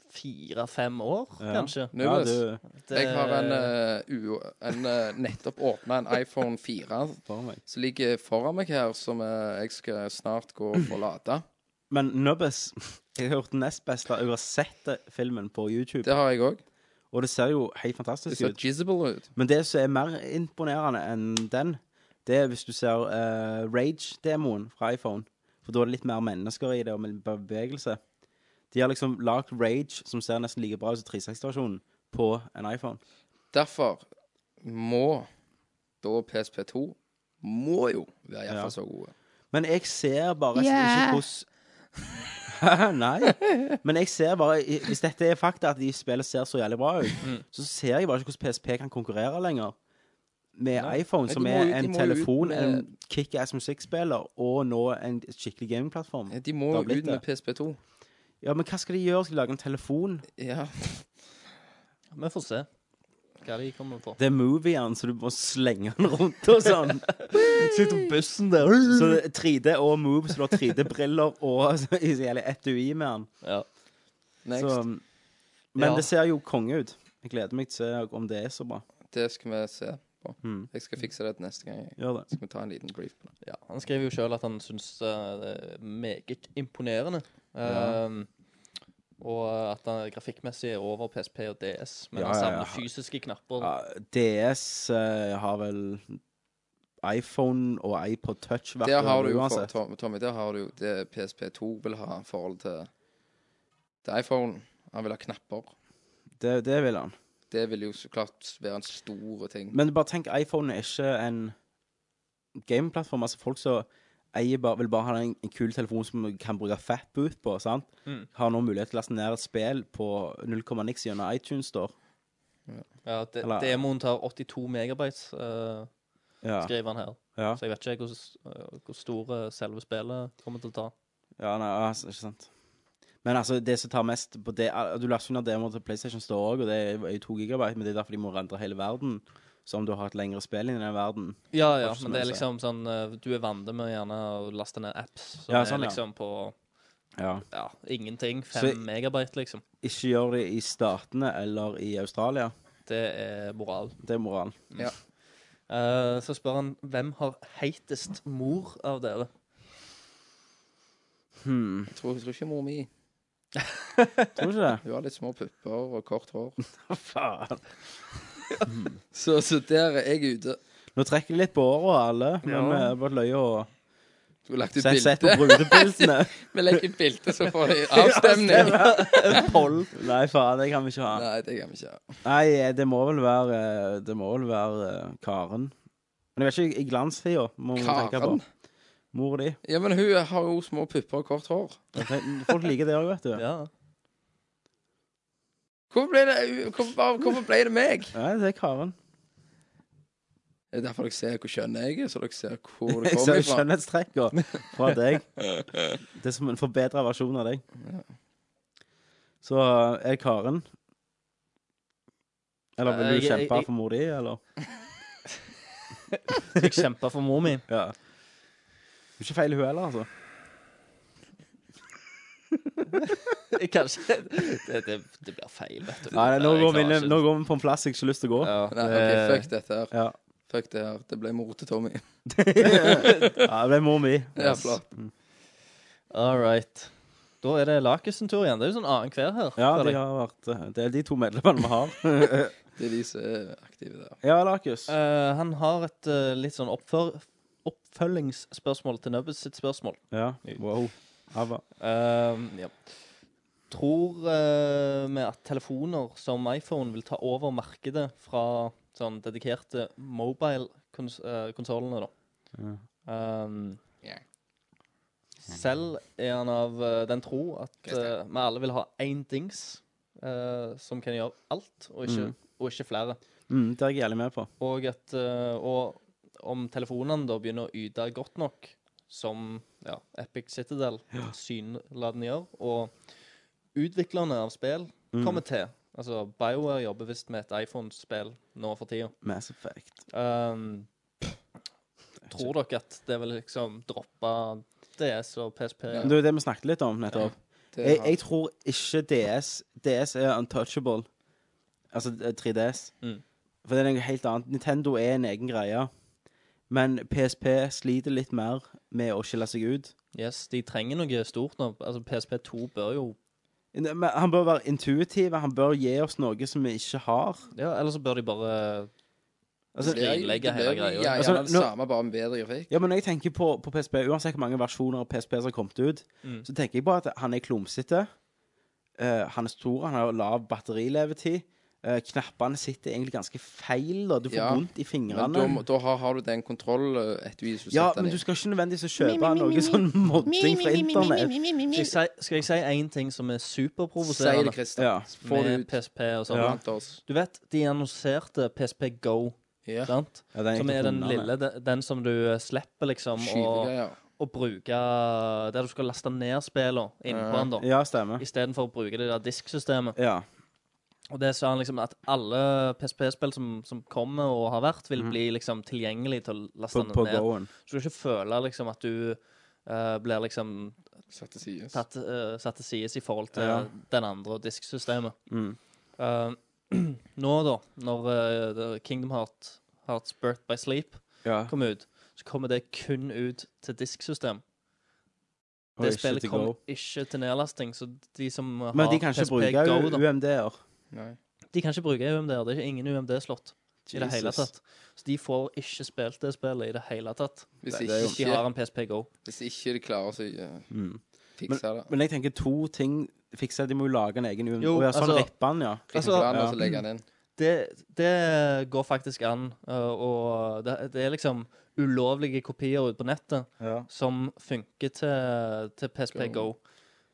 fire-fem år,
Ja.
kanskje.
Nubbes.
Det-
Jeg har en, eh, u en eh, nettopp åpna en iPhone 4 som ligger foran meg her, som eh, jeg skal snart gå og få lade.
Men Nubbes, jeg har hørt den nest beste. Jeg har sett det- filmen på YouTube.
Det har jeg òg.
Og det ser jo helt fantastisk
Det ser
ut.
jizzable ut.
Men det som er mer imponerende enn den, det er hvis du ser eh, Rage-demoen fra iPhone. For da er det litt mer mennesker i det, og med bevegelse. De har liksom lagd Rage, som ser nesten like bra ut som 360-versjonen, på en iPhone.
Derfor må da PSP2 må jo være iallfall
Ja.
så gode.
Men jeg ser bare
Yeah.
ikke hvordan Nei. Men jeg ser bare i- Hvis dette er fakta, at de spillene ser så jævlig bra ut,
Mm.
så ser jeg bare ikke hvordan PSP kan konkurrere lenger med
Nei.
iPhone,
Nei,
som
de må
er
jo- de
en
må jo ut
telefon,
med-
en kickass musikkspiller, og nå en skikkelig gamingplattform.
De må jo ut med PSP2.
Ja, men hva skal de gjøre? Skal de lage en telefon?
Ja.
Vi får se hva de kommer på.
Det er movieren, så du må slenge den rundt og sånn. Sitter på bussen der. Så det er 3D og Move, så du har 3D-briller og så jævlig etui med den.
Ja.
Next.
men
Ja.
det ser jo konge ut. Jeg gleder meg til å se om det er så bra.
Det skal vi se på.
Mm.
Jeg skal fikse det til neste gang. jeg.
Gjør det.
Skal vi ta en liten brief på det.
Han skriver jo sjøl at han syns eh, det er meget imponerende.
Ja.
Ehm, og at han grafikkmessig er over PSP og DS, men
Ja,
han
ja,
savner
ja.
fysiske knapper.
Ja, DS eh, har vel iPhone og iPod Touch vært
Der har
over
du jo, for,
uansett.
Tom- Tommy, der har du jo det PSP2 vil ha i forhold til, til iPhone. Han vil ha knapper.
Det, det vil han.
Det vil jo så klart være en stor ting.
Men bare tenk, iPhone er ikke en gameplattform. Altså folk som eier bare, vil bare ha en, en kul telefon som du kan bruke fatboot på, sant?
Mm.
Har nå mulighet til å laste ned et spill på 0, niks gjennom iTunes Store.
Ja, de,
Eller-
Demoen tar 82 megabytes, eh,
Ja.
skriver han her.
Ja.
Så jeg vet ikke hvor, s- eh, hvor stor eh, selve spillet kommer til å ta.
Ja, nei, altså, ikke sant. Men altså, det som tar mest på det Du laster jo ned demoer til PlayStation Store òg, og det er jo to gigabyte, men det er derfor de må rendre hele verden. Så om du har et lengre spill inn i den verden
Ja,
har
ja,
ikke så mye
men det
å
er
si.
liksom sånn eh, Du er vant med gjerne å laste ned apps som
Ja, sånn,
er
ja.
liksom på
Ja.
ja, ingenting.
Så-
Fem megabyte, liksom.
Ikke gjør det i Statene eller i Australia.
Det er moral.
Det er moralen.
Ja.
Eh, så spør han hvem har heitest mor av dere?
Hmm.
Jeg tror, jeg tror ikke mor mi
Tror du ikke det?
Hun har litt små pupper og kort hår.
Faen.
Så, så der er jeg ute.
Nå trekker de litt på åra, alle, men vi
Ja.
er bare løye og
Du har lagt ut
Sett- sett på
bilde.
brudebildene.
Vi legger ut bilde, så får vi avstemning.
Ja, stemmer. En poll. Nei, faen, det kan vi ikke ha.
Nei, det kan vi ikke ha.
Nei, det må vel være eh, Det må vel være eh, Karen. Men jeg vet ikke, i glanstida må man tenke på.
Karen?
Mor di.
Ja, men hun har jo små pupper og kort hår.
Folk liker det òg, vet du.
Ja.
Hvorfor ble det, hvorfor, hvorfor ble det meg?
Nei, det er Karen.
Det er derfor dere ser hvor skjønn jeg er, så dere ser hvor det
Jeg ser
kommer fra.
skjønnhetstrekka fra deg. Det er som en forbedra versjon av deg. Så eh, er det Karen? Eller vil
Eh,
du
jeg- jeg-
kjempe
jeg-
for mor di, eller?
Jeg kjemper for mor mi.
Ja. Det er ikke feil hun heller, altså.
Jeg kan ikke det, det, det blir feil, vet du.
Nei, nå
Jeg
går, vi,
klarer Eh,
nå går vi på en plass jeg ikke har lyst til å gå.
Nei, ok,
Det-
fuck dette her.
Ja.
Fuck det her. Det ble mor til Tommy.
ja, det ble mor mi.
Ja, flott.
All right. Da er det Lakis sin tur igjen. Det er jo sånn annenhver her.
Ja,
føler
de
jeg.
har vært eh, Det er de to medlemmene vi har.
Det er de som er aktive der.
ja, Lakus.
Eh, han har et eh, litt sånn oppfør, oppfølgingsspørsmål til Nubbets sitt spørsmål.
Ja, wow. Ava.
Ehm, ja. Tror eh, vi at telefoner som iPhone vil ta over markedet fra sånn dedikerte mobile-konsollene, da? Ehm, Selv er han av eh, den tro at eh, vi alle vil ha én dings eh, som kan gjøre alt, og ikke,
Mm.
og ikke flere.
Mm, det er jeg jævlig med på.
Og, at, eh, og om telefonene da begynner å yte godt nok, som ja, Epic Citadel
Ja.
synladende gjør, og utviklerne av spill
Mm.
kommer til Altså, BioWare jobber visst med et iPhone-spill nå for tida.
Mass Effect.
Um, tror dere at det vil liksom droppe DS og PSP?
Det er jo det vi snakket litt om nettopp.
Ja.
Jeg, jeg tror ikke DS DS er untouchable. Altså eh, 3DS.
Mm.
For det er noe helt annet. Nintendo er en egen greie. Men PSP sliter litt mer med å skille seg ut.
Yes, de trenger noe stort nå. Altså, PSP2 bør jo
Ne- Men han bør være intuitiv. Han bør gi oss noe som vi ikke har.
Ja, eller så bør de bare
Altså,
skrinlegge
Ja,
hele greia.
ja,
Altså,
det
nå-
samme, bare med bedre grafikk.
Ja, men når jeg tenker på, på PSP, uansett hvor mange versjoner av PSP som har kommet ut,
Mm.
så tenker jeg bare at han er klumsete. eh, han er stor, han har lav batterilevetid. eh, knappene sitter egentlig ganske feil, da. Du får
Ja,
vondt i
Men
fingrene.
da, må- da har, har du den kontroll eh, etter hvis du
ja,
setter
men
den
du
inn.
skal ikke nødvendigvis kjøpe noe sånn modding fra internett.
Skal jeg si- Skal jeg si én ting som er
Si
superprovoserende
det, Christian. Ja. Få det
med
ut.
PSP og sånn?
Ja. Blant oss.
Du vet, de annonserte PSP Go,
Ja.
sant?
Ja, den gikk
som
til
er den
hundene.
lille, de- den som du eh, slipper liksom
Skyvegreier.
å å bruke Der du skal laste ned spillene
Ja.
innpå den, da.
Ja, stemmer.
Istedenfor å bruke det der disksystemet.
Ja.
Og det sa han liksom at alle PSP-spill som, som kommer og har vært, vil
Mhm.
bli liksom tilgjengelig til å laste
På-
den
på
ned.
Go-en.
Så du skal ikke føle liksom at du eh, blir liksom
Satt til altså. sides.
tatt, eh, satt til sides i forhold til
Ja.
den andre og disksystemet.
Mm.
Eh, nå, da, når eh, det- Kingdom Heart, Hearts Birth by Sleep
Ja.
kom ut, så kommer det kun ut til disksystem.
Og
Det
ikke
spillet
til
kom
Go.
ikke til nedlasting, så de som har
Men de kan ikke
PSP
bruke
Go, da,
UMD-er.
de kan ikke bruke UMD-er. Det er ikke ingen UMD-slott i det hele
Jesus.
tatt. Så de får ikke spilt det spillet i det hele tatt.
Hvis
Hvis,
ikke-
de har en PSP Go.
Hvis ikke de klarer å eh,
Mm. Men,
fikse det.
men jeg tenker to ting fikser De må jo lage en egen UMD.
Jo,
Å, ja, sånn
altså-
ripper han, ja.
Altså-
ja.
Det, det går faktisk an, øh, og det, det er liksom ulovlige kopier ute på nettet
Ja.
som funker til, til PSP Go.
Go.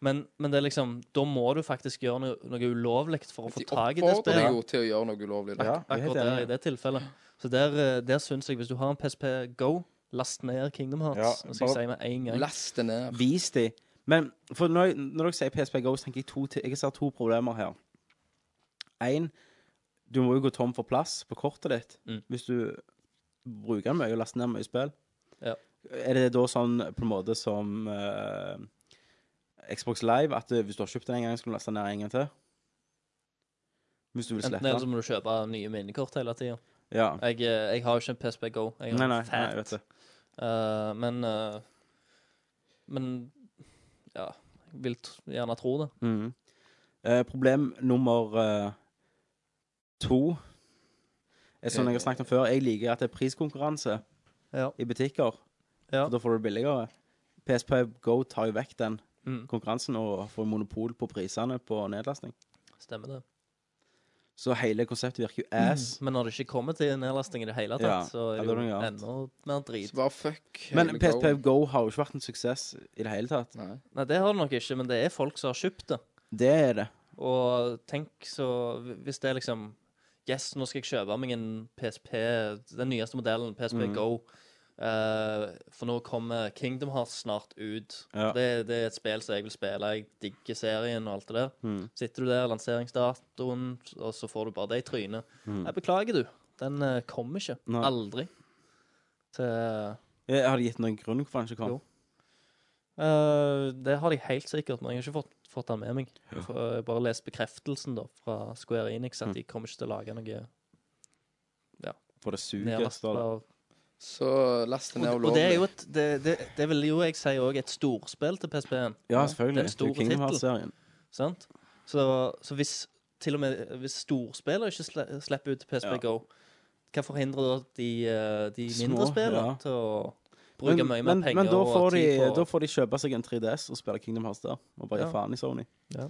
Men, men det er liksom, da må du faktisk gjøre noe, noe ulovlig for å få tak i det
Oppfordrer deg
spillet.
jo til å gjøre noe ulovlig.
Ak akkurat der, i det tilfellet. Så der, eh, der syns jeg, hvis du har en PSP Go, last ned Kingdom Hearts.
Ja,
Nå skal jeg
bare
si med en gang.
Last det ned.
Vis de. Men for når, jeg- når dere sier PSP Go, så tenker jeg to, ti- jeg ser to problemer her. Én, du må jo gå tom for plass på kortet ditt
Mm.
hvis du bruker den mye og laster ned mye spill.
Ja.
Er det da sånn på en måte som eh, Xbox Live, at eh, hvis du har kjøpt den en gang, skal du laste den ned en gang til? Hvis du vil slette
Enten eller så
den.
må du kjøpe nye minnekort hele tida.
Ja.
Jeg, eh, jeg har jo ikke en PSP Go. Jeg har
Nei,
en
nei, nei,
Fat.
jeg vet det.
Eh, men eh, Men ja. Jeg vil t gjerne tro det.
Mhm. Eh, problem nummer eh, to er
Eh,
som jeg har snakket om før. Jeg liker at det er priskonkurranse i butikker.
Ja.
For da får du det billigere. PSP Go tar jo vekk den
Mhm.
konkurransen og får monopol på prisene på nedlasting.
Stemmer det.
Så hele konseptet virker jo
Mm.
ass.
Men når det ikke kommer til nedlasting i det hele tatt,
Ja,
så er
ja,
det
det er
jo
noe annet.
enda mer drit.
Så bare fuck
Men PSP Go har jo ikke vært en suksess i det hele tatt.
Nei.
Nei, det har det nok ikke, men det er folk som har kjøpt det.
Det er det.
Og tenk så Hvis det er liksom Yes, nå skal jeg kjøpe meg en PSP, den nyeste modellen, PSP
Mhm.
Go. eh, for nå kommer Kingdom Hearts snart ut.
Ja.
Det, det er et spill som jeg vil spille. Jeg digger serien og alt det der.
Mhm.
Sitter du der, lanseringsdatoen, og så får du bare det i trynet.
Mhm.
Nei, beklager, du. Den eh, kommer ikke.
Nei.
Aldri. Til
Jeg hadde Eh, gitt noen grunn hvorfor han ikke kom.
Jo. Eh, det har de helt sikkert, men jeg har ikke fått, fått den med meg. For, eh, jeg bare lest bekreftelsen da, fra Square Enix
Hm.
at de kommer ikke til å lage noe ja,
For det suger.
nedlast.
står det.
Og,
Så last det ned
og
ulovlig.
det, er jo et, det, det, det vil jo jeg si òg et storspill til PSP-en.
Ja, selvfølgelig.
Det er en stor
Det er Kingdom
tittel,
Hearts-serien.
Sant? Så, så hvis til og med hvis storspillere ikke sle- slipper ut til PSP
Ja.
Go, hva forhindrer da de, eh, de
Små,
mindre spillene
ja.
til å bruker mye mer penger
men da
og
får,
tid
de,
på
da får de kjøpe seg en 3DS og spille Kingdom Hearts der. Og bare gi
Ja.
faen i Sony.
Ja.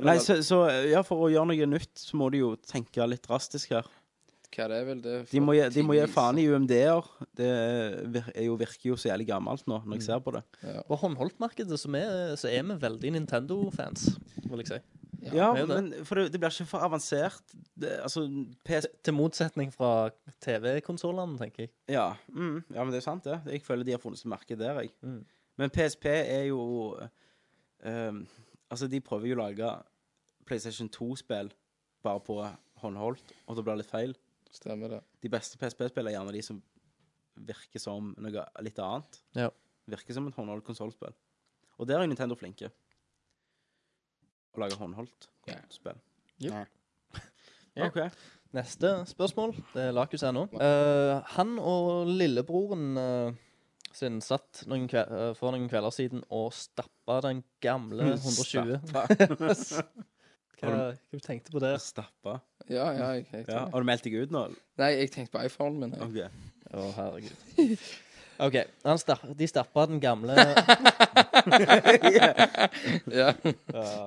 Nei, så, så ja, for å gjøre noe nytt så må de jo tenke litt drastisk her.
Hva det er vel det?
De må, gi- de må gi faen i UMD-er. Det vir- er jo, virker jo så jævlig gammelt nå, når jeg ser på det.
På håndholdtmarkedet så er, så er vi veldig Nintendo-fans, vil jeg si.
Ja,
Vi er jo det.
men for det, det blir ikke for avansert. Det, altså, PS...
Til motsetning fra TV-konsollene, tenker jeg.
Ja. Mm, ja, men det er sant, det. Jeg føler de har funnet sitt merke der, jeg. Men PSP er jo ehm, Altså, de prøver jo å lage PlayStation 2-spill bare på håndholdt, og det blir litt feil.
Stemmer det.
De beste PSP-spillene er gjerne de som virker som noe litt annet.
Ja.
Virker som et håndholdt konsollspill. Og der er Nintendo flinke. Å lage håndholdt spill.
Ja.
Ja. Ok.
Neste spørsmål. Det er Lakus her nå. Eh, han og lillebroren eh, sin satt noen kve eh, for noen kvelder siden og stappa den gamle 120.
Stappa.
hva, hva tenkte Mm, du på det?
Stappa?
Ja, ja, jeg, jeg,
Ja, har du meldt deg ut nå?
Nei, jeg tenkte på iPhonen min. jeg.
Ok.
Å, herregud. OK. Han stapp, de stappa den gamle
Ja.
Ja,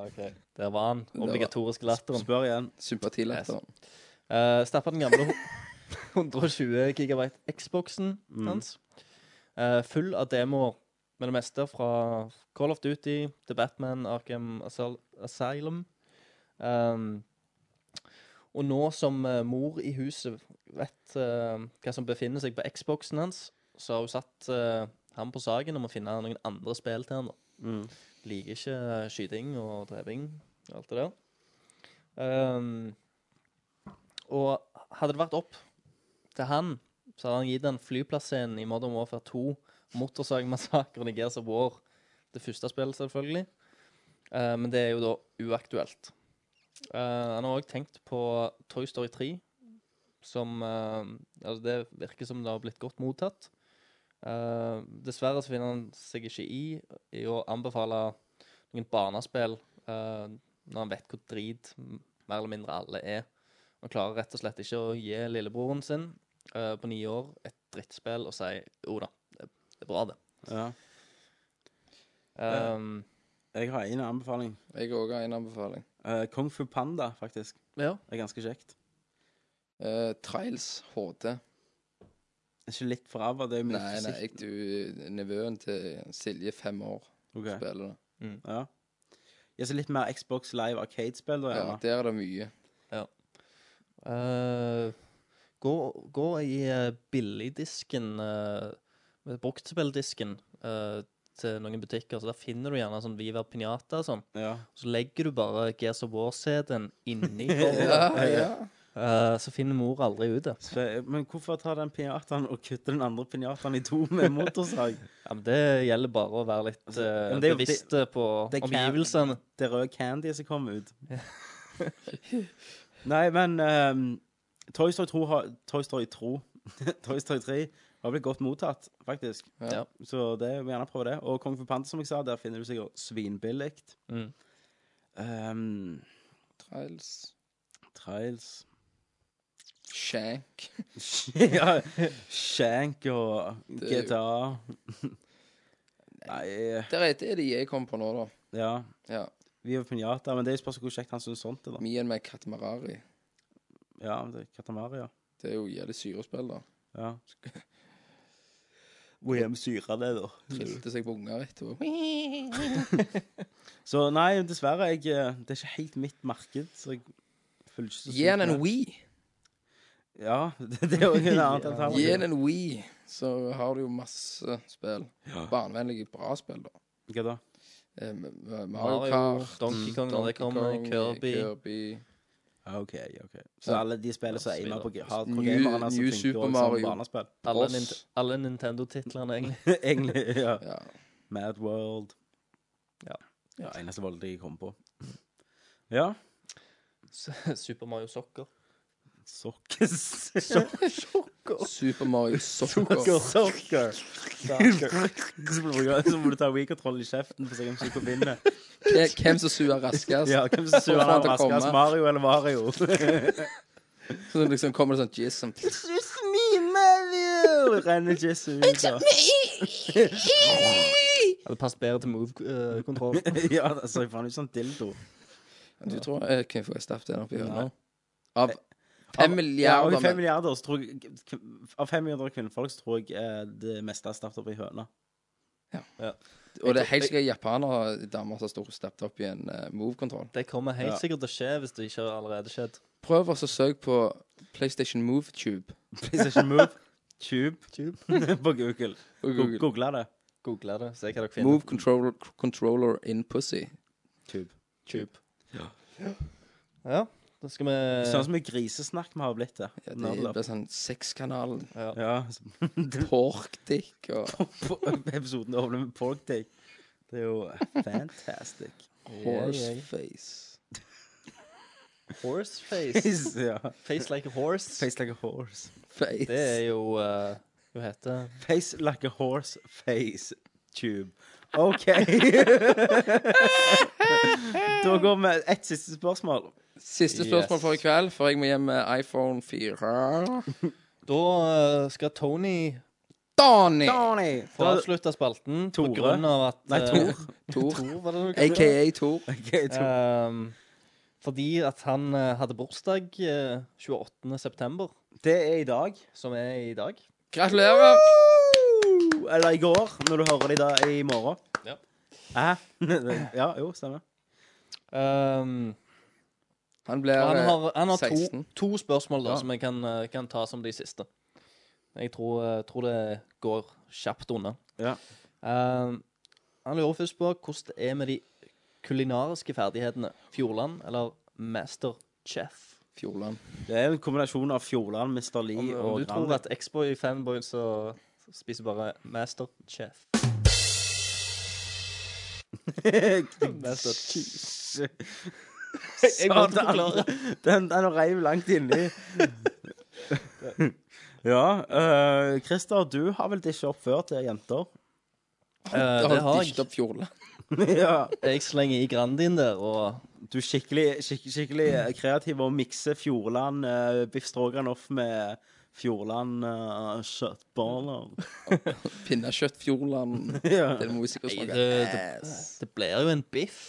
OK. Der var han. Obligatorisk latteren.
Spør igjen.
Sympatilatteren.
Uh, Stappa den gamle ho- 120 gigabyte Xboxen
Mm.
hans. Eh, full av demoer med det meste fra Call of Duty til Batman, Arkham Asyl Asylum. Um, og nå som eh, mor i huset vet eh, hva som befinner seg på Xboxen hans, så har hun satt eh, ham på saken om å finne noen andre spill til han. da.
Mm.
Liker ikke eh, skyting og dreping og alt det der. Ehm, og hadde det vært opp til han, så hadde han gitt den flyplassscenen i Modern Warfare 2, Motorsagmassakren i Gears of War, det første spillet, selvfølgelig. Eh, men det er jo da uaktuelt. Eh, han har òg tenkt på Toy Story 3, som eh, Altså, det virker som det har blitt godt mottatt. Eh, dessverre så finner han seg ikke i i å anbefale noen barnespill eh, når han vet hvor drit m- mer eller mindre alle er. Han klarer rett og slett ikke å gi lillebroren sin eh, på ni år et drittspill og si jo da, det, det er bra, det.
Ja.
Ehm,
Jeg har en anbefaling.
Jeg òg har en anbefaling.
Eh, Kung Fu Panda, faktisk.
Ehm, Ja.
Det er ganske kjekt.
Eh, Trials HD.
Er ikke litt for ræva? Det er jo mye
Nei, nei,
fysikk.
jeg, du, nevøen til Silje, fem år,
Ok.
spiller det.
Ja. Ja, så litt mer Xbox Live Arcade-spill, da?
Ja,
gjerne.
der er det mye.
ja. Eh, gå, gå i eh, billigdisken, eh, bruktspilldisken, eh, til noen butikker. Så Der finner du gjerne sånn Viva Pinata og sånn. Så legger du bare Gears of War-CD-en inni
Ja, ja.
Eh, så finner mor aldri ut det.
Så, eh, men hvorfor ta den pinjataen og kutte den andre pinjataen i to med motorsag?
Ja, men det gjelder bare å være litt eh,
Altså, men det er jo-
bevisst
det-
på
det er can-
omgivelsene.
Det er rød candy som kom ut. Nei, men ehm, Toy Story 2 har Toy Story 2 Toy Story 3 har blitt godt mottatt, faktisk.
Ja.
Så det vil gjerne prøve det. Og Kong for Panda, som jeg sa, der finner du sikkert svinbillig.
Mm.
Ehm,
Trials.
Trials
Shank.
ja, Shank og
Det er jo-
GTA. Nei
Der er det er de jeg kom på nå, da.
Ja.
Ja.
Viva Pinata. Men det er jo spørsmål hvor kjekt han syns sånt er, da.
Mien med Katamarari.
Ja, det er Katamari, ja.
Det er jo jævlig syrespill, da.
ja. Hvor hjemme syrer det, da?
Trilte seg på unger etterpå.
Så nei, dessverre. Jeg, eh, det er ikke helt mitt marked. Så jeg følger ikke så
Gi han
sykt
en
med.
Wii.
Ja, det, det er jo en annen
Gi han
alternativ.
en Wii, så har du jo masse spill.
Ja.
Barnevennlige, bra spill, da.
Hva da?
Eh, M- M- Mario
Mario,
Kart,
Donkey Kong, når det kommer, Kirby.
OK, OK. Så
Ja.
alle de spillene som
Ja,
er med på
videre.
hardcore
New-
gamerne, som
New
funker
Super
også
Mario.
som barnespill.
Alle,
Boss.
Nint alle Nintendo-titlene, egentlig.
Egentlig, ja.
Ja.
Mad World.
Ja.
ja eneste valget jeg kom på. Ja.
Super Mario Soccer.
Sokkes.
Super Mario
Sokker.
Soccer.
Sokker. Så må du- så må du ta Wii-kontroll i kjeften for å se hvem som vinner.
Hvem- Hvem som suger raskest.
Ja, hvem som suger
Får han
av
til å
raskest,
komme.
Mario eller Mario?
Så liksom kommer det sånn jizz som
It's me, Mario! Renner Jesse ut. da.
Hadde passet bedre til move-kontroll.
ja, det ser faen ut som en dildo.
Du tror eh, jeg kunne få staff den oppi hjørnet? Av fem milliarder
Ja, av fem
men-
milliarder, så tror jeg, av 500 kvinnfolk så tror jeg eh, det meste er stappet opp i høna. Ja.
Og det er helt sikkert japanere damer som står stappet opp i en eh, move-kontroll.
Det kommer helt
Ja.
sikkert til å skje hvis det ikke har allerede skjedd.
Prøv også å søke på PlayStation Move-tube.
PlayStation Move Tube, på Google.
På Google.
Go- Google det.
Google det, se hva dere finner.
Move controller, controller in pussy.
Tube.
Tube. Ja, da skal vi eh,
Sånn som en grisesnakk vi har blitt det.
Ja, det
Nerdlab.
blir sånn sexkanal.
Ja.
Porkdick og
Episoden åpner med pork take. Det er jo fantastic.
horseface.
Horse face.
ja.
Face like a horse.
Face like a horse.
Face.
Det er jo eh, Hva heter det?
Face like a horse face tube. OK. da går vi ett siste spørsmål.
Siste spørsmål for i kveld, for jeg må hjem med iPhone 4.
Da eh, skal Tony
Donny!
Donny!
få avslutta spalten
Tore.
på grunn av at
Nei,
eh,
Tor.
Tor.
var det du kalte det?
AKA Tor.
Eh,
Ehm, fordi at han eh, hadde bursdag eh, 28. september.
Det er i dag.
Som er i dag.
Gratulerer!
Eller i går, når du hører det i, dag, i morgen.
Ja.
Hæ? ja, jo, stemmer.
Ehm,
Han blir eh,
han har, han har to,
16.
to spørsmål da,
Ja.
som jeg kan, eh, kan ta som de siste. Jeg tror, eh, tror det går kjapt unna.
Ja.
Ehm, han lurer først på hvordan det er med de kulinariske ferdighetene. Fjordland eller Master Chef?
Fjordland.
Det er jo en kombinasjon av Fjordland, Mr. Lee
Om, om
og
du tror
Grandi.
at X-Boy fanboy så spiser bare Master Chef. Master
Cheese.
Jeg måtte forklare.
Den, den reiv langt inni. ja. eh, Christer, du har vel disha opp før til jenter?
Eh, det har jeg.
opp Fjordland.
ja.
Jeg slenger i Grandin der, og
Du er skikkelig, skik, skikkelig eh, kreativ og mikser Fjordland uh, biff stroganoff med Fjordland uh, kjøttboller.
Pinnekjøtt Fjordland.
Ja.
Det må vi sikkert
Nei,
smake.
det, det, det blir jo en biff.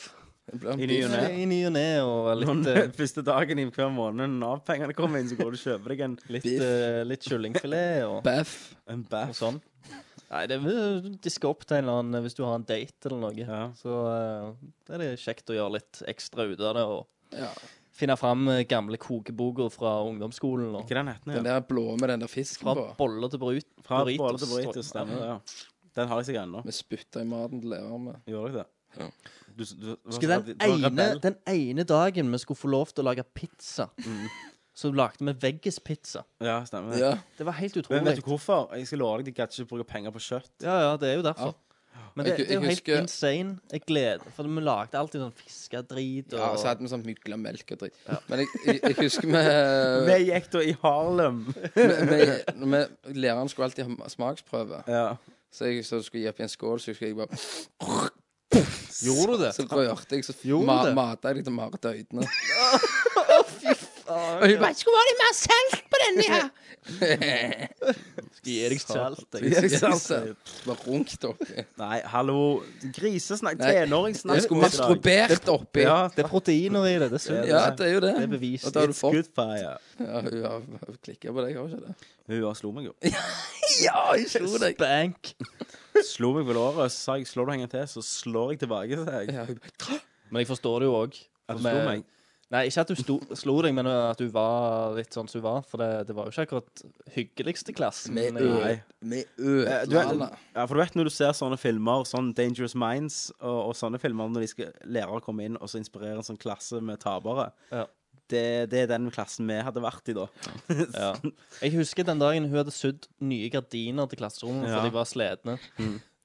Det blir en
I ny og
biff.
ne.
I ny og ne, og
Når
litt,
den
eh,
første dagen i hver måned Nav-pengene kommer inn, så går du og kjøper deg en,
litt,
Biff.
eh, litt kyllingfilet og,
Bæff.
en
og
bæff.
sånn. Nei, det vil diske opp til en eller annen eh, hvis du har en date eller noe.
Ja.
Så eh, er det kjekt å gjøre litt ekstra ut av det, og
Ja.
finne fram eh, gamle kokeboker fra ungdomsskolen. Og,
Hva den heter
Den
den? Ja?
der blå med den der fisken
fra
på.
boller til brut,
Fra
burritos.
Båle til Burrito, stemmer det. ja. Den har jeg sikkert ennå.
Vi spytta i maten til læreren med.
Gjorde jeg det?
Ja.
Du, du, du,
Husker den ene, den ene dagen vi skulle få lov til å lage pizza, så lagde vi veggispizza.
Ja, stemmer det.
Ja.
Det var helt
Men
utrolig.
vet du hvorfor? Jeg skal love deg, de gadd ikke bruke penger på kjøtt.
Ja, ja, det er jo derfor. Men det,
Jeg-
det er jo
jeg
helt
husker-
insane. Jeg gleder For vi lagde alltid sånn fiskedrit og
ja, så hadde vi sånn mygla melk og dritt. Men jeg, jeg, jeg husker vi
Vi gikk da i Harlem.
vi- vi- vi- Læreren skulle alltid ha smaksprøve.
Ja.
Så jeg så skulle jeg gi opp i en skål, så husker jeg bare
Gjorde du det?
Så rørte jeg, så
Gjorde
ma
det?
mata jeg liksom Marit i øynene.
Skal gi deg salt. jeg.
Jeg sa-
Bare runkt oppi.
Nei, hallo. Grisesnakk.
Nei,
Tenåringssnakk.
Jeg skulle masturbert oppi.
Ja,
Ja,
Det er proteiner i det. Det er sunt.
det er jo det.
Det er bevis.
Og da har du fått
good fire.
Ja, hun har klikka på deg, har hun ikke det?
Hun har slo meg jo.
Ja, jeg slo deg.
Spank.
Slo meg på låret, så sa jeg 'slår du en gang til', så slår jeg tilbake. sa jeg.
Ja, hun bare
Men jeg forstår det jo òg.
At du slo meg.
Nei, ikke at du sto, slo deg, men eh, at du var litt sånn som du var. For det, det var jo ikke akkurat hyggeligste klassen.
Med
jeg-
øl. Vi
Eh, Du, vet-
ødela
ja, for du vet når du ser sånne filmer, sånn Dangerous Minds og, og sånne filmer, når de skal lærere komme inn og så inspirere en sånn klasse med tapere
Ja.
det, det er den klassen vi hadde vært i da.
Ja. Jeg husker den dagen hun hadde sydd nye gardiner til klasserommet,
Ja.
for de var sledne.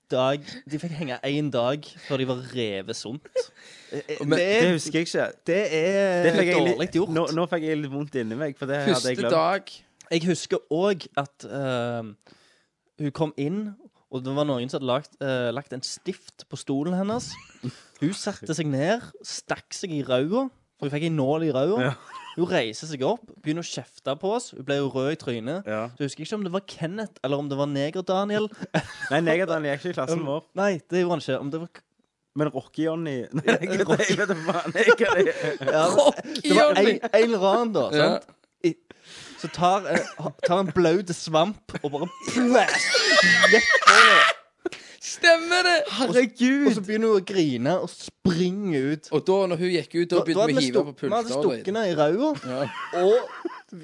Dag, de fikk henge én dag før de var revet sunt.
Men, det, husker jeg ikke.
Det er
Det fikk jeg litt-
dårlig gjort.
Nå, nå fikk jeg litt vondt inni meg, for det hadde
Første
jeg glemt.
dag
Jeg husker òg at eh, hun kom inn, og det var noen som hadde lagt, eh, lagt en stift på stolen hennes. Hun satte seg ned, stakk seg i ræva, For hun fikk ei nål i ræva. Hun reiser seg opp, begynner å kjefte på oss. Hun ble jo rød i trynet. Så jeg husker ikke om det var Kenneth eller om det var Neger-Daniel.
Nei, Neger-Daniel er ikke i klassen vår.
Nei, det gjorde han ikke. Om det var
Men Rocky-Johnny Nei, jeg vet da faen jeg hva det er.
Ja, men- Det var en, en eller annen, da.
Ja.
Sant? I- Så tar, eh, ha- tar en blaut svamp og bare
Stemmer det!
Herregud! Og så begynner hun å grine og springe ut.
Og da når hun gikk ut, da begynte vi å hive på
Vi hadde
pulter.
stukket henne i ræva og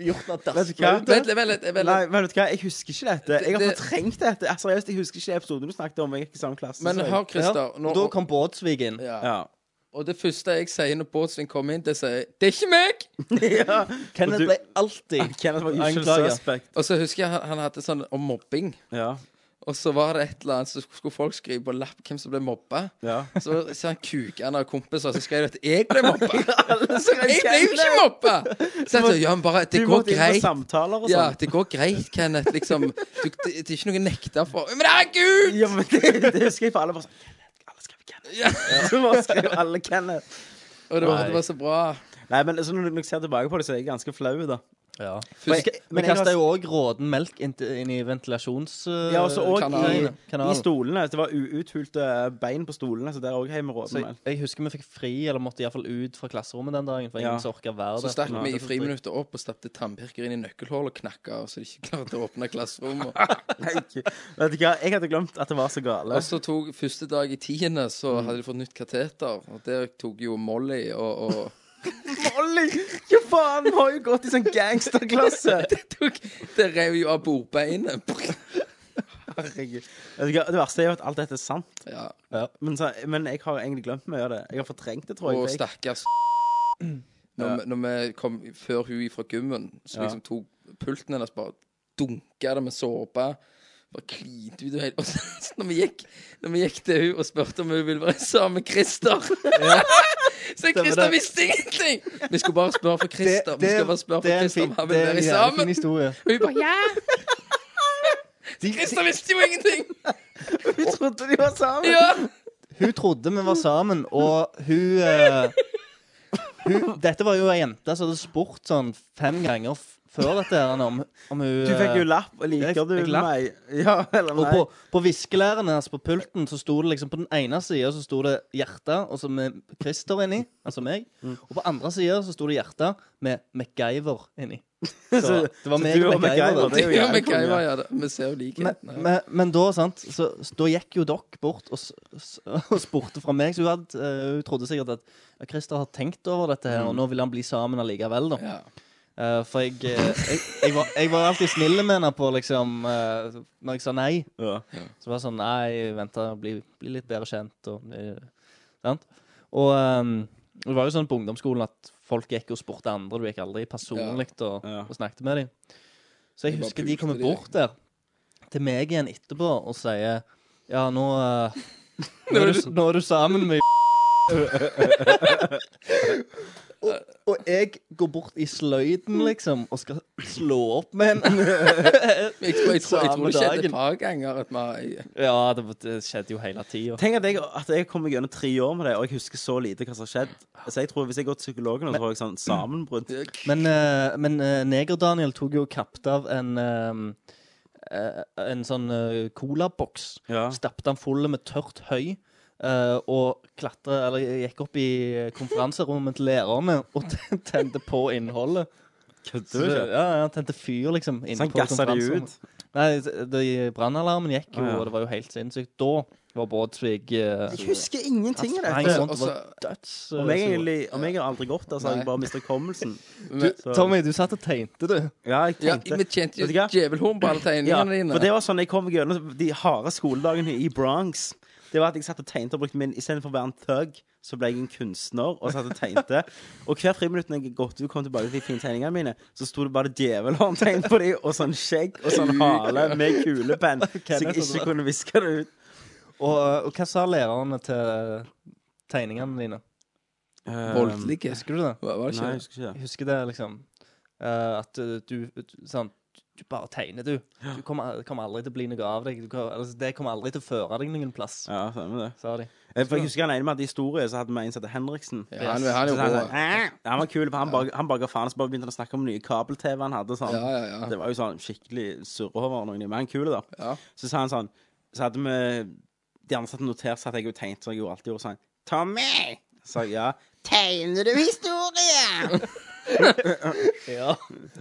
gjort henne dassblaut.
Nei, men vet du hva, jeg husker ikke dette. Jeg har
Det- det-
fortrengt dette. Eh, Seriøst, jeg husker ikke episoden du snakket om. Jeg gikk i samme klasse.
Men
så jeg-
hør, Christer. nå-
Da kom Båtsvik inn.
Ja.
Ja.
Og det første jeg sier når Båtsvik kommer inn, det sier jeg, 'Det er ikke meg!'
Kenneth ble alltid
Kenneth var usual suspect.
Og så husker jeg han, han hadde sånn om mobbing. Og så var det et eller annet, så skulle folk skrive på lapp hvem som ble mobba. Så ser han kukende av kompiser, så skrev de at 'jeg ble mobba'. jeg ble jo ikke mobba! Så jeg sa, ja, men bare, det
Du
går
måtte inn på
greit.
samtaler og
Ja,
sånn.
det går greit, Kenneth. Liksom, du, det, det er ikke noe å nekte for. Men herregud!
Ja, men det, det husker jeg for alle bare sånn Kenneth, alle skrev Kenneth. Så bare skrev alle Kenneth.
Og det var- det var så bra.
Nei, men så når du- når jeg ser tilbake på det, så er jeg ganske flau, da.
Ja.
Men
Vi
jeg-
ka- Vi
men jeg
kasta
har-
jo òg råden melk inn, til- inn i eh, ventilasjonskanalen.
Ja, også og i, i stolene. Det var uuthulte bein på stolene, så der òg har vi råd
Så jeg, jeg husker vi fikk fri, eller måtte iallfall ut fra klasserommet den dagen. For ingen
Ja.
som orka være
Så
der.
stakk
Ja.
vi i friminuttet opp og stappet tannpirker inn i nøkkelhullet og knakka av, så de ikke klarte å åpne klasserommet.
Vet du hva, jeg hadde glemt at det var så gale.
Og så tok første dag i tiende, så hadde de fått nytt kateter. Og der tok jo Molly og, og
Molly! Hva faen? Vi har jo gått i sånn gangsterklasse.
det, tok, det rev jo av bordbeinet.
Herregud. Vet du hva, det verste er jo at alt dette er sant.
Ja.
Men, så, men jeg har egentlig glemt mye av det. Jeg har fortrengt det, tror jeg.
Og
for jeg-
stakkars når, vi- når vi kom før hun fra gymmen, så
Ja.
liksom tok pulten hennes bare dunka det med såpe. Bare klinte ut det hele. Og så når vi gikk, når vi gikk til hun og spurte om hun ville være sammen med Christer Så
Stemmer
Christer
det.
visste ingenting! Vi skulle bare spørre for Christer.
Det-
Vi skulle
det-
bare spørre for
det er en
Christer om
fin-
han
det
ville
er en
være
jævlig fin
sammen.
historie.
Og hun bare ja! Christer visste jo ingenting!
Vi trodde de var sammen.
Ja.
Hun trodde vi var sammen, og hun, eh, hun Dette var jo ei jente som hadde spurt sånn fem ganger f- før dette her om, om hun
Du fikk jo
eh,
lapp, og liker
jeg-
du
jeg lapp.
meg? Ja, eller
Og
nei?
på, på viskelæren hennes på pulten så sto det liksom på den ene sida så sto det hjerte, og så med Christer inni, altså meg. Og på andre sida så sto det hjerte med MacGyver inni. Så
Så-
det var
så
meg
du
og
og
MacGyver.
MacGyver, det er jo Du og jævlig MacGyver, konge. ja,
da.
det- vi ser jo likheten, ja.
Men, men, men da, sant, så, så da gikk jo dere bort og, s- s- og spurte fra meg, så hun, hadde, eh, hun trodde sikkert at ja, Christer har tenkt over dette her, og nå vil han bli sammen allikevel, da. Eh, for jeg, eh, jeg, jeg, var, jeg var alltid snill med henne på liksom eh, Når jeg sa nei. Så var det sånn Nei, vent, da, bli, bli litt bedre kjent. Og, eh, sant? og ehm, det var jo sånn på ungdomsskolen at folk gikk og spurte andre. Du gikk aldri personlig og, og snakket med dem. Så jeg
De bare
husker de kommer
pulte de,
bort der til meg igjen etterpå og sier Ja, nå eh, Nå er du, nå er du sammen med og, og jeg går bort i sløyden, liksom, og skal slå opp med henne.
Jeg tror, jeg tror, jeg tror det
Samme
skjedde
dagen.
et par ganger at vi
Ja, det, det skjedde jo hele tida.
Tenk at jeg, at jeg kommer gjennom tre år med det, og jeg husker så lite hva som har skjedd. Så jeg tror Hvis jeg går til psykologen, nå, så får jeg sånn sammenbrudd.
Men, eh, men eh, Neger-Daniel tok jo kapt av en eh, eh, En sånn eh, colaboks. Stappet han full med tørt høy. eh, og klatra Eller gikk opp i konferanserommet til lærerne og ten- tente på innholdet.
Kødder
Så
du
det-
ikke?
Ja, ja, tente fyr, liksom. inne
Så han
på
gassa de
konferanserommet.
ut?
Nei, de- brannalarmen gikk jo,
Å, ja.
og det var jo helt sinnssykt. Da var Båtsvig eh,
Jeg husker ingenting av
Nei,
dette.
sånt var
Også-
døds,
Om jeg,
eh,
egentlig, om jeg har aldri gått der, så har
Nei.
jeg bare mistet hukommelsen.
Du,
Så-
Tommy, du satt og tegnte, du.
Ja, jeg
Ja,
tenkte
vi tjente jo
Vet du hva?
djevelhorn på alle tegningene
ja,
dine.
For det var sånn jeg kom gjennom de harde skoledagene i Bronx. Det var at jeg satt og tegnte og brukte min Istedenfor å være en thug, så ble jeg en kunstner og satt og tegnte. Og hver friminutt når jeg gått ut og kom tilbake til de fine tegningene mine, så sto det bare djevelhåndtegn på dem, og sånn skjegg og sånn hale med kulepenn, så jeg
sånn
ikke kunne viske det ut.
Og, eh, og hva sa lærerne til tegningene dine?
Voldelige.
Husker du det?
Hva- var det ikke Nei, det? jeg husker
ikke det.
Jeg husker det, liksom. eh, at eh, du, du sant, Du bare tegner, du. Du kommer, kommer aldri til å bli noe av deg. Du kommer, altså, det kommer aldri til å føre deg noen plass.
Ja, stemmer det.
Sa de.
Eh, For jeg husker han ene med hadde historie, så hadde vi en som het Henriksen.
Ja, han- han er jo
Så sa
god.
"Æ." Ja, han var kul, for han bare- han bare ga faen, så bare begynte han å snakke om nye kabel-TV han hadde. Sånn.
Ja, ja, ja.
Det var jo sånn skikkelig surrehåver og noen, men han kul da. Så sa han sånn, så hadde vi, de andre satt og noterte, så hadde jeg jo tegnet, så jeg gjorde alltid gjorde sånn, Tommy! Så sa jeg, ja. Tegner du historie?
ja.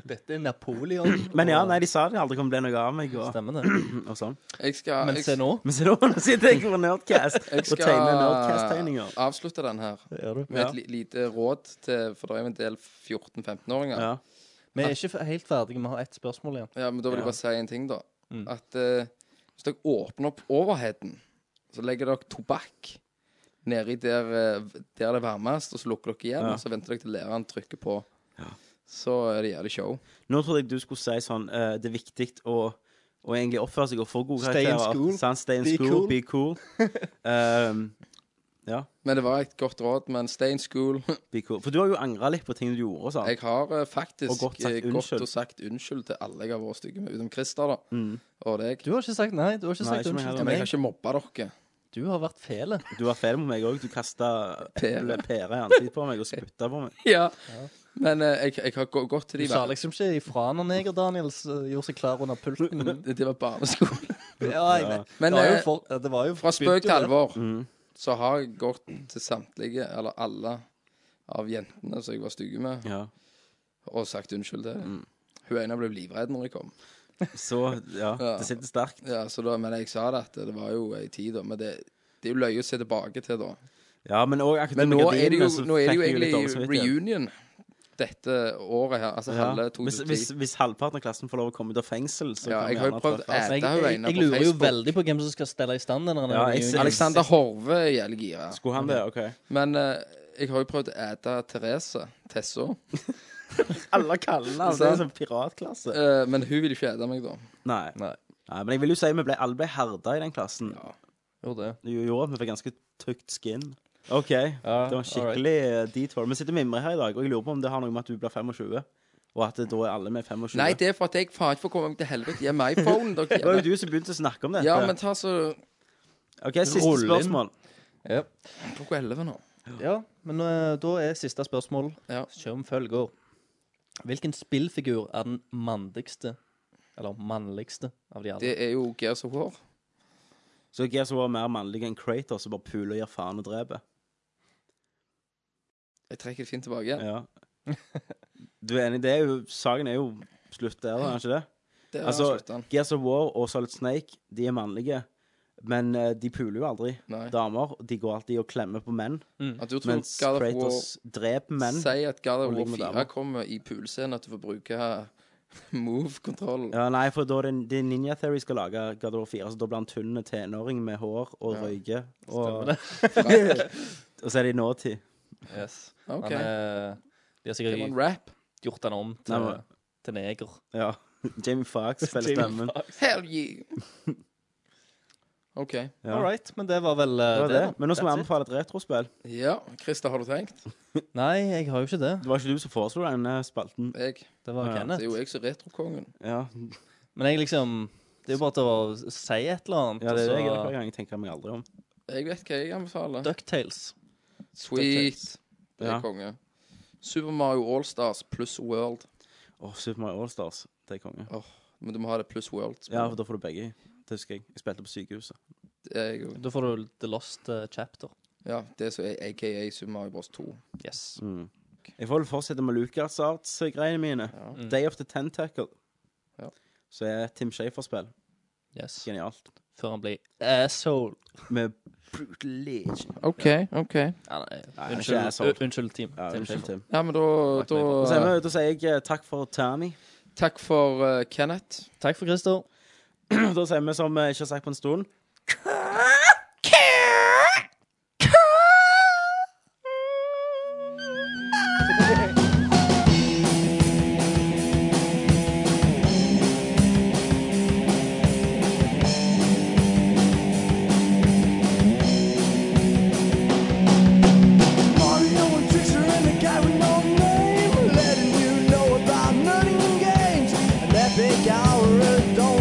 Dette er Napoleon.
Men ja, nei, de sa det aldri kom til å bli noe av meg. Og,
Stemmer det.
Og sånn.
Jeg skal,
Men
jeg-
se nå. Men se nå, nå sitter jeg på Nerdcast
Jeg
og tegner Nerdcast-tegninger.
skal avslutte den her
du.
med
Ja.
et li- lite råd til For det er jo en del 14-15-åringer.
Ja. Vi er ikke f- helt ferdige, vi har ett spørsmål igjen.
Ja, men da vil jeg bare
Ja.
si en ting, da.
Mm.
At eh, hvis dere åpner opp overheden, så legger dere tobakk nedi der, eh, der det er varmest, og så lukker dere igjen,
Ja.
og så venter dere til læreren trykker på. Så er det jævlig show.
Nå trodde jeg du skulle si sånn eh, Det er viktig å, å egentlig oppføre seg og få gode
Stay in school.
Sånn, stay in
Be
school,
cool.
be cool. Ehm, ja.
Men det var et godt råd, men stay in school.
Be cool. For du har jo angra litt på ting du gjorde. og Sånn.
Jeg har eh, faktisk
Og godt sagt
eh,
unnskyld.
og sagt unnskyld til alle jeg har vært stygge med, utenom Christer, da. Og deg.
Du har ikke sagt nei. Du har ikke
Nei,
sagt
ikke meg
unnskyld
heller. Men
til
jeg har
meg.
ikke mobba dere.
Du har vært fele.
Du var feil mot meg òg. Du kasta
Pære.
pære i ansiktet på meg og spytta på meg.
Ja. Men eh, jeg, jeg har gå- gått til
Du
de
sa liksom ikke ifra når Neger-Daniels eh, gjorde seg klar under pulten.
Det var barneskole.
ja, jeg vet.
Men,
det var
eh,
jo for, det var jo
Fra spøk til
begynte jo det.
alvor så har jeg gått til samtlige, eller alle av jentene som jeg var stygge med, og sagt unnskyld til dem. Hun ene ble livredd når jeg kom.
Så ja, det sitter sterkt.
Ja, så da, Men jeg sa det at det var jo ei tid, da. Men det, det er jo løye å se tilbake til, da.
Ja, men òg
Men nå er det jo,
akademikadinene, så
nå er det
fikk
jo
jeg jo litt dårlig
egentlig
samvittighet.
reunion dette året her. Altså
Ja.
halve
Hvis, hvis,
2010.
hvis halvparten av klassen får lov å komme ut av fengsel, så
Ja, jeg
kan vi
har jo
gjerne
prøvd
treffe.
å
Jeg,
Dette er jo
jeg,
regnet
jeg
på
lurer jo
Facebook.
veldig på hvem som skal stelle i stand denne
Ja, jeg-
reunionen.
Alexander Horve er jævlig gira.
Skulle han det? OK.
Men eh, jeg har jo prøvd å ete Therese. Tessa.
Alle kaller han det
Sant.
som piratklasse.
Eh, men hun vil jo ikke ete meg, da.
Nei. Nei. Men jeg vil jo si vi ble, alle ble herda i den klassen. Ja.
Gjorde det.
gjorde at vi fikk ganske tøkt skin. OK. det var en
alright.
skikkelig eh, detour. Vi sitter og mimrer her i dag, og jeg lurer på om det har noe med at du blir 25, og at det, da er alle med 25.
Nei, det er for at jeg faen ikke får komme meg til helvete. Gi meg iPhonen, dere.
det var jo du som begynte å snakke om dette.
Ja, men ta så
OK, siste
Rull inn.
spørsmål.
Klokka elleve nå.
Ja, men eh, da er siste spørsmål som følger. Hvilken spillfigur er den mandigste, eller mannligste, av de alle?
Det er jo Gears of War.
Så Gears var mer mannlig enn Kratos, som bare puler og gir faen og dreper.
Jeg trekker det fint tilbake igjen.
Ja. Du er enig? Det er jo, saken er jo slutt der, da, er den ikke det?
Det er slutt,
altså,
den.
Gears of War og Solid Snake, de er mannlige. Men eh, de puler jo aldri damer. De går alltid og klemmer på menn.
At du tror
Mens
God of War-
Kratos dreper menn.
Si at God of
og
War
ligger med
4
damer.
kommer i pulescenen, at du får bruke move-kontrollen.
Ja, nei, for da er det, det er Ninja Theory skal lage God of War 4, så da blir han tynn tenåring med hår og
Ja.
røyker.
Stemmer
Og,
det.
og så er det i nåtid.
Yes.
Ok.
Han er, de har
Det var
sikkert
en rap.
gjort han om til,
Nei, men-
til neger.
Ja. Jamie Foxx spiller
Jamie
stemmen.
Hell yeah! OK.
Ja.
All right, men det var vel eh,
Det var det.
da.
Men nå skal vi
That's it.
anbefale et retrospill.
Ja, Christer, har du tenkt?
Nei, jeg har jo ikke det.
Det var ikke du som foreslo denne spalten.
Jeg.
Det var
Ja.
Kenneth.
Det er jo jeg som er retrokongen.
Ja,
Men jeg liksom Det er jo bare til å si et eller annet.
ja det er det jeg gjør
og
hver gang. Jeg tenker meg aldri om.
Jeg vet hva jeg
så
anbefaler.
Ducktales.
Sweet. Det er
Ja.
konge. Super Mario Allstars pluss World.
Åh, Super Mario Allstars. Det er konge.
Åh, men du må ha det pluss World.
Ja, for da får du begge. Det husker jeg. Jeg spilte på sykehuset.
Det er jo-
Da får du The Lost eh, Chapter.
Ja, det som er aka Super Mario Bros. 2.
Yes.
Jeg får vel fortsette med LucasArts-greiene mine. Day of the Tentacle.
Ja.
Så er et Tim Shafer-spill.
Yes.
Genialt.
Før han blir asshole.
Med brutal legend.
OK, OK.
Ja, nei,
Nei,
unnskyld,
ikke asshole.
u- unnskyld, Team.
Ja,
Team
unnskyld,
Schaefer.
Tim.
Ja, men da,
Da sier
da
vi- da sier jeg eh, takk for Tommy.
Takk for eh, Kenneth.
Takk for Christer.
da sier vi som vi ikke har sagt på en stund
Mario and Trickster and the guy with no name, letting you know about nutting games. And that big guy don't